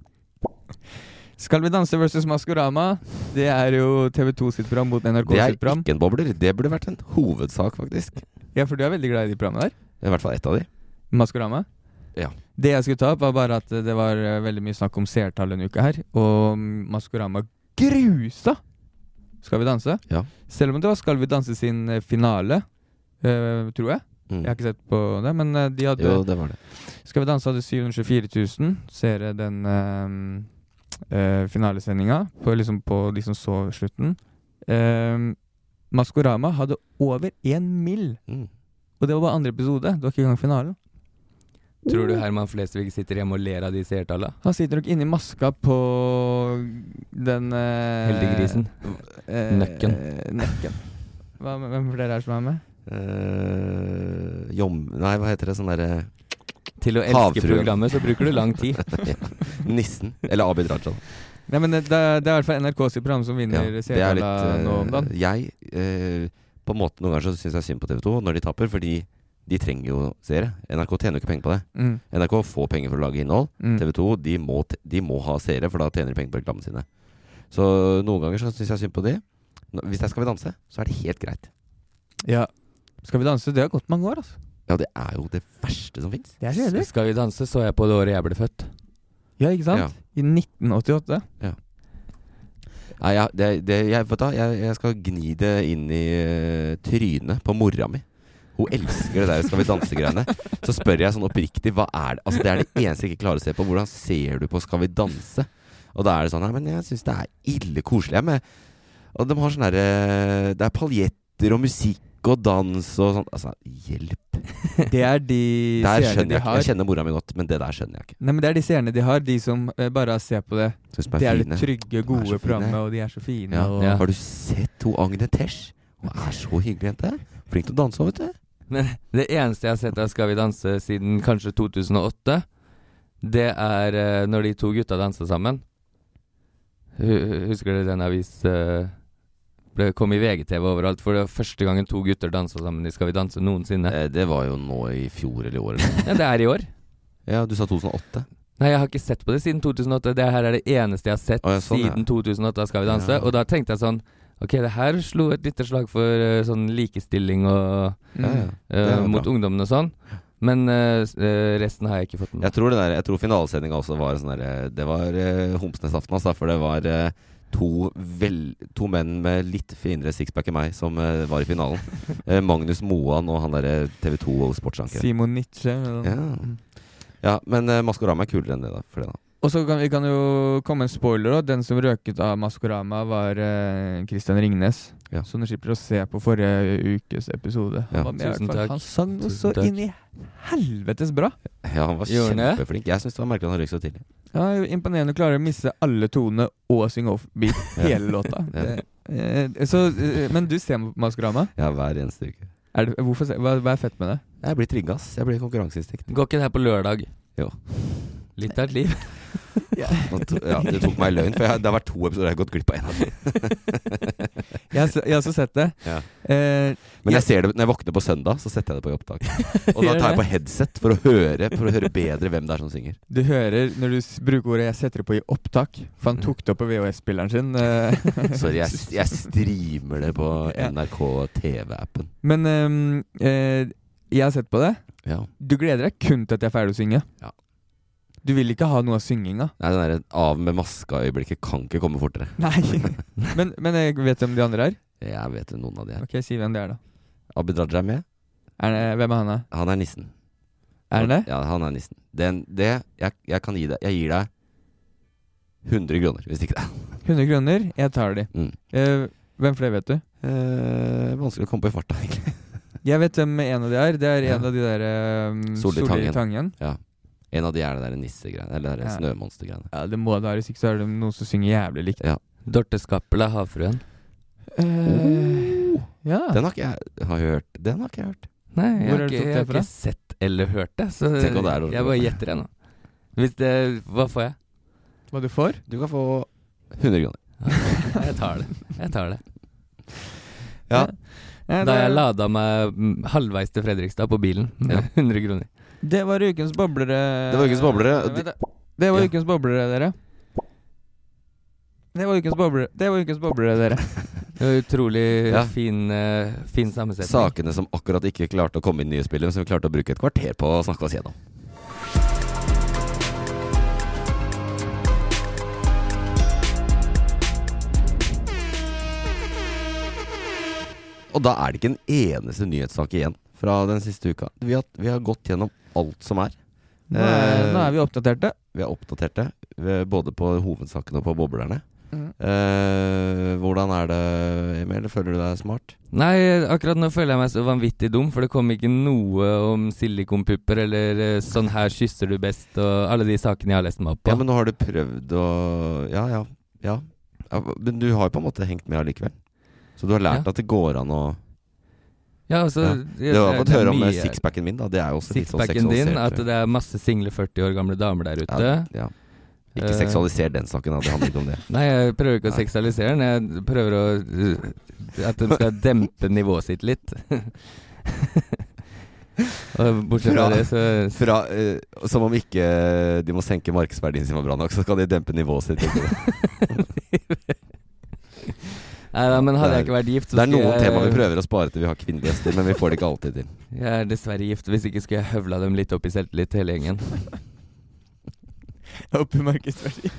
Speaker 6: Skal vi danse versus Maskorama? Det er jo TV2 sitt program mot NRK
Speaker 5: Det er
Speaker 6: sitt program.
Speaker 5: ikke en bobler. Det burde vært en hovedsak, faktisk.
Speaker 6: Ja, for du er veldig glad i de programmene der?
Speaker 5: I hvert fall ett av de.
Speaker 6: Maskorama?
Speaker 5: Ja.
Speaker 6: Det jeg skulle ta opp, var bare at eh, det var eh, veldig mye snakk om seertall denne uka her, og mm, Maskorama grusa Skal vi danse?
Speaker 5: Ja.
Speaker 6: Selv om det var Skal vi danse sin eh, finale, eh, tror jeg.
Speaker 5: Mm.
Speaker 6: Jeg har ikke sett på det, men eh, de hadde
Speaker 5: Jo, det var det.
Speaker 6: Skal vi danse hadde 724 000 seere den eh, eh, finalesendinga, på, liksom på de som så slutten. Eh, Maskorama hadde over én mill.
Speaker 5: Mm.
Speaker 6: Og det var bare andre episode. Det var ikke engang finalen.
Speaker 7: Tror du Herman Flesvig sitter hjemme og ler av de seertallene?
Speaker 6: Han sitter nok inni maska på den eh,
Speaker 7: Heldiggrisen.
Speaker 6: eh,
Speaker 7: Nøkken.
Speaker 6: nøkken. Hva, hvem flere er det som er med?
Speaker 5: Eh, jom... Nei, hva heter det? Sånn derre
Speaker 7: Til å elske programmet så bruker du lang tid.
Speaker 5: Nissen. Eller Abid Raja.
Speaker 6: Nei, men det, det er det er i hvert fall NRK sitt program som vinner
Speaker 5: Ja, det er litt
Speaker 6: seertalla nå om dagen.
Speaker 5: eh, Jeg eh, På en måte noen ganger så syns jeg synd på TV 2 når de taper, fordi de trenger jo seere. NRK tjener jo ikke penger på det.
Speaker 6: Mm.
Speaker 5: NRK får penger for å lage innhold.
Speaker 6: Mm.
Speaker 5: TV 2 de må, t- de må ha seere, for da tjener de penger på reklamene sine. Så noen ganger så syns jeg synd på de. Nå- Hvis jeg skal vi danse, så er det helt greit.
Speaker 6: Ja. Skal vi danse? Det har gått mange år, altså.
Speaker 5: Ja, det er jo det verste som fins.
Speaker 6: Det er kjedelig.
Speaker 7: Skal vi danse, så jeg på det året jeg ble født.
Speaker 6: Ja, ikke sant?
Speaker 5: Ja.
Speaker 6: I 1988.
Speaker 5: Nei, jeg, det, det, jeg, vet du, hva, jeg, jeg skal gni det inn i eh, trynet på mora mi. Hun elsker det der 'Skal vi danse'-greiene. Så spør jeg sånn oppriktig hva er det Altså Det er det eneste jeg ikke klarer å se på. Hvordan ser du på 'Skal vi danse'? Og da er det sånn Nei, men jeg syns det er ille koselig. jeg, Med, og de har sånn derre Det er paljetter og musikk og dans og sånn. Altså, hjelp!
Speaker 6: Det er de
Speaker 5: Der skjønner
Speaker 6: seerne de
Speaker 5: jeg ikke.
Speaker 6: har.
Speaker 5: Jeg kjenner mora mi godt, men det der skjønner jeg ikke.
Speaker 6: Nei, men Det er de seerne de har, de som eh, bare ser på det.
Speaker 5: Synes de
Speaker 6: Det er
Speaker 5: fine.
Speaker 6: det
Speaker 5: så
Speaker 6: trygge, gode
Speaker 5: fine.
Speaker 6: programmet, og de er så fine.
Speaker 5: Ja.
Speaker 6: Og...
Speaker 5: Har du sett hun Agnetesh? Hun er så hyggelig jente. Flink til å danse òg, vet du.
Speaker 7: Men det eneste jeg har sett av Skal vi danse siden kanskje 2008, det er eh, når de to gutta danser sammen. Hu- Husker dere den avis eh, ble, kom i VGTV overalt? For det var første gangen to gutter dansa sammen i Skal vi danse noensinne.
Speaker 5: Eh, Det var jo nå i fjor eller i år. eller?
Speaker 7: Ja, det er i år.
Speaker 5: Ja, du sa 2008.
Speaker 7: Nei, jeg har ikke sett på det siden 2008. Det her er det eneste jeg har sett
Speaker 5: Å, ja, sånn, ja.
Speaker 7: siden 2008 av Skal vi danse.
Speaker 5: Ja.
Speaker 7: Og da tenkte jeg sånn Ok, det her slo et lite slag for eh, sånn likestilling og
Speaker 5: Ja, ja. Det
Speaker 7: eh,
Speaker 5: var
Speaker 7: mot
Speaker 5: bra.
Speaker 7: ungdommen og sånn. Men eh, s- eh, resten har jeg ikke fått med meg.
Speaker 5: Jeg tror, det der- jeg tror finalesendinga også var sånn derre Det var eh, Homsnes-aften, altså. For det var eh, to, vel, to menn med litt finere sixpack enn meg som eh, var i finalen. Eh, Magnus Moan og han derre TV 2 og sportsankeren.
Speaker 6: Simon Nietzsche. og-
Speaker 5: Ja. ja, men eh, Maskorama er kulere enn det, da. For det, da.
Speaker 6: Og så kan vi kan jo komme en spoiler òg. Den som røket av Maskorama, var eh, Christian Ringnes.
Speaker 5: Ja.
Speaker 6: Så du slipper å se på forrige ukes episode. Han,
Speaker 5: Ja.
Speaker 6: var med, i hvert
Speaker 7: Tusen
Speaker 6: fall.
Speaker 7: takk.
Speaker 6: han sang jo
Speaker 7: Tusen
Speaker 6: så
Speaker 7: takk.
Speaker 6: inn i helvetes bra.
Speaker 5: Ja, han var
Speaker 7: Gjorde han det?
Speaker 5: kjempeflink. Jeg syns det var merkelig at han røyk så tidlig.
Speaker 6: Ja, det er jo Imponerende å klare å misse alle tonene og synge offbeat
Speaker 5: Ja.
Speaker 6: hele låta.
Speaker 5: Ja.
Speaker 6: Det, eh, så, eh, men du ser Maskorama.
Speaker 5: Ja, hver eneste uke.
Speaker 6: Er det, hvorfor, se- hva, hva er fett med det?
Speaker 5: Jeg blir trigga, ass. Jeg blir konkurranseinstinkt.
Speaker 7: Går ikke det her på lørdag?
Speaker 5: Jo.
Speaker 7: Litt av et liv.
Speaker 5: Nå to- Ja, det tok meg i løgn, for jeg, det har vært to episoder jeg har gått glipp av en av dem.
Speaker 6: Jeg har, se- jeg har også sett det.
Speaker 5: Ja.
Speaker 6: Eh,
Speaker 5: Men
Speaker 6: Ja.
Speaker 5: jeg ser det når jeg våkner på søndag, så setter jeg det på i opptak. Og da
Speaker 7: Gjør
Speaker 5: tar jeg
Speaker 7: det?
Speaker 5: på headset for å høre, for å høre bedre hvem det er som synger.
Speaker 6: du hører når du s- bruker ordet 'jeg setter det på i opptak', for
Speaker 5: Mm.
Speaker 6: han tok det opp på VHS-spilleren sin. eh.
Speaker 5: Sorry, jeg, jeg streamer det på NRK TV-appen.
Speaker 6: Men ehm, eh, jeg har sett på det.
Speaker 5: Ja.
Speaker 6: Du gleder deg kun til at jeg er ferdig å synge.
Speaker 5: Ja.
Speaker 6: Du vil ikke ha noe av synginga.
Speaker 5: Nei, den derre av med maska-øyeblikket kan ikke komme fortere.
Speaker 6: Nei. men, men jeg vet hvem de andre er.
Speaker 5: Jeg vet noen av de her.
Speaker 6: Ok, Si hvem det er, da.
Speaker 5: Abid Raja er med.
Speaker 6: Er det, hvem er han, da?
Speaker 5: Han er nissen.
Speaker 6: Er han det?
Speaker 5: Ja, han er nissen. Den, det jeg, jeg kan gi deg Jeg gir deg 100 kroner, hvis ikke det.
Speaker 6: 100 kroner, jeg tar de.
Speaker 5: Mm. Eh,
Speaker 6: Eh, hvem flere vet du?
Speaker 5: vanskelig å komme på i farta, egentlig.
Speaker 6: Jeg vet hvem en av de er. Det er en av de der eh,
Speaker 5: Solli Tangen.
Speaker 6: Tangen.
Speaker 5: Ja. En av de er det der nissegreiene, eller det der
Speaker 6: Ja.
Speaker 5: snømonstergreiene.
Speaker 6: Ja, det må det være, hvis ikke så er det noen som synger jævlig likt.
Speaker 5: Ja.
Speaker 7: Dorte Skappel er havfruen.
Speaker 6: Eh, ja.
Speaker 5: Den har ikke jeg har jeg hørt. Den har ikke jeg hørt.
Speaker 7: Nei, jeg
Speaker 6: Hvor
Speaker 7: har
Speaker 6: har du tatt
Speaker 7: ikke, jeg
Speaker 6: det
Speaker 7: har
Speaker 6: fra?
Speaker 7: ikke sett eller hørt det, så
Speaker 5: Tenk om det er Dorte
Speaker 7: jeg bare
Speaker 5: Skappel.
Speaker 7: gjetter ennå. Hvis det Hva får jeg?
Speaker 6: Hva du får?
Speaker 5: Du kan få 100 kroner.
Speaker 7: Jeg tar det. Jeg tar det.
Speaker 5: Ja.
Speaker 6: Ja,
Speaker 7: Da
Speaker 6: det-
Speaker 7: jeg lada meg mm, halvveis til Fredrikstad på bilen med 100 kroner.
Speaker 6: Det var ukens boblere.
Speaker 5: Det var ukens boblere, og
Speaker 6: Vent
Speaker 5: de-
Speaker 6: da. Det var
Speaker 5: Ja.
Speaker 6: ukens boblere, dere. Det var ukens boblere, det var ukens boblere dere.
Speaker 7: Det var utrolig
Speaker 5: Ja.
Speaker 7: fin, eh, fin sammensetning.
Speaker 5: Sakene som akkurat ikke klarte å komme inn i nye spillet, men som vi klarte å bruke et kvarter på å snakke oss gjennom. Og da er det ikke en eneste nyhetssak igjen fra den siste uka. Vi har, vi har gått gjennom alt som er.
Speaker 6: Nå er,
Speaker 5: Eh,
Speaker 6: nå er vi oppdaterte.
Speaker 5: vi er oppdaterte, eh, både på hovedsakene og på boblerne.
Speaker 7: Mm.
Speaker 6: Mhm.
Speaker 5: Eh, hvordan er det, Emil? Føler du deg smart?
Speaker 7: Nei, akkurat nå føler jeg meg så vanvittig dum, for det kom ikke noe om silikonpupper eller eh, 'sånn her kysser du best' og alle de sakene jeg har lest meg opp på.
Speaker 5: Ja, men nå har du prøvd å Ja, ja. ja. ja men du har jo på en måte hengt med allikevel. Så du har lært
Speaker 7: Ja.
Speaker 5: at det går an å
Speaker 7: Ja, altså,
Speaker 5: ja.
Speaker 7: jeg-
Speaker 5: Du har fått
Speaker 7: det er
Speaker 5: høre om eh,
Speaker 7: mye-
Speaker 5: sixpacken min, da. Det er jo også litt sånn
Speaker 7: Sixpacken din,
Speaker 5: seksualisert,
Speaker 7: at det er masse single 40 år gamle damer der ute.
Speaker 5: ja, ja. Ikke
Speaker 7: Eh,
Speaker 5: seksualiser den saken, da. Det handler ikke om det.
Speaker 7: Nei, jeg prøver ikke å
Speaker 5: Nei.
Speaker 7: seksualisere den. Jeg prøver å uh, At den skal dempe nivået sitt litt. Og bortsett fra
Speaker 5: Fra-
Speaker 7: det, så
Speaker 5: Fra, eh, som om ikke de må senke markedsverdien sin var bra nok, så skal de dempe nivået sitt. tenker du.
Speaker 7: Nei da, men hadde jeg
Speaker 5: Det er-
Speaker 7: ikke vært gift, så
Speaker 5: Det er noen
Speaker 7: jeg
Speaker 5: tema vi prøver å spare til vi har kvinnelige gjester, men vi får det ikke alltid til.
Speaker 7: Jeg er dessverre gift, hvis ikke skulle jeg høvla dem litt opp i selvtillit, hele gjengen.
Speaker 6: Opp i markedsverdi.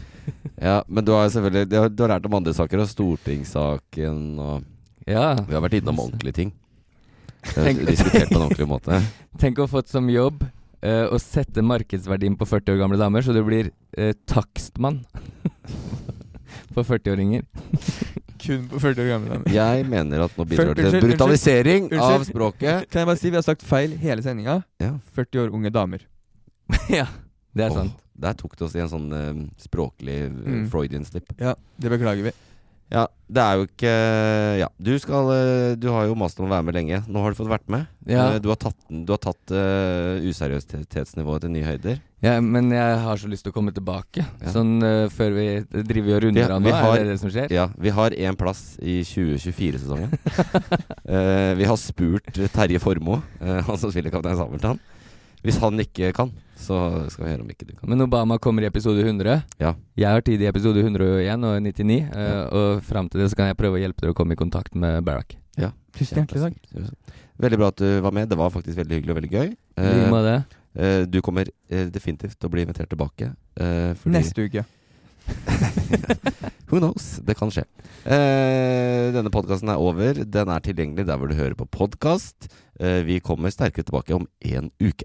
Speaker 5: Ja, Men du har jo selvfølgelig du har, du har lært om andre saker, og stortingssaken og
Speaker 7: Ja.
Speaker 5: Vi har vært innom ordentlige ting. Tenk, diskutert på en ordentlig måte.
Speaker 7: Tenk å ha fått som jobb eh, å sette markedsverdien på 40 år gamle damer, så du blir eh, takstmann på 40-åringer.
Speaker 6: Kun på 40 år gamle damer.
Speaker 5: Jeg mener at nå bidrar det til
Speaker 6: Unnskyld, unnskyld.
Speaker 5: brutalisering av
Speaker 6: Unnskyld.
Speaker 5: språket.
Speaker 6: Kan jeg bare si vi har sagt feil hele sendinga?
Speaker 5: Ja.
Speaker 6: 40 år unge damer.
Speaker 7: ja, det er
Speaker 5: Åh,
Speaker 7: sant.
Speaker 5: Der tok det oss i en sånn eh, språklig eh,
Speaker 6: Mm.
Speaker 5: Freudian slip.
Speaker 6: Ja, det beklager vi.
Speaker 5: Ja, det er jo ikke Ja, du skal eh, Du har jo mast om å være med lenge. Nå har du fått vært med.
Speaker 7: Ja.
Speaker 5: Eh, Du har tatt, den- du har tatt eh, useriøsitetsnivået til nye høyder.
Speaker 7: Ja, men jeg har så lyst til å komme tilbake.
Speaker 5: Ja.
Speaker 7: Sånn eh, før vi driver og runder
Speaker 5: Ja,
Speaker 7: av
Speaker 5: vi
Speaker 7: nå,
Speaker 5: har-
Speaker 7: er det det som skjer?
Speaker 5: Ja, vi har én plass i 2024-sesongen. Eh, vi har spurt Terje Formoe, eh, han som spiller Kaptein Sabeltann. Hvis han ikke kan, så skal vi høre om ikke du kan.
Speaker 7: Men Obama kommer i episode 100.
Speaker 5: Ja.
Speaker 7: Jeg har tid i episode 101 og 99, eh, og fram til det så kan jeg prøve å hjelpe dere å komme i kontakt med Barack.
Speaker 6: Tusen hjertelig takk.
Speaker 5: Veldig bra at du var med. Det var faktisk veldig hyggelig og veldig gøy.
Speaker 7: I like
Speaker 5: Eh,
Speaker 7: måte.
Speaker 5: eh, du kommer eh, definitivt til å bli invitert tilbake. eh, fordi-
Speaker 6: Neste uke.
Speaker 5: Who knows? Det kan skje. Eh, denne podkasten er over. Den er tilgjengelig der hvor du hører på podkast. Eh, vi kommer sterkere tilbake om en uke.